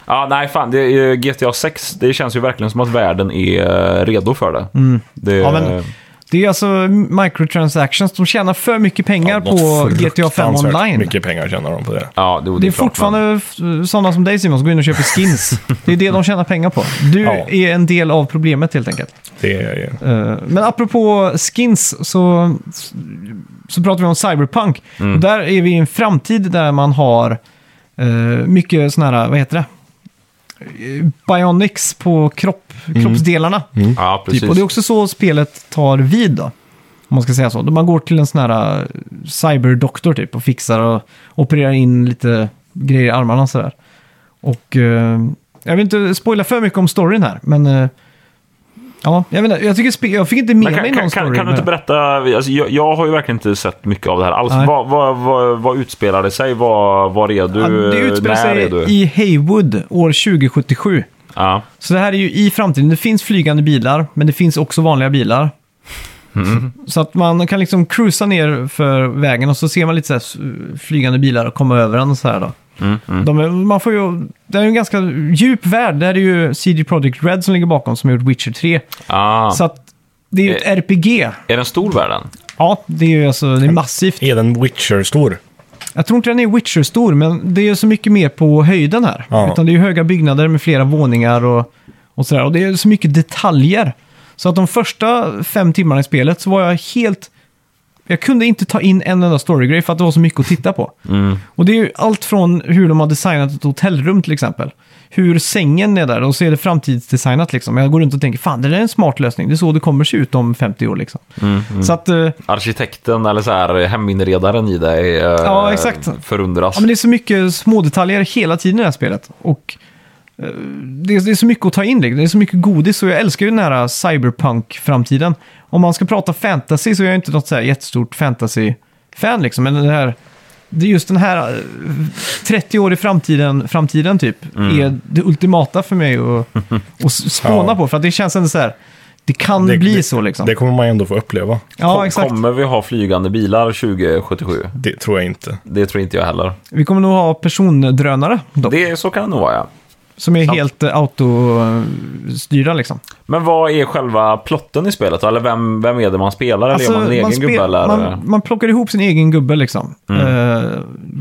B: Ja, nej fan. Det är, eh, GTA 6, det känns ju verkligen som att världen är eh, redo för det. det
A: Mm. Ja, men- Det är alltså microtransactions. De tjänar för mycket pengar
C: Något
A: på GTA 5
C: fruktansvärt
A: online.
C: mycket pengar tjänar de på det.
B: ja,
A: Det
B: det,
A: är
B: klart, men-
A: fortfarande f- sådana som dig Simon som går in och köper
B: [LAUGHS]
A: skins. Det är det de tjänar pengar på. Du
C: Ja.
A: är en del av problemet helt enkelt.
C: Det är,
A: Eh, Men apropå skins så, så pratar vi om Cyberpunk.
B: Mm.
A: Och Där är vi i en framtid där man har eh, mycket sådana här, vad heter det? Eh, Bionics på kropp,
B: Mm.
A: kroppsdelarna.
B: Ja, precis.
A: Typ. Och det är också så spelet tar vid då. Om man ska säga så. Då Man går till en sån här eh, cyberdoktor typ och fixar och opererar in lite grejer i armarna och sådär. Och eh, jag vill inte spoila för mycket om storyn här, men eh, ja, jag vet inte, jag, tycker spe- jag fick inte med
B: Men
A: mig
B: kan,
A: någon
B: kan,
A: story.
B: kan, kan du
A: med
B: inte
A: det.
B: berätta, alltså, jag, jag har ju verkligen inte sett mycket av det här alls.
A: Nej.
B: Vad, vad, vad, vad utspelade sig? Vad, var är du?
A: Ja, det utspelar
B: När
A: sig
B: är du?
A: i Haywood år 2077.
B: Ja.
A: Så det här är ju i framtiden. Det finns flygande bilar, men det finns också vanliga bilar. Så att man kan liksom cruisa ner för vägen och så ser man lite så här s- flygande bilar komma över den och så här då. De är, man får ju, det är ju en ganska djup värld. Det här är ju CD Projekt Red som ligger bakom som har gjort Witcher 3.
B: Ah.
A: Så att det är ju ett
B: Eh.
A: RPG.
B: Är den stor världen?
A: Ja, det är ju alltså, det är massivt.
C: är den Witcher-stor?
A: Jag tror inte den är Witcher-stor, men det är så mycket mer på höjden här.
C: Ja.
A: Utan det är ju höga byggnader med flera våningar och, och sådär. Och det är så mycket detaljer. Så att de första fem timmarna i spelet så var jag helt... Jag kunde inte ta in en enda storygrej för att det var så mycket att titta på. Och det är ju allt från hur de har designat ett hotellrum till exempel. Hur sängen är där och så är det framtidsdesignat liksom. Jag går runt och tänker, fan det där är en smart lösning. Det är så det kommer se ut om 50 år liksom. Så att... eh,
B: Arkitekten eller så här, heminredaren i dig eh,
A: Ja, exakt.
B: förundras.
A: Ja, men det är så mycket små detaljer hela tiden i det här spelet. Och eh, det är, det är så mycket att ta in, liksom. det är så mycket godis och jag älskar ju den här cyberpunk-framtiden. Om man ska prata fantasy så är jag inte något så här jättestort fantasy-fan liksom, men det här... Det är just den här eh, 30 år i framtiden, framtiden typ, är det ultimata för mig
C: [LAUGHS]
A: att, att s- spåna
C: Mm. Ja.
A: på. För att det känns ändå så här, det kan
C: Det-
A: bli så liksom.
C: Det kommer man ändå få uppleva.
A: ja,
B: Kom-
A: exakt.
B: Kommer vi ha flygande bilar 2077?
C: Det tror jag inte.
B: Det tror inte jag heller.
A: Vi kommer nog ha persondrönare dock.
B: Det, så kan det nog vara, ja.
A: Som är
B: Ja.
A: helt eh, autostyrda liksom.
B: Men vad är själva plotten i spelet då? Eller vem, vem är det man spelar? Eller är Alltså, man en egen
A: Alltså,
B: Mm.
A: spe-
B: gubbe? Eller?
A: man, man plockar ihop sin egen gubbe liksom. Eh,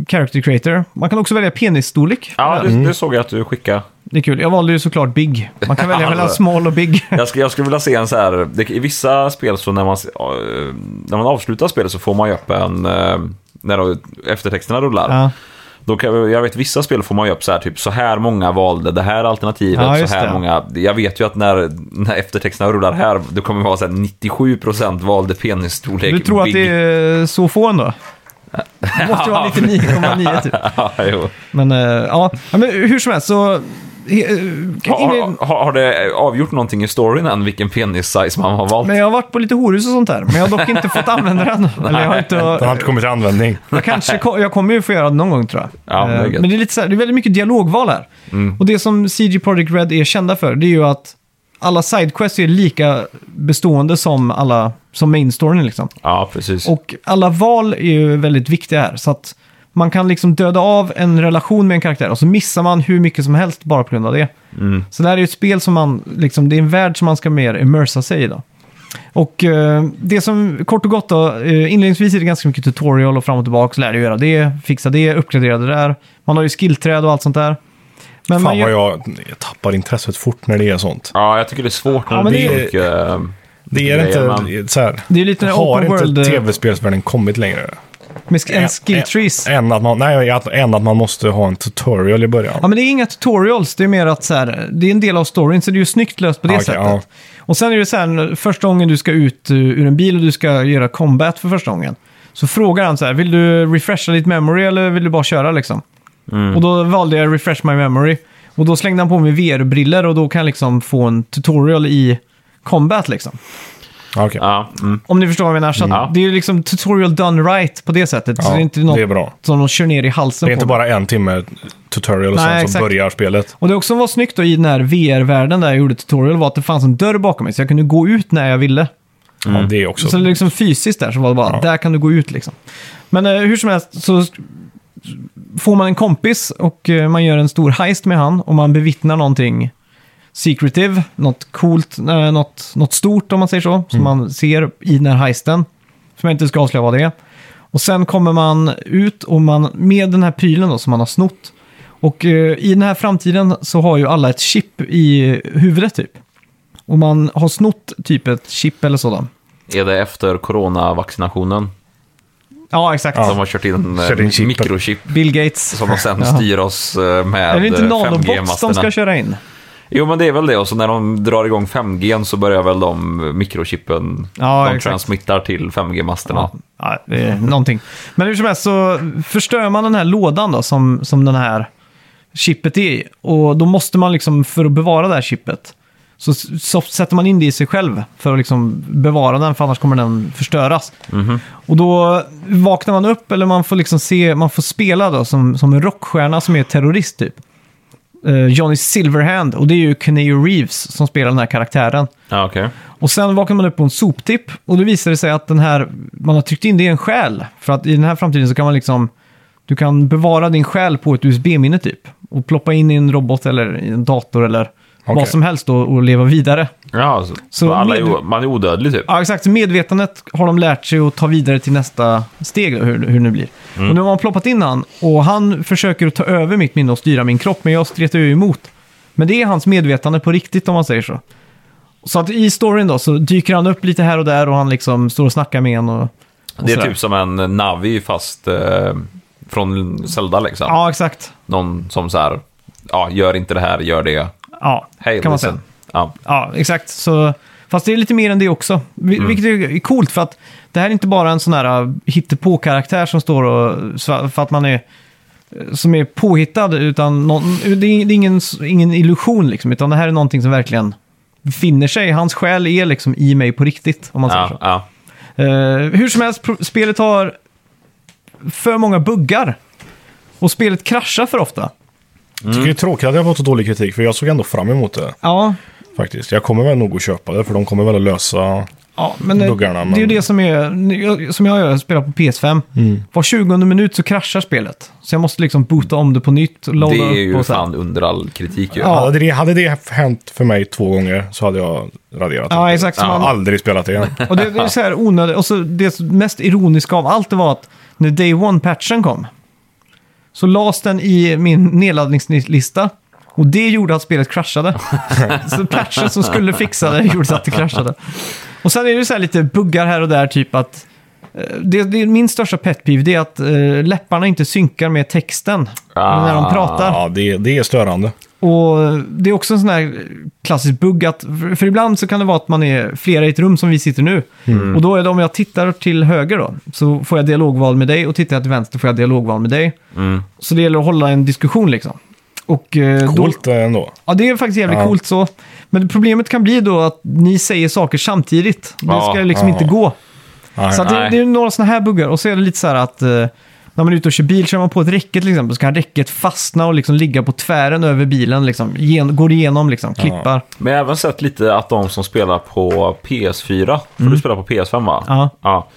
A: character creator. Man kan också välja penisstorlek.
B: Ja, det, det såg jag att du skickade.
A: Det är kul. Jag valde ju såklart big. Man kan välja
B: alltså.
A: mellan small och
B: [LAUGHS]
A: big.
B: Jag, sk- jag skulle vilja se en så här... Det, I vissa spel så när man, se- ja, eh, när man avslutar spelet så får man ju upp en... eh, När då eftertexterna rullar.
A: Ja.
B: Då kan, jag vet vissa spel får man ju upp så här typ så här många valde det här alternativet,
A: Ja, just
B: så här
A: det.
B: många. Jag vet ju att när, när eftertexterna rullar här, det kommer vara så här 97% valde penisstorlek.
A: Du tror att
B: big.
A: det är så få ändå? Det måste ju vara 99,9 typ.
B: [LAUGHS] Ja, jo.
A: Men eh, ja, Ja, men hur som helst så... he- eh, Ingrid-
B: Har, har, har det avgjort någonting i storyn än vilken penis-size man har valt?
A: Men jag har varit på lite horhus och sånt där. Men jag har dock inte fått använda
B: [LAUGHS]
A: den. Eller jag har
C: Den har
A: inte...
C: inte kommit till användning.
A: Jag, kanske, ko- jag kommer ju få göra det någon gång tror jag.
B: Ja, men det
A: Eh,
B: är gött. Mm.
A: men det är, lite så här, det är väldigt mycket dialogval här. Och det som CG Projekt Red är kända för, det är ju att alla sidequests är lika bestående som alla som main storyn liksom.
B: Ja, precis.
A: Och alla val är ju väldigt viktiga här. Så att man kan liksom döda av en relation med en karaktär och så missar man hur mycket som helst bara på grund av det.
C: Mm.
A: Så det här är ju ett spel som man, liksom, det är en värld som man ska mer immersa sig i då. Och eh, det som, kort och gott då, eh, inledningsvis är det ganska mycket tutorial och fram och tillbaka, så lär dig göra det, fixa det, uppgradera det där. Man har ju skillträd och allt sånt där. Men
C: Fan
A: man gör-
C: vad jag, jag tappar intresset fort när det är sånt.
B: Ja, jag tycker det är svårt
A: Ja,
B: när det
A: men
B: blir
A: det-
B: mycket... eh,
C: Det är
B: grejer,
C: inte
B: men-
C: så här.
A: Det är ju lite den
C: har
A: open
C: inte
A: world, eh,
C: tv-spelsvärlden kommit längre?
A: med sk- en skill
C: Ä-
A: trees.
C: Än att, man, nej, att- än att man måste ha en tutorial i början.
A: Ja, men det är inga tutorials, det är mer att så här, det är en del av storyn, så det är ju snyggt löst på det
C: Ja, okej,
A: sättet.
C: ja.
A: Och sen är det så här, första gången du ska ut eh, ur en bil och du ska göra combat för första gången, så frågar han så här, vill du refresha ditt memory eller vill du bara köra liksom? Och då valde jag refresh my memory. Och då slängde han på mig VR-briller och då kan jag liksom få en tutorial i combat liksom.
C: Ja, okej.
B: Ja, mm.
A: Om ni förstår vad jag menar. Så att
B: Ja.
A: Det är ju liksom tutorial done right på det sättet. så
C: Ja,
A: det är inte något
C: det är bra.
A: som de kör ner i halsen
C: Det är
A: på
C: inte
A: mig.
C: bara en timme tutorial och
A: Nej,
C: sen så
A: exakt.
C: börjar spelet.
A: Och det också var snyggt då i den här VR-världen där jag gjorde tutorial var att det fanns en dörr bakom mig så jag kunde gå ut när jag ville.
C: Ja, det är också...
A: Så, det liksom fysiskt där så var det bara, där kan du gå ut liksom. Men eh, hur som helst så s- får man en kompis och eh, man gör en stor heist med han och man bevittnar någonting secretive, något coolt, eh, något, något stort om man säger så, som man ser i den här heisten. Som jag inte ska avslöja vad det är. Och sen kommer man ut och man, med den här prylen då, som man har snott. Och eh, i den här framtiden så har ju alla ett chip i huvudet typ. Och man har snott typ ett chip eller sådant.
B: Är det efter coronavaccinationen
A: Ja, exakt.
B: som har kört in, eh,
C: Kört in chipen.
B: mikrochip
A: Bill Gates.
B: som de sen
A: Ja.
B: styr oss eh, med
A: Är det inte
B: eh,
A: nanobots som
B: 5G-masterna?
A: ska köra in?
B: Jo, men det är väl det. Och så när de drar igång 5G så börjar väl de eh, mikrochippen...
A: Ja,
B: de
A: exakt.
B: transmittar till 5G-masterna.
A: Ja. Ja, det är någonting. Men hur som helst så förstör man den här lådan då som, som den här chippet är i. Och då måste man liksom, för att bevara det här chippet, så, s- så sätter man in det i sig själv för att liksom bevara den, för annars kommer den förstöras. Och då vaknar man upp, eller man får liksom se, man får spela då som, som en rockstjärna som är terrorist typ. Eh, Johnny Silverhand, och det är ju Keanu Reeves som spelar den här karaktären.
B: Ja, okej.
A: Och sen vaknar man upp på en soptipp och då visar det sig att den här, man har tryckt in det i en själ. För att i den här framtiden så kan man liksom, du kan bevara din själ på ett USB-minne typ. Och ploppa in i en robot eller i en dator eller
C: Okej.
A: vad som helst och, och leva vidare.
B: Ja, så,
A: Så
B: alla är,
A: med-
B: o- man är odödlig typ.
A: Ja, exakt. Medvetandet har de lärt sig att ta vidare till nästa steg, då, hur, hur det nu blir.
B: Mm.
A: Och nu har man ploppat in han och han försöker att ta över mitt minne och styra min kropp, men jag stretar ju emot. Men det är hans medvetande på riktigt, om man säger så. Så att i storyn då, så dyker han upp lite här och där och han liksom står och snackar med en och, och
B: Det är
A: sådär.
B: typ som en Navi fast eh, från Zelda liksom.
A: Ja, exakt.
B: Någon som så här, ja, gör inte det här, gör det.
A: Ja,
B: Hej,
A: kan man
B: listen.
A: säga.
B: Ja.
A: Ja, exakt. Så, fast det är lite mer än det också. Vi- Vilket är är coolt för att det här är inte bara en sån här äh, hittepå-karaktär som står och sva- för att man är äh, som är påhittad, utan någon, det är det är ingen, ingen illusion liksom, utan det här är någonting som verkligen befinner sig. Hans själ är liksom i mig på riktigt, om man säger så.
B: Ja, ja.
A: Eh, hur som helst, pro- spelet har för många buggar. Och spelet kraschar för ofta.
C: Jag
A: Mm.
C: tycker det är tråkigt att jag har fått så dålig kritik, för jag såg ändå fram emot det
A: Ja,
C: faktiskt. Jag kommer väl nog att köpa det, för de kommer väl att lösa
A: Ja, men det,
C: Buggarna,
A: det är ju
C: men-
A: det som, är, som jag gör, spelar på PS5.
B: Mm.
A: Var 20 minut så kraschar spelet. Så jag måste liksom boota om det på nytt och
B: Det
A: loada
B: är
A: upp
B: ju
A: och så här.
B: fan under all kritik ju.
A: Ja.
C: Hade, det, hade det hänt för mig två gånger så hade jag raderat
A: Ja,
C: det.
A: exakt. Så
C: Jag har
A: man,
C: aldrig spelat det igen.
A: Och det, det är så här onödigt. Och så det mest ironiska av allt det var att när Day One-patchen kom så lades den i min nedladdningslista. Och det gjorde att spelet kraschade. så patchen som skulle fixa det gjorde så att det kraschade. Och sen är det ju så här lite buggar här och där, typ att... eh, Det, det är min största pet peeve, det är att eh, läpparna inte synkar med texten
B: Ah.
A: när de pratar.
C: Ja, det, det är störande.
A: Och det är också en sån här klassisk bugg att, för- för ibland så kan det vara att man är flera i ett rum som vi sitter nu. Och då är det om jag tittar till höger då, så får jag dialogval med dig och tittar jag till vänster får jag dialogval med dig. Så det gäller att hålla en diskussion liksom. Och, eh, då,
C: Coolt ändå.
A: ja, det är faktiskt jävligt
C: Ja.
A: coolt så. Men problemet kan bli då att ni säger saker samtidigt. Det
B: Ja,
A: ska liksom
C: ja.
A: inte gå.
C: Nej.
A: Så att det,
B: Nej.
A: det är några sådana här buggar. Och så är det lite så här att eh, när man är ute och kör bil, kör man på ett räcke till exempel, så kan räcket fastna och liksom ligga på tvären över bilen. Liksom, gen, går igenom liksom, klippar.
B: Men jag har även sett lite att de som spelar på PS4, för du spelar på PS5 va?
A: Mm. Ja.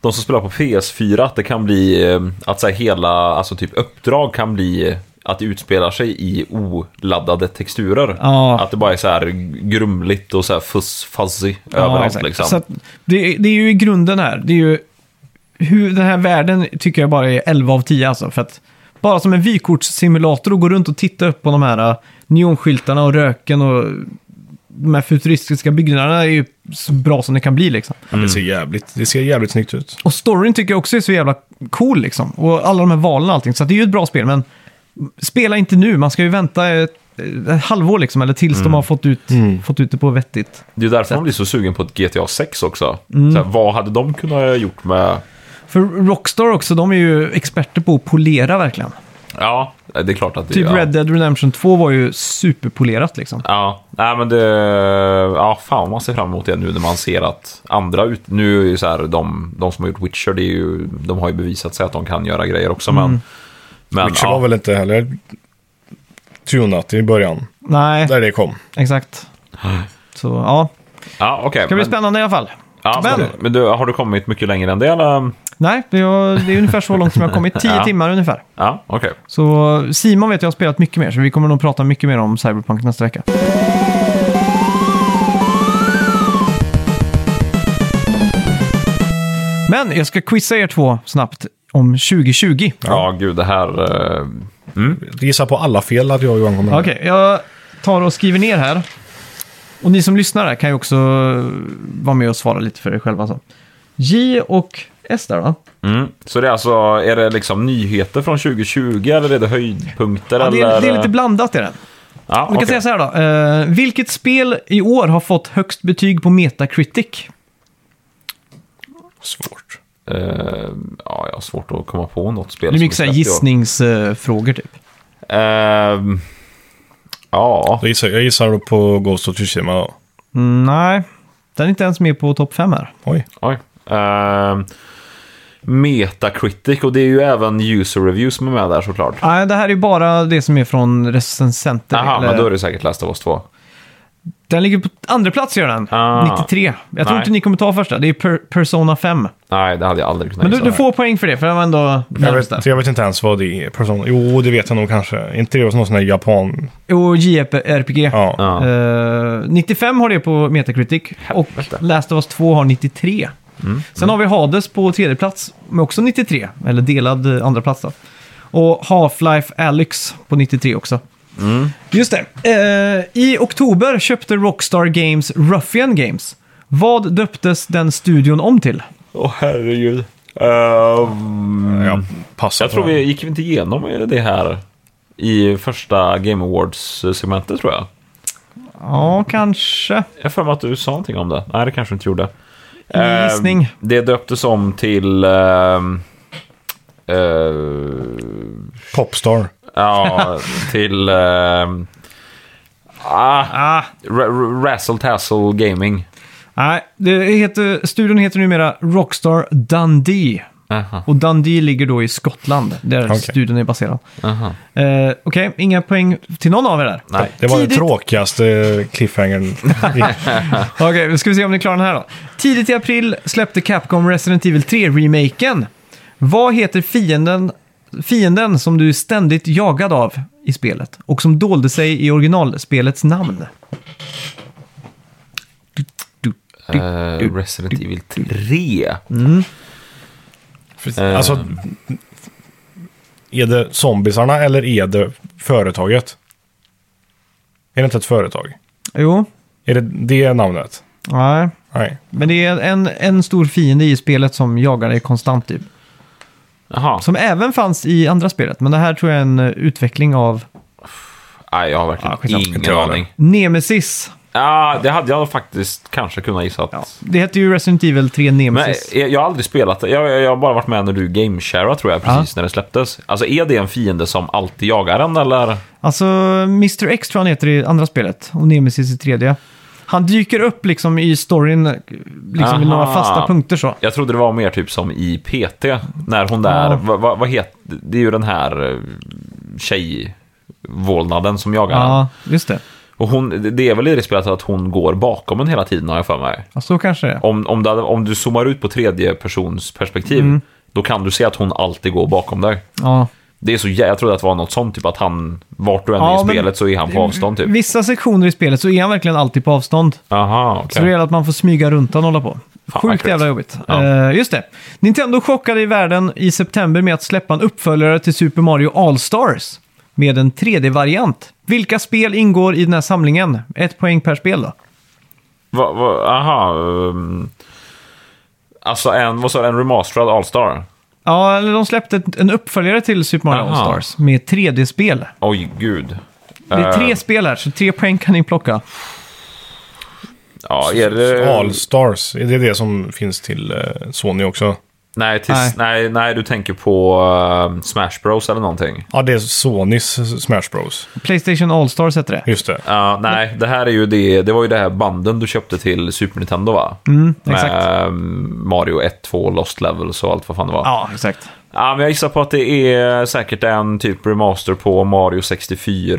B: De som spelar på PS4, att det kan bli eh, att så här, hela alltså, typ uppdrag kan bli eh, att det utspelar sig i oladdade texturer.
A: Ja.
B: Att det bara är så här grumligt och så här fuss, fuzzy överallt
A: exakt.
B: liksom.
A: Så att det, det är ju i grunden här. Det är ju hur den här världen tycker jag bara är 11 av 10 alltså. För att bara som en vykortssimulator och gå runt och titta upp på de här eh, neonskyltarna och röken och de här futuristiska byggnaderna är ju så bra som det kan bli liksom.
C: Det, ser jävligt, det ser jävligt snyggt ut.
A: Och storyn tycker jag också är så jävla cool liksom. Och alla de här valen och allting. Så att det är ju ett bra spel, men spela inte nu. Man ska ju vänta ett, ett halvår liksom, eller tills
B: Mm.
A: de har fått ut, fått ut det på vettigt.
B: Det är därför man blir så sugen på ett GTA 6 också. Så
A: Mm.
B: här, vad hade de kunnat ha gjort med...
A: För Rockstar också, de är ju experter på att polera verkligen.
B: Ja, det är klart att det
A: Typ
B: ja.
A: Red Dead Redemption 2 var ju superpolerat liksom.
B: Ja, nej men det... Ja, fan man ser fram emot det nu när man ser att andra ut... Nu är ju så här, de, de som har gjort Witcher, det är ju, de har ju bevisat sig att de kan göra grejer också,
A: Mm.
B: men... men
C: Witcher
B: ja,
C: var väl inte heller tunat i början,
A: Nej,
C: där det kom.
A: exakt. Så ja,
B: ja okej.
A: det kan bli
B: men,
A: spännande i alla fall.
B: ja,
A: Men-
B: men men du, har du kommit mycket längre än det eller?
A: Nej, det är, det är ungefär så långt som jag har
B: [LAUGHS]
A: kommit. 10
B: Ja.
A: timmar ungefär.
B: Ja, okej.
A: Så Simon vet jag har spelat mycket mer, så vi kommer nog prata mycket mer om Cyberpunk nästa vecka. Men jag ska quizza er två snabbt om 2020.
B: Ja, gud det här... eh,
C: Gissa på alla fel hade jag och Johan kommit
A: Okej, jag tar och skriver ner här. Och ni som lyssnar här kan ju också eh, vara med och svara lite för er själva. Så. J och S där va?
B: Mm. Så det är alltså, är det liksom nyheter från 2020 eller är det höjdpunkter?
A: Ja, det, är,
B: eller?
A: det är lite blandat i den.
B: Ja,
A: Vi kan
B: okej.
A: säga så här då. Eh, vilket spel i år har fått högst betyg på Metacritic?
C: Svårt.
B: Eh, ja, jag har svårt att komma på något spel.
A: Det är
B: som
A: mycket så här
B: släppt i år.
A: gissningsfrågor typ.
B: Ehm, ja,
C: Då gissar, jag gissar då på Ghost of Tsushima då.
A: Mm, nej, den är inte ens med på topp 5 här.
C: Oj.
B: oj. Ehm, Metacritic och det är ju även user reviews som är med där såklart.
A: Nej, det här är bara det som är från recensenter.
B: Jaha,
A: eller-
B: men då är det säkert Last of Us 2.
A: Den ligger på andra plats gör den.
B: Ah.
A: 93. Jag tror
B: Nej.
A: inte ni kommer ta första. Det är per Persona 5.
B: Nej, det hade jag aldrig kunnat
A: Men du,
B: gissa.
A: du får poäng för det, för den var ändå
C: Jag
A: närmst
C: vet,
A: där.
C: jag vet inte ens vad det är. Persona. Jo, det vet jag nog kanske. Är inte det någon sån här japan...
A: Och JRPG.
C: Ja.
B: Ja.
A: Eh, 95 har det på Metacritic och Last of Us 2 har 93.
B: Mm.
A: Sen har vi Hades på tredje plats med också 93, eller delad eh, andra plats då. Och Half-Life Alyx på 93 också.
B: Mm.
A: Just det. Eh, I oktober köpte Rockstar Games Ruffian Games. Vad döptes den studion om till?
B: Åh, herregud. Ehm,
C: Jag passar
B: jag tror vi gick vi inte igenom det här i första Game Awards-segmentet tror jag.
A: Ja, kanske.
B: Jag har för mig att du sa någonting om det. Nej, det kanske du inte gjorde.
A: Ingen
B: Ehm,
A: gissning.
B: Det döptes om till... ehm, eh,
C: Popstar.
B: ja, till... ehm, ah,
A: Ah,
B: R- R- Razzle Tazzle Gaming.
A: nej, det heter, studion heter numera Rockstar Dundee.
B: Aha,
A: Och Dundee ligger då i Skottland, där
C: Okej.
A: studien är baserad.
B: aha.
A: Eh, Okej, inga poäng till någon av er där.
B: Nej.
C: Det var
A: Tidigt-
C: den tråkigaste
B: [LAUGHS]
C: cliffhangern.
A: Okej, nu ska vi se om ni klarar den här då. Tidigt i april släppte Capcom Resident Evil 3-remaken. Vad heter fienden, fienden som du är ständigt jagad av i spelet och som dolde sig i originalspelets namn?
B: Eh, Resident Evil 3. Eh.
C: alltså, är det zombisarna eller är det företaget? Är det inte ett företag?
A: Jo,
C: Är det det namnet?
A: nej.
C: Nej.
A: Men det är en, en stor fiende i spelet som jagar dig konstant typ.
B: Jaha,
A: Som även fanns i andra spelet, men det här tror jag är en eh, utveckling av
B: nej jag har verkligen
A: Ah, skitsamma.
B: ingen
C: Inte jag heller.
B: aning.
A: Nemesis.
B: Ja, det hade jag faktiskt kanske kunnat gissa.
A: Ja,
B: att-
A: det heter ju Resident Evil 3
B: Men
A: Nemesis.
B: jag, jag har aldrig spelat det. Jag, jag har bara varit med när du gamesharade tror jag, precis när det släpptes. Alltså är det en fiende som alltid jagar en eller?
A: Alltså, Mr X tror jag han heter i andra spelet och Nemesis i tredje. Han dyker upp liksom i storyn, liksom i
B: Aha.
A: några fasta punkter så.
B: Jag trodde det var mer typ som i PT, när hon där,
A: Ja.
B: vad vad- vad heter, det är ju den här eh, tjejvålnaden som jagar en.
A: Ja, just det.
B: Och hon, det är väl i det spelet att hon går bakom en hela tiden har jag för mig.
A: Ja, så kanske det är.
B: Om, om, det, hade- om du zoomar ut på tredje persons perspektiv,
A: Mm.
B: då kan du se att hon alltid går bakom dig.
A: Ja.
B: Det är så jä- jag trodde att det var något sånt, typ att han, vart du än
A: Ja,
B: är i
A: men-
B: spelet så är han på avstånd typ.
A: Vissa sektioner i spelet så är han verkligen alltid på avstånd.
B: Aha,
A: Så
B: okej.
A: det gäller att man får smyga runt honom och hålla på.
B: Fan, vad
A: Sjukt
B: kul.
A: jävla jobbigt.
B: Ja.
A: Eh, just det. Nintendo chockade i världen i september med att släppa en uppföljare till Super Mario All-Stars med en 3D-variant. Vilka spel ingår i den här samlingen? Ett poäng per spel då.
B: Va, va, aha. ehm, alltså en, vad sa du, en remasterad All-Star?
A: Ja, eller de släppte ett- en uppföljare till Super Mario
B: Aha.
A: All-Stars med 3D-spel.
B: Oj, gud.
A: Det är tre
B: Eh,
A: spel här, så tre poäng kan ni plocka.
B: ja, är det...
C: All Stars, är det det som finns till eh, Sony också?
B: Nej,
A: Nej.
B: tills, nej. Nej, du tänker på eh, Smash Bros eller någonting.
C: Ja, det är Sonys Smash Bros.
A: Playstation All-Stars heter det.
C: Just det.
B: Ja, nej, det här är ju det, det var ju det här banden du köpte till Super Nintendo va?
A: Mm.
B: Med
A: exakt.
B: eh, Mario 1, 2, Lost Levels och allt vad fan det var.
A: Ja, exakt.
B: Ja, men jag gissar på att det är säkert en typ remaster på Mario 64,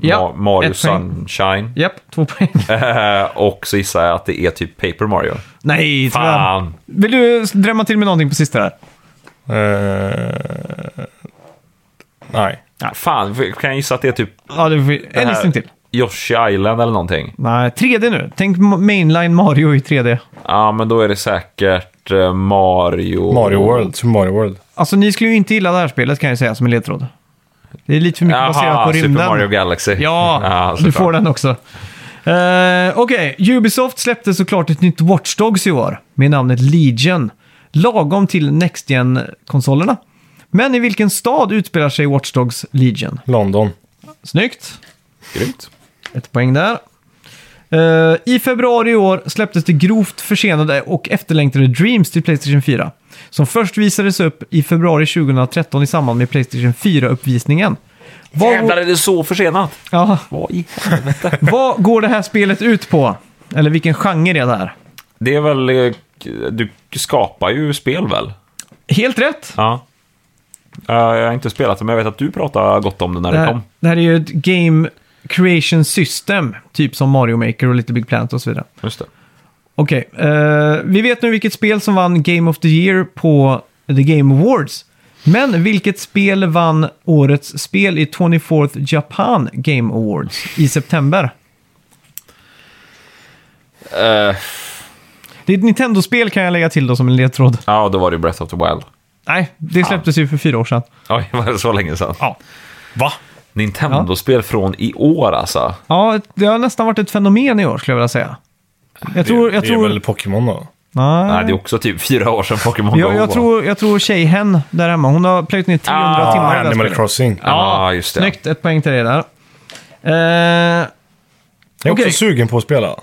A: Ja,
B: Ma- Mario
A: ett poäng.
B: Sunshine. [LAUGHS]
A: Japp, två poäng.
B: Eh, och så gissar jag att det är typ Paper Mario.
A: Nej, tyvärr.
B: Fan!
A: Vill du drämma till med någonting på sista där?
C: Eh, nej.
B: Fan, kan jag gissa att det är typ
A: Ja, du får...
B: det
A: En
B: här-
A: gissning till.
B: Yoshi Island eller någonting?
A: Nej, 3D nu. Tänk ma- mainline Mario i 3D.
B: Ja, men då är det säkert eh, Mario...
C: Mario World, Super Mario World.
A: Alltså, ni skulle ju inte gilla det här spelet kan jag säga som en ledtråd. Det är lite för mycket baserat
B: Jaha,
A: på
B: Super
A: rymden.
B: Mario Galaxy. [LAUGHS]
A: Ja, du
B: såklart.
A: får den också. Eh, Okej, Ubisoft släppte såklart ett nytt Watch Dogs i år med namnet Legion. Lagom till Next gen konsolerna Men i vilken stad utspelar sig Watch Dogs Legion?
C: London.
A: Snyggt!
B: Grymt.
A: Ett poäng där. Eh, I februari i år släpptes det grovt försenade och efterlängtade Dreams till Playstation 4. Som först visades upp i februari 2013 i samband med Playstation 4-uppvisningen. Vad-
B: Jävlar, är det så försenat?
A: Ja.
B: Vad i-
A: Vad går det här spelet ut på? Eller vilken genre är det här?
B: Det är väl... eh, Du skapar ju spel väl?
A: Helt rätt!
B: Ja. Eh, jag har inte spelat det, men jag vet att du pratade gott om det när
A: Det
B: det,
A: här,
B: kom.
A: det här är ju ett game creation system, typ som Mario Maker och lite Big Planet och så vidare.
B: Just det.
A: Okej, eh, vi vet nu vilket spel som vann Game of the Year på The Game Awards. Men vilket spel vann årets spel i 24th Japan Game Awards i september?
B: Eh,
A: Det är ett Nintendo-spel kan jag lägga till då som en ledtråd.
B: ja, då var det ju Breath of the Wild.
A: Nej, det släpptes ju för fyra år sedan.
B: Oj, [LAUGHS] var det så länge sedan?
A: Ja.
C: Va?
B: Nintendo-spel från i år alltså.
A: Ja, det har nästan varit ett fenomen i år skulle jag vilja säga. Jag tror... Jag
C: det
A: tror
C: är väl Pokémon då?
A: nej,
B: Nej, det är också typ fyra år sedan Pokémon
A: jag,
B: Go
A: jag,
B: var.
A: tror, jag tror tjejhen där hemma, hon har plöjt ner 300
B: Ah,
A: timmar i det här
C: Animal
A: spelet.
C: Crossing.
B: Ja, just det.
A: Snyggt, ett poäng till dig där. Eh,
C: Jag är
A: Okej.
C: också sugen på att spela.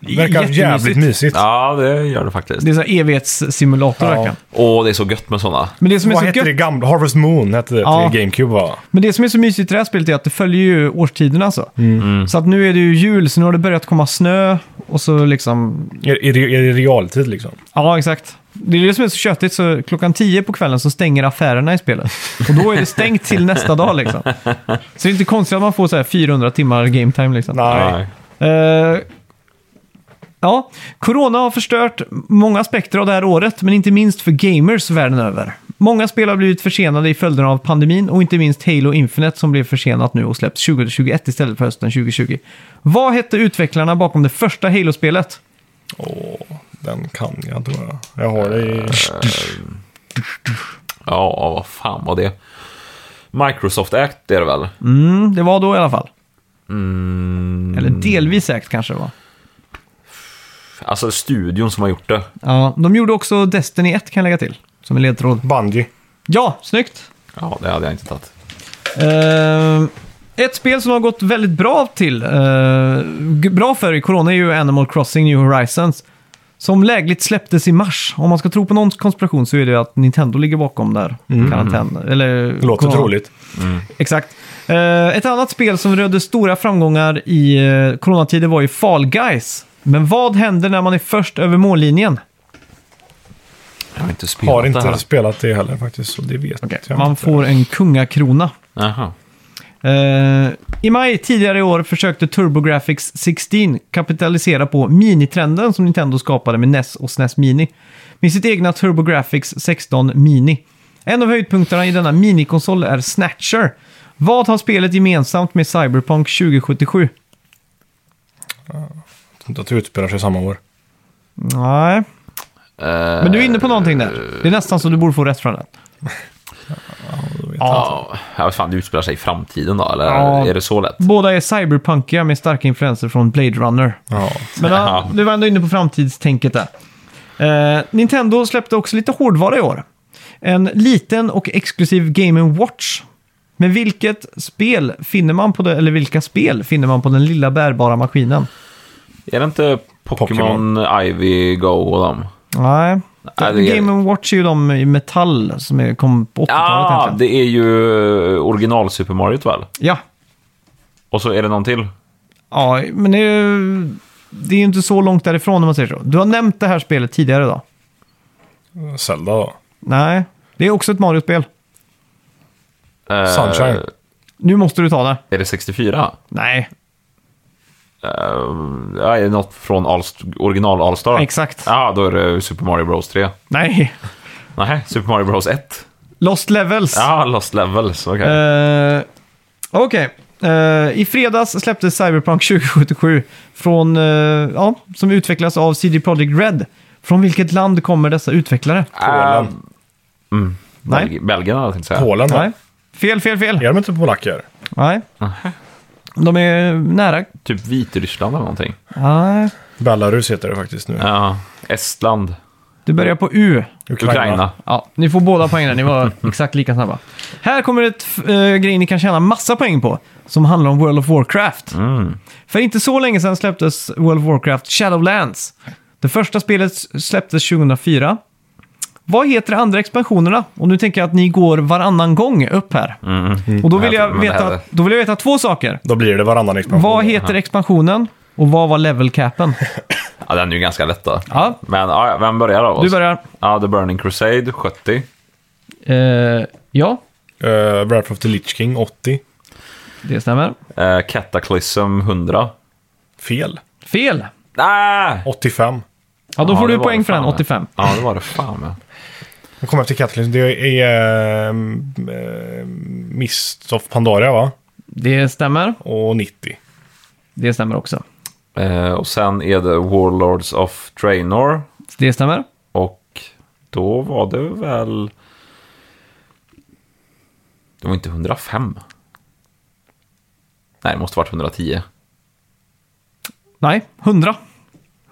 C: Verkar
A: Jättemysigt.
C: jävligt mysigt.
B: Ja, det gör det faktiskt.
A: det är så här evighetssimulator
C: Ja.
A: verkligen.
B: Åh, det är så gött med sådana.
A: Men det, som är
C: Vad
A: så
C: hette det
A: gött,
C: gamla? Harvest Moon hette det
A: Ja.
C: till GameCube va?
A: men det som är så mysigt i det
C: Mm.
A: här spelet är att det följer ju årstiderna. Alltså. Så att nu är det ju jul, så nu har det börjat komma snö Och så liksom,
C: I, i, I realtid liksom.
A: ja exakt. Det är det som är så köttigt, så klockan 10 på kvällen så stänger affärerna i spelet. Och då är det stängt till nästa dag liksom. Så det är inte konstigt att man får så här 400 timmar game time liksom.
C: Nej.
A: Eh, ja, corona har förstört många aspekter av det här året, men inte minst för gamers världen över. Många spel har blivit försenade i följderna av pandemin och inte minst Halo Infinite som blev försenat nu och släpps 2021 istället för hösten 2020. Vad hette utvecklarna bakom det första Halo-spelet?
C: Åh, den kan jag tror jag. Jag har det i...
B: Ja, vad fan var det? Microsoft Act är det väl?
A: Mm, det var då i alla fall. Eller delvis säkert kanske det var.
B: Alltså studion som har gjort det.
A: Ja, de gjorde också Destiny 1 kan jag lägga till, som en ledtråd.
C: Bungy.
A: Ja, snyggt!
B: Ja, det hade jag inte tagit.
A: Eh, ett spel som har gått väldigt bra till, eh, g- bra för i corona är ju Animal Crossing New Horizons. Som lägligt släpptes i mars. Om man ska tro på någon konspiration så är det att Nintendo ligger bakom där. Karantän, eller
C: Mm. Låter
A: corona.
C: troligt.
A: Exakt. Eh, ett annat spel som rödde stora framgångar i uh, coronatider var ju Fall Guys. Men vad händer när man är först över mållinjen?
B: Jag har inte spelat
C: Har inte
B: det här.
C: spelat det heller faktiskt, så det vet jag
A: Man
C: inte.
A: får en kungakrona.
B: Aha.
A: Eh, I maj tidigare i år försökte TurboGrafx 16 kapitalisera på minitrenden som Nintendo skapade med NES och SNES Mini. Med sitt egna TurboGrafx 16 Mini. En av höjdpunkterna i denna minikonsol är Snatcher. Vad har spelet gemensamt med Cyberpunk 2077?
C: Jag tror inte att det utspelar sig samma år.
A: Nej, men du är inne på någonting där. Det är nästan så du borde få rätt från det.
B: Ja, jag vet fan, det utspelar sig i framtiden då, eller
A: Ja.
B: är det så lätt?
A: Båda är cyberpunkiga med starka influenser från Blade Runner.
C: Ja.
A: Men eh, ja,
B: Ja.
A: du var ändå inne på framtidstänket där. Eh, Nintendo släppte också lite hårdvara i år. En liten och exklusiv Game Watch. Men vilket spel finner man på det, eller vilka spel finner man på den lilla bärbara maskinen?
B: Är det inte Pokémon,
C: Pokémon.
B: Ivy, Go och dem?
A: Nej.
B: Nej, det är-
A: Game Watch är ju de i metall som är- kom på 80-talet
B: Ja,
A: egentligen.
B: det är ju original Super Mario väl?
A: Ja.
B: Och så är det någon till?
A: ja, men det är ju det är ju inte så långt därifrån om man säger så. Du har nämnt det här spelet tidigare idag.
C: Zelda då?
A: Nej, det är också ett Mario-spel.
B: Eh,
C: Sunshine.
A: Nu måste du ta det.
B: Är det 64?
A: Nej,
B: Ja, är det något från Allst- original All-Star?
A: Exakt.
B: Ja, då är det Super Mario Bros 3.
A: nej.
B: Nej, Super Mario Bros 1.
A: Lost Levels.
B: Ja, Lost Levels, okej.
A: Eh, Okej. Eh, I fredags släpptes Cyberpunk 2077 från, eh, ja, som utvecklas av CD Projekt Red. Från vilket land kommer dessa utvecklare?
B: Eh,
C: Polen.
B: mm,
A: Nej.
B: Belg- Belgien hade jag tänkt säga.
C: Polen va?
A: Nej. Fel, fel, fel.
C: Är de inte polacker?
A: Nej. De är nära.
B: Typ Vitryssland eller någonting.
A: Nej.
C: Belarus heter det faktiskt nu.
B: Ja, Estland,
A: Det börjar på U.
B: Ukraina.
A: Ja, ni får båda poängen där. Ni
B: [LAUGHS]
A: var exakt lika snabba. Här kommer ett äh, grej ni kan tjäna massa poäng på. Som handlar om World of Warcraft.
B: Mm.
A: För inte så länge sedan släpptes World of Warcraft Shadowlands. Det första spelet släpptes 2004. Vad heter de andra expansionerna? Och nu tänker jag att ni går varannan gång upp här. Och då vill,
B: Jag
A: jag
B: tror Mm. det
A: veta,
B: här.
A: då vill jag veta två saker.
C: Då blir det varannan expansion.
A: Vad heter expansionen? Och vad var level
B: [LAUGHS]
A: capen?
B: Ja, den är ju ganska lätt då.
A: Ja.
B: Men ja, ja, vem börjar då?
A: Du börjar.
B: Ja, The Burning Crusade, 70.
A: Eh, ja,
C: Eh, Breath of the Lich King 80.
A: det stämmer.
B: Eh, Cataclysm, 100.
C: Fel.
A: Fel!
B: Nej!
C: 85.
A: Ja, då
B: Ja,
A: får
B: det
A: du
B: var
A: poäng
B: det
A: för den,
B: fan, ja.
A: 85.
B: Ja, det var det fan med.
C: Nu kommer jag till Cataclysm. Det är äh, Mist of Pandaria va?
A: Det stämmer.
C: Och 90.
A: Det stämmer också.
B: Eh, och sen är det Warlords of Draenor.
A: Det stämmer.
B: Och då var det väl... Det var inte 105. Nej, det måste varit 110.
A: Nej, 100.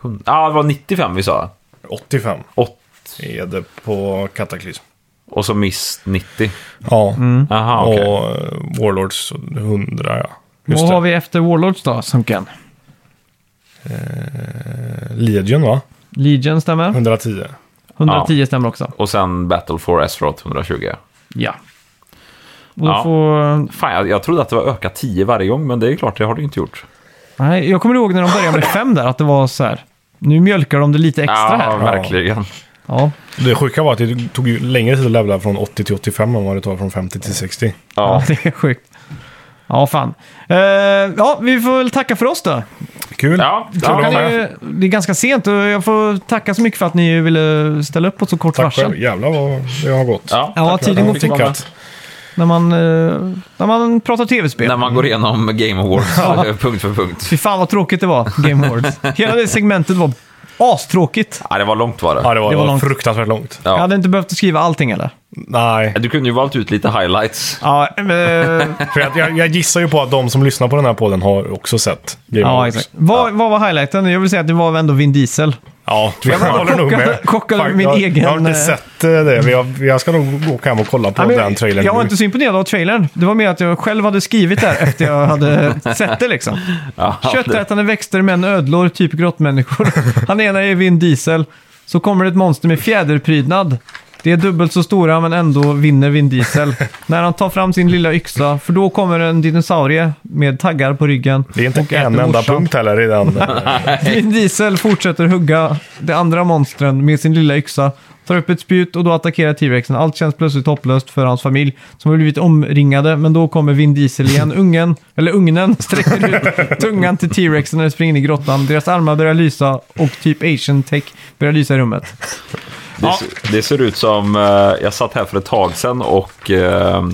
B: Ja, ah, det var 95 vi sa.
C: 85
B: 8.
C: är det på Cataclysm.
B: Och så Miss 90.
C: Ja.
B: Aha, Mm. Ah, okej.
C: Och eh, Warlords 100 ja. Just
A: Vad
C: det.
A: har vi efter Warlords då, Sunken?
C: Legion va?
A: Legion stämmer.
C: 110.
A: 110 stämmer också.
B: Och sen Battle for Azeroth 120.
A: Ja. Och då
B: Ja.
A: får...
B: Fan, jag, jag trodde att det var öka 10 varje gång, men det är klart, det har det ju inte gjort.
A: Nej, jag kommer ihåg när de började med fem där, att det var så här. Nu mjölkar de det lite extra
B: Ja,
A: här.
B: verkligen.
A: Ja.
C: Det sjuka var att det tog ju längre tid att levla från 80 till 85 än vad det tar från 50 till 60.
A: ja,
B: Ja.
A: [LAUGHS] det är sjukt. Ja, fan. Eh, ja, vi får väl tacka för oss då.
B: Ja,
C: Kul. Kul
B: ja.
C: att vara
A: Klockan
C: med.
A: är, det är ganska sent och jag får tacka så mycket för att ni ville ställa upp på så kort
C: Tack
A: varsel.
C: själv. Jävlar vad det har gått.
B: Ja.
A: Ja,
C: Tack för att
A: tiden
C: jag
A: går
C: fick
B: fort.
C: vara med.
A: När man, eh, när man pratar tv-spel.
B: När man går igenom Game Awards eh, punkt för punkt.
A: Fy fan vad tråkigt det var, Game Awards. Hela det segmentet var astråkigt.
B: Ja, det var långt var
C: Ja,
B: det.
C: det var,
A: Det var långt.
C: fruktansvärt långt.
A: Jag
B: Ja.
A: hade inte behövt skriva allting eller?
C: Nej,
B: Du kunde ju valt ut lite highlights.
A: Ja,
B: [LAUGHS]
C: eh,
A: men,
C: för jag, jag, jag gissar ju på att de som lyssnar på den här podden har också sett Game
A: ja
C: Awards.
A: exakt. Vad, vad var highlighten? Jag vill säga att det var väl ändå Vin Diesel.
C: Ja, vi
A: Jag bara
C: håller nog
A: chockad-
C: med.
A: chockad över min
C: jag,
A: egen,
C: Jag har inte
A: eh,
C: sett eh, det. men Jag, jag ska nog gå- åka hem och kolla på
A: Ja, men
C: den trailern
A: jag var
C: nu.
A: inte så imponerad av trailern. Det var mer att jag själv hade skrivit där efter jag hade sett det liksom.
B: Ja, det-
A: [LAUGHS] Köttätande växter, män, ödlor, typ
B: [LAUGHS]
A: grottmänniskor. Han ena är Vin Diesel. Så kommer det ett monster med fjäderprydnad. Det är dubbelt så stora men ändå vinner Vin
B: [LAUGHS]
A: Diesel. När han tar fram sin lilla yxa, för då kommer en dinosaurie med taggar på ryggen.
C: Det är inte
A: äter
C: en enda
A: morsan.
C: punkt heller i den. eh,
A: Vin Diesel fortsätter hugga de andra monstren med sin lilla yxa. Tar upp ett spjut och då attackerar T-Rexen. Allt känns plötsligt hopplöst för hans familj som har blivit omringade. Men då kommer Vin Diesel
B: [LAUGHS]
A: igen. Ungen, eller ugnen, [LAUGHS] sträcker ut tungan till T-Rexen när den springer in i grottan. Deras armar börjar lysa och typ Asian Tech börjar lysa i rummet.
B: Det, ser- det ser ut som, eh, jag satt här för ett tag sedan och eh,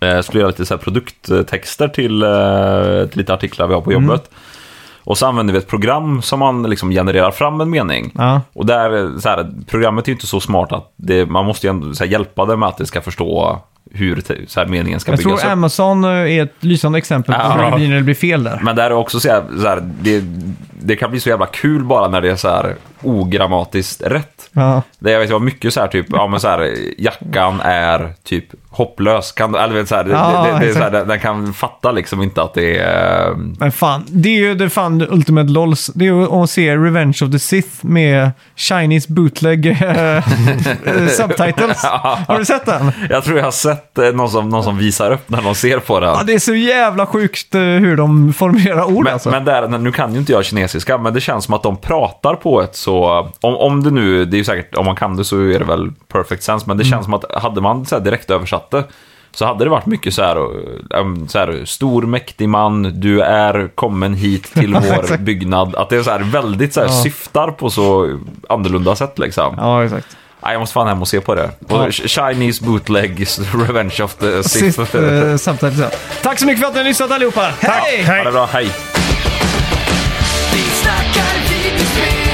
B: eh, skulle göra lite så här produkttexter till, eh, till lite artiklar vi har
A: Mm.
B: på jobbet. Och så använder vi ett program som man liksom genererar fram en mening.
A: Ja.
B: Och där, eh, så här, programmet är ju inte så smart att det, man måste ju ändå så här, hjälpa det med att det ska förstå hur te- så här, meningen ska
A: Jag
B: byggas
A: tror
B: upp.
A: Amazon eh, är ett lysande exempel på hur
B: Ja.
A: det blir när det blir fel där.
B: Men där är också så här, så här det, det kan bli så jävla kul bara när det är så här ogrammatiskt rätt.
A: Ja.
B: Det, jag vet, det var mycket så här typ, ja men så här, jackan är typ hopplös. Kan, eller vet, så här, det,
A: Ja,
B: det, det, är så här,
A: exakt.
B: den, den kan fatta liksom inte att det är... eh,
A: Men fan, det är ju det fan Ultimate LOLs. Det är ju att se Revenge of the Sith med Chinese bootleg eh,
B: [LAUGHS]
A: eh, subtitles. Har du sett den?
B: Jag tror jag har sett eh, någon som, någon som visar upp när de ser på den.
A: Ja, det är så jävla sjukt eh, hur de formulerar ord
B: Men,
A: alltså.
B: men där, nu kan ju inte jag kinesiska, men det känns som att de pratar på ett så... Om, om det nu, det är ju säkert, om man kan det så är det väl perfect sense, men det känns
A: Mm.
B: som att hade man så här direkt översatt det så hade det varit mycket så här, eh, em, så här stor mäktig man, du är kommen
A: [LAUGHS]
B: hit till vår byggnad. Att det är så här väldigt så här, syftar på så annorlunda sätt liksom.
A: Ja, exakt.
B: Nej, jag måste fan hem och se på det. Och
A: Ja.
B: Chinese bootlegs, [LAUGHS] Revenge of the Sith.
A: Sith
B: [LAUGHS]
A: eh, subtitles, ja. Tack så mycket för att ni har lyssnat allihopa. Hej!
B: Ha det bra, hej!
D: Vi snackar videospel,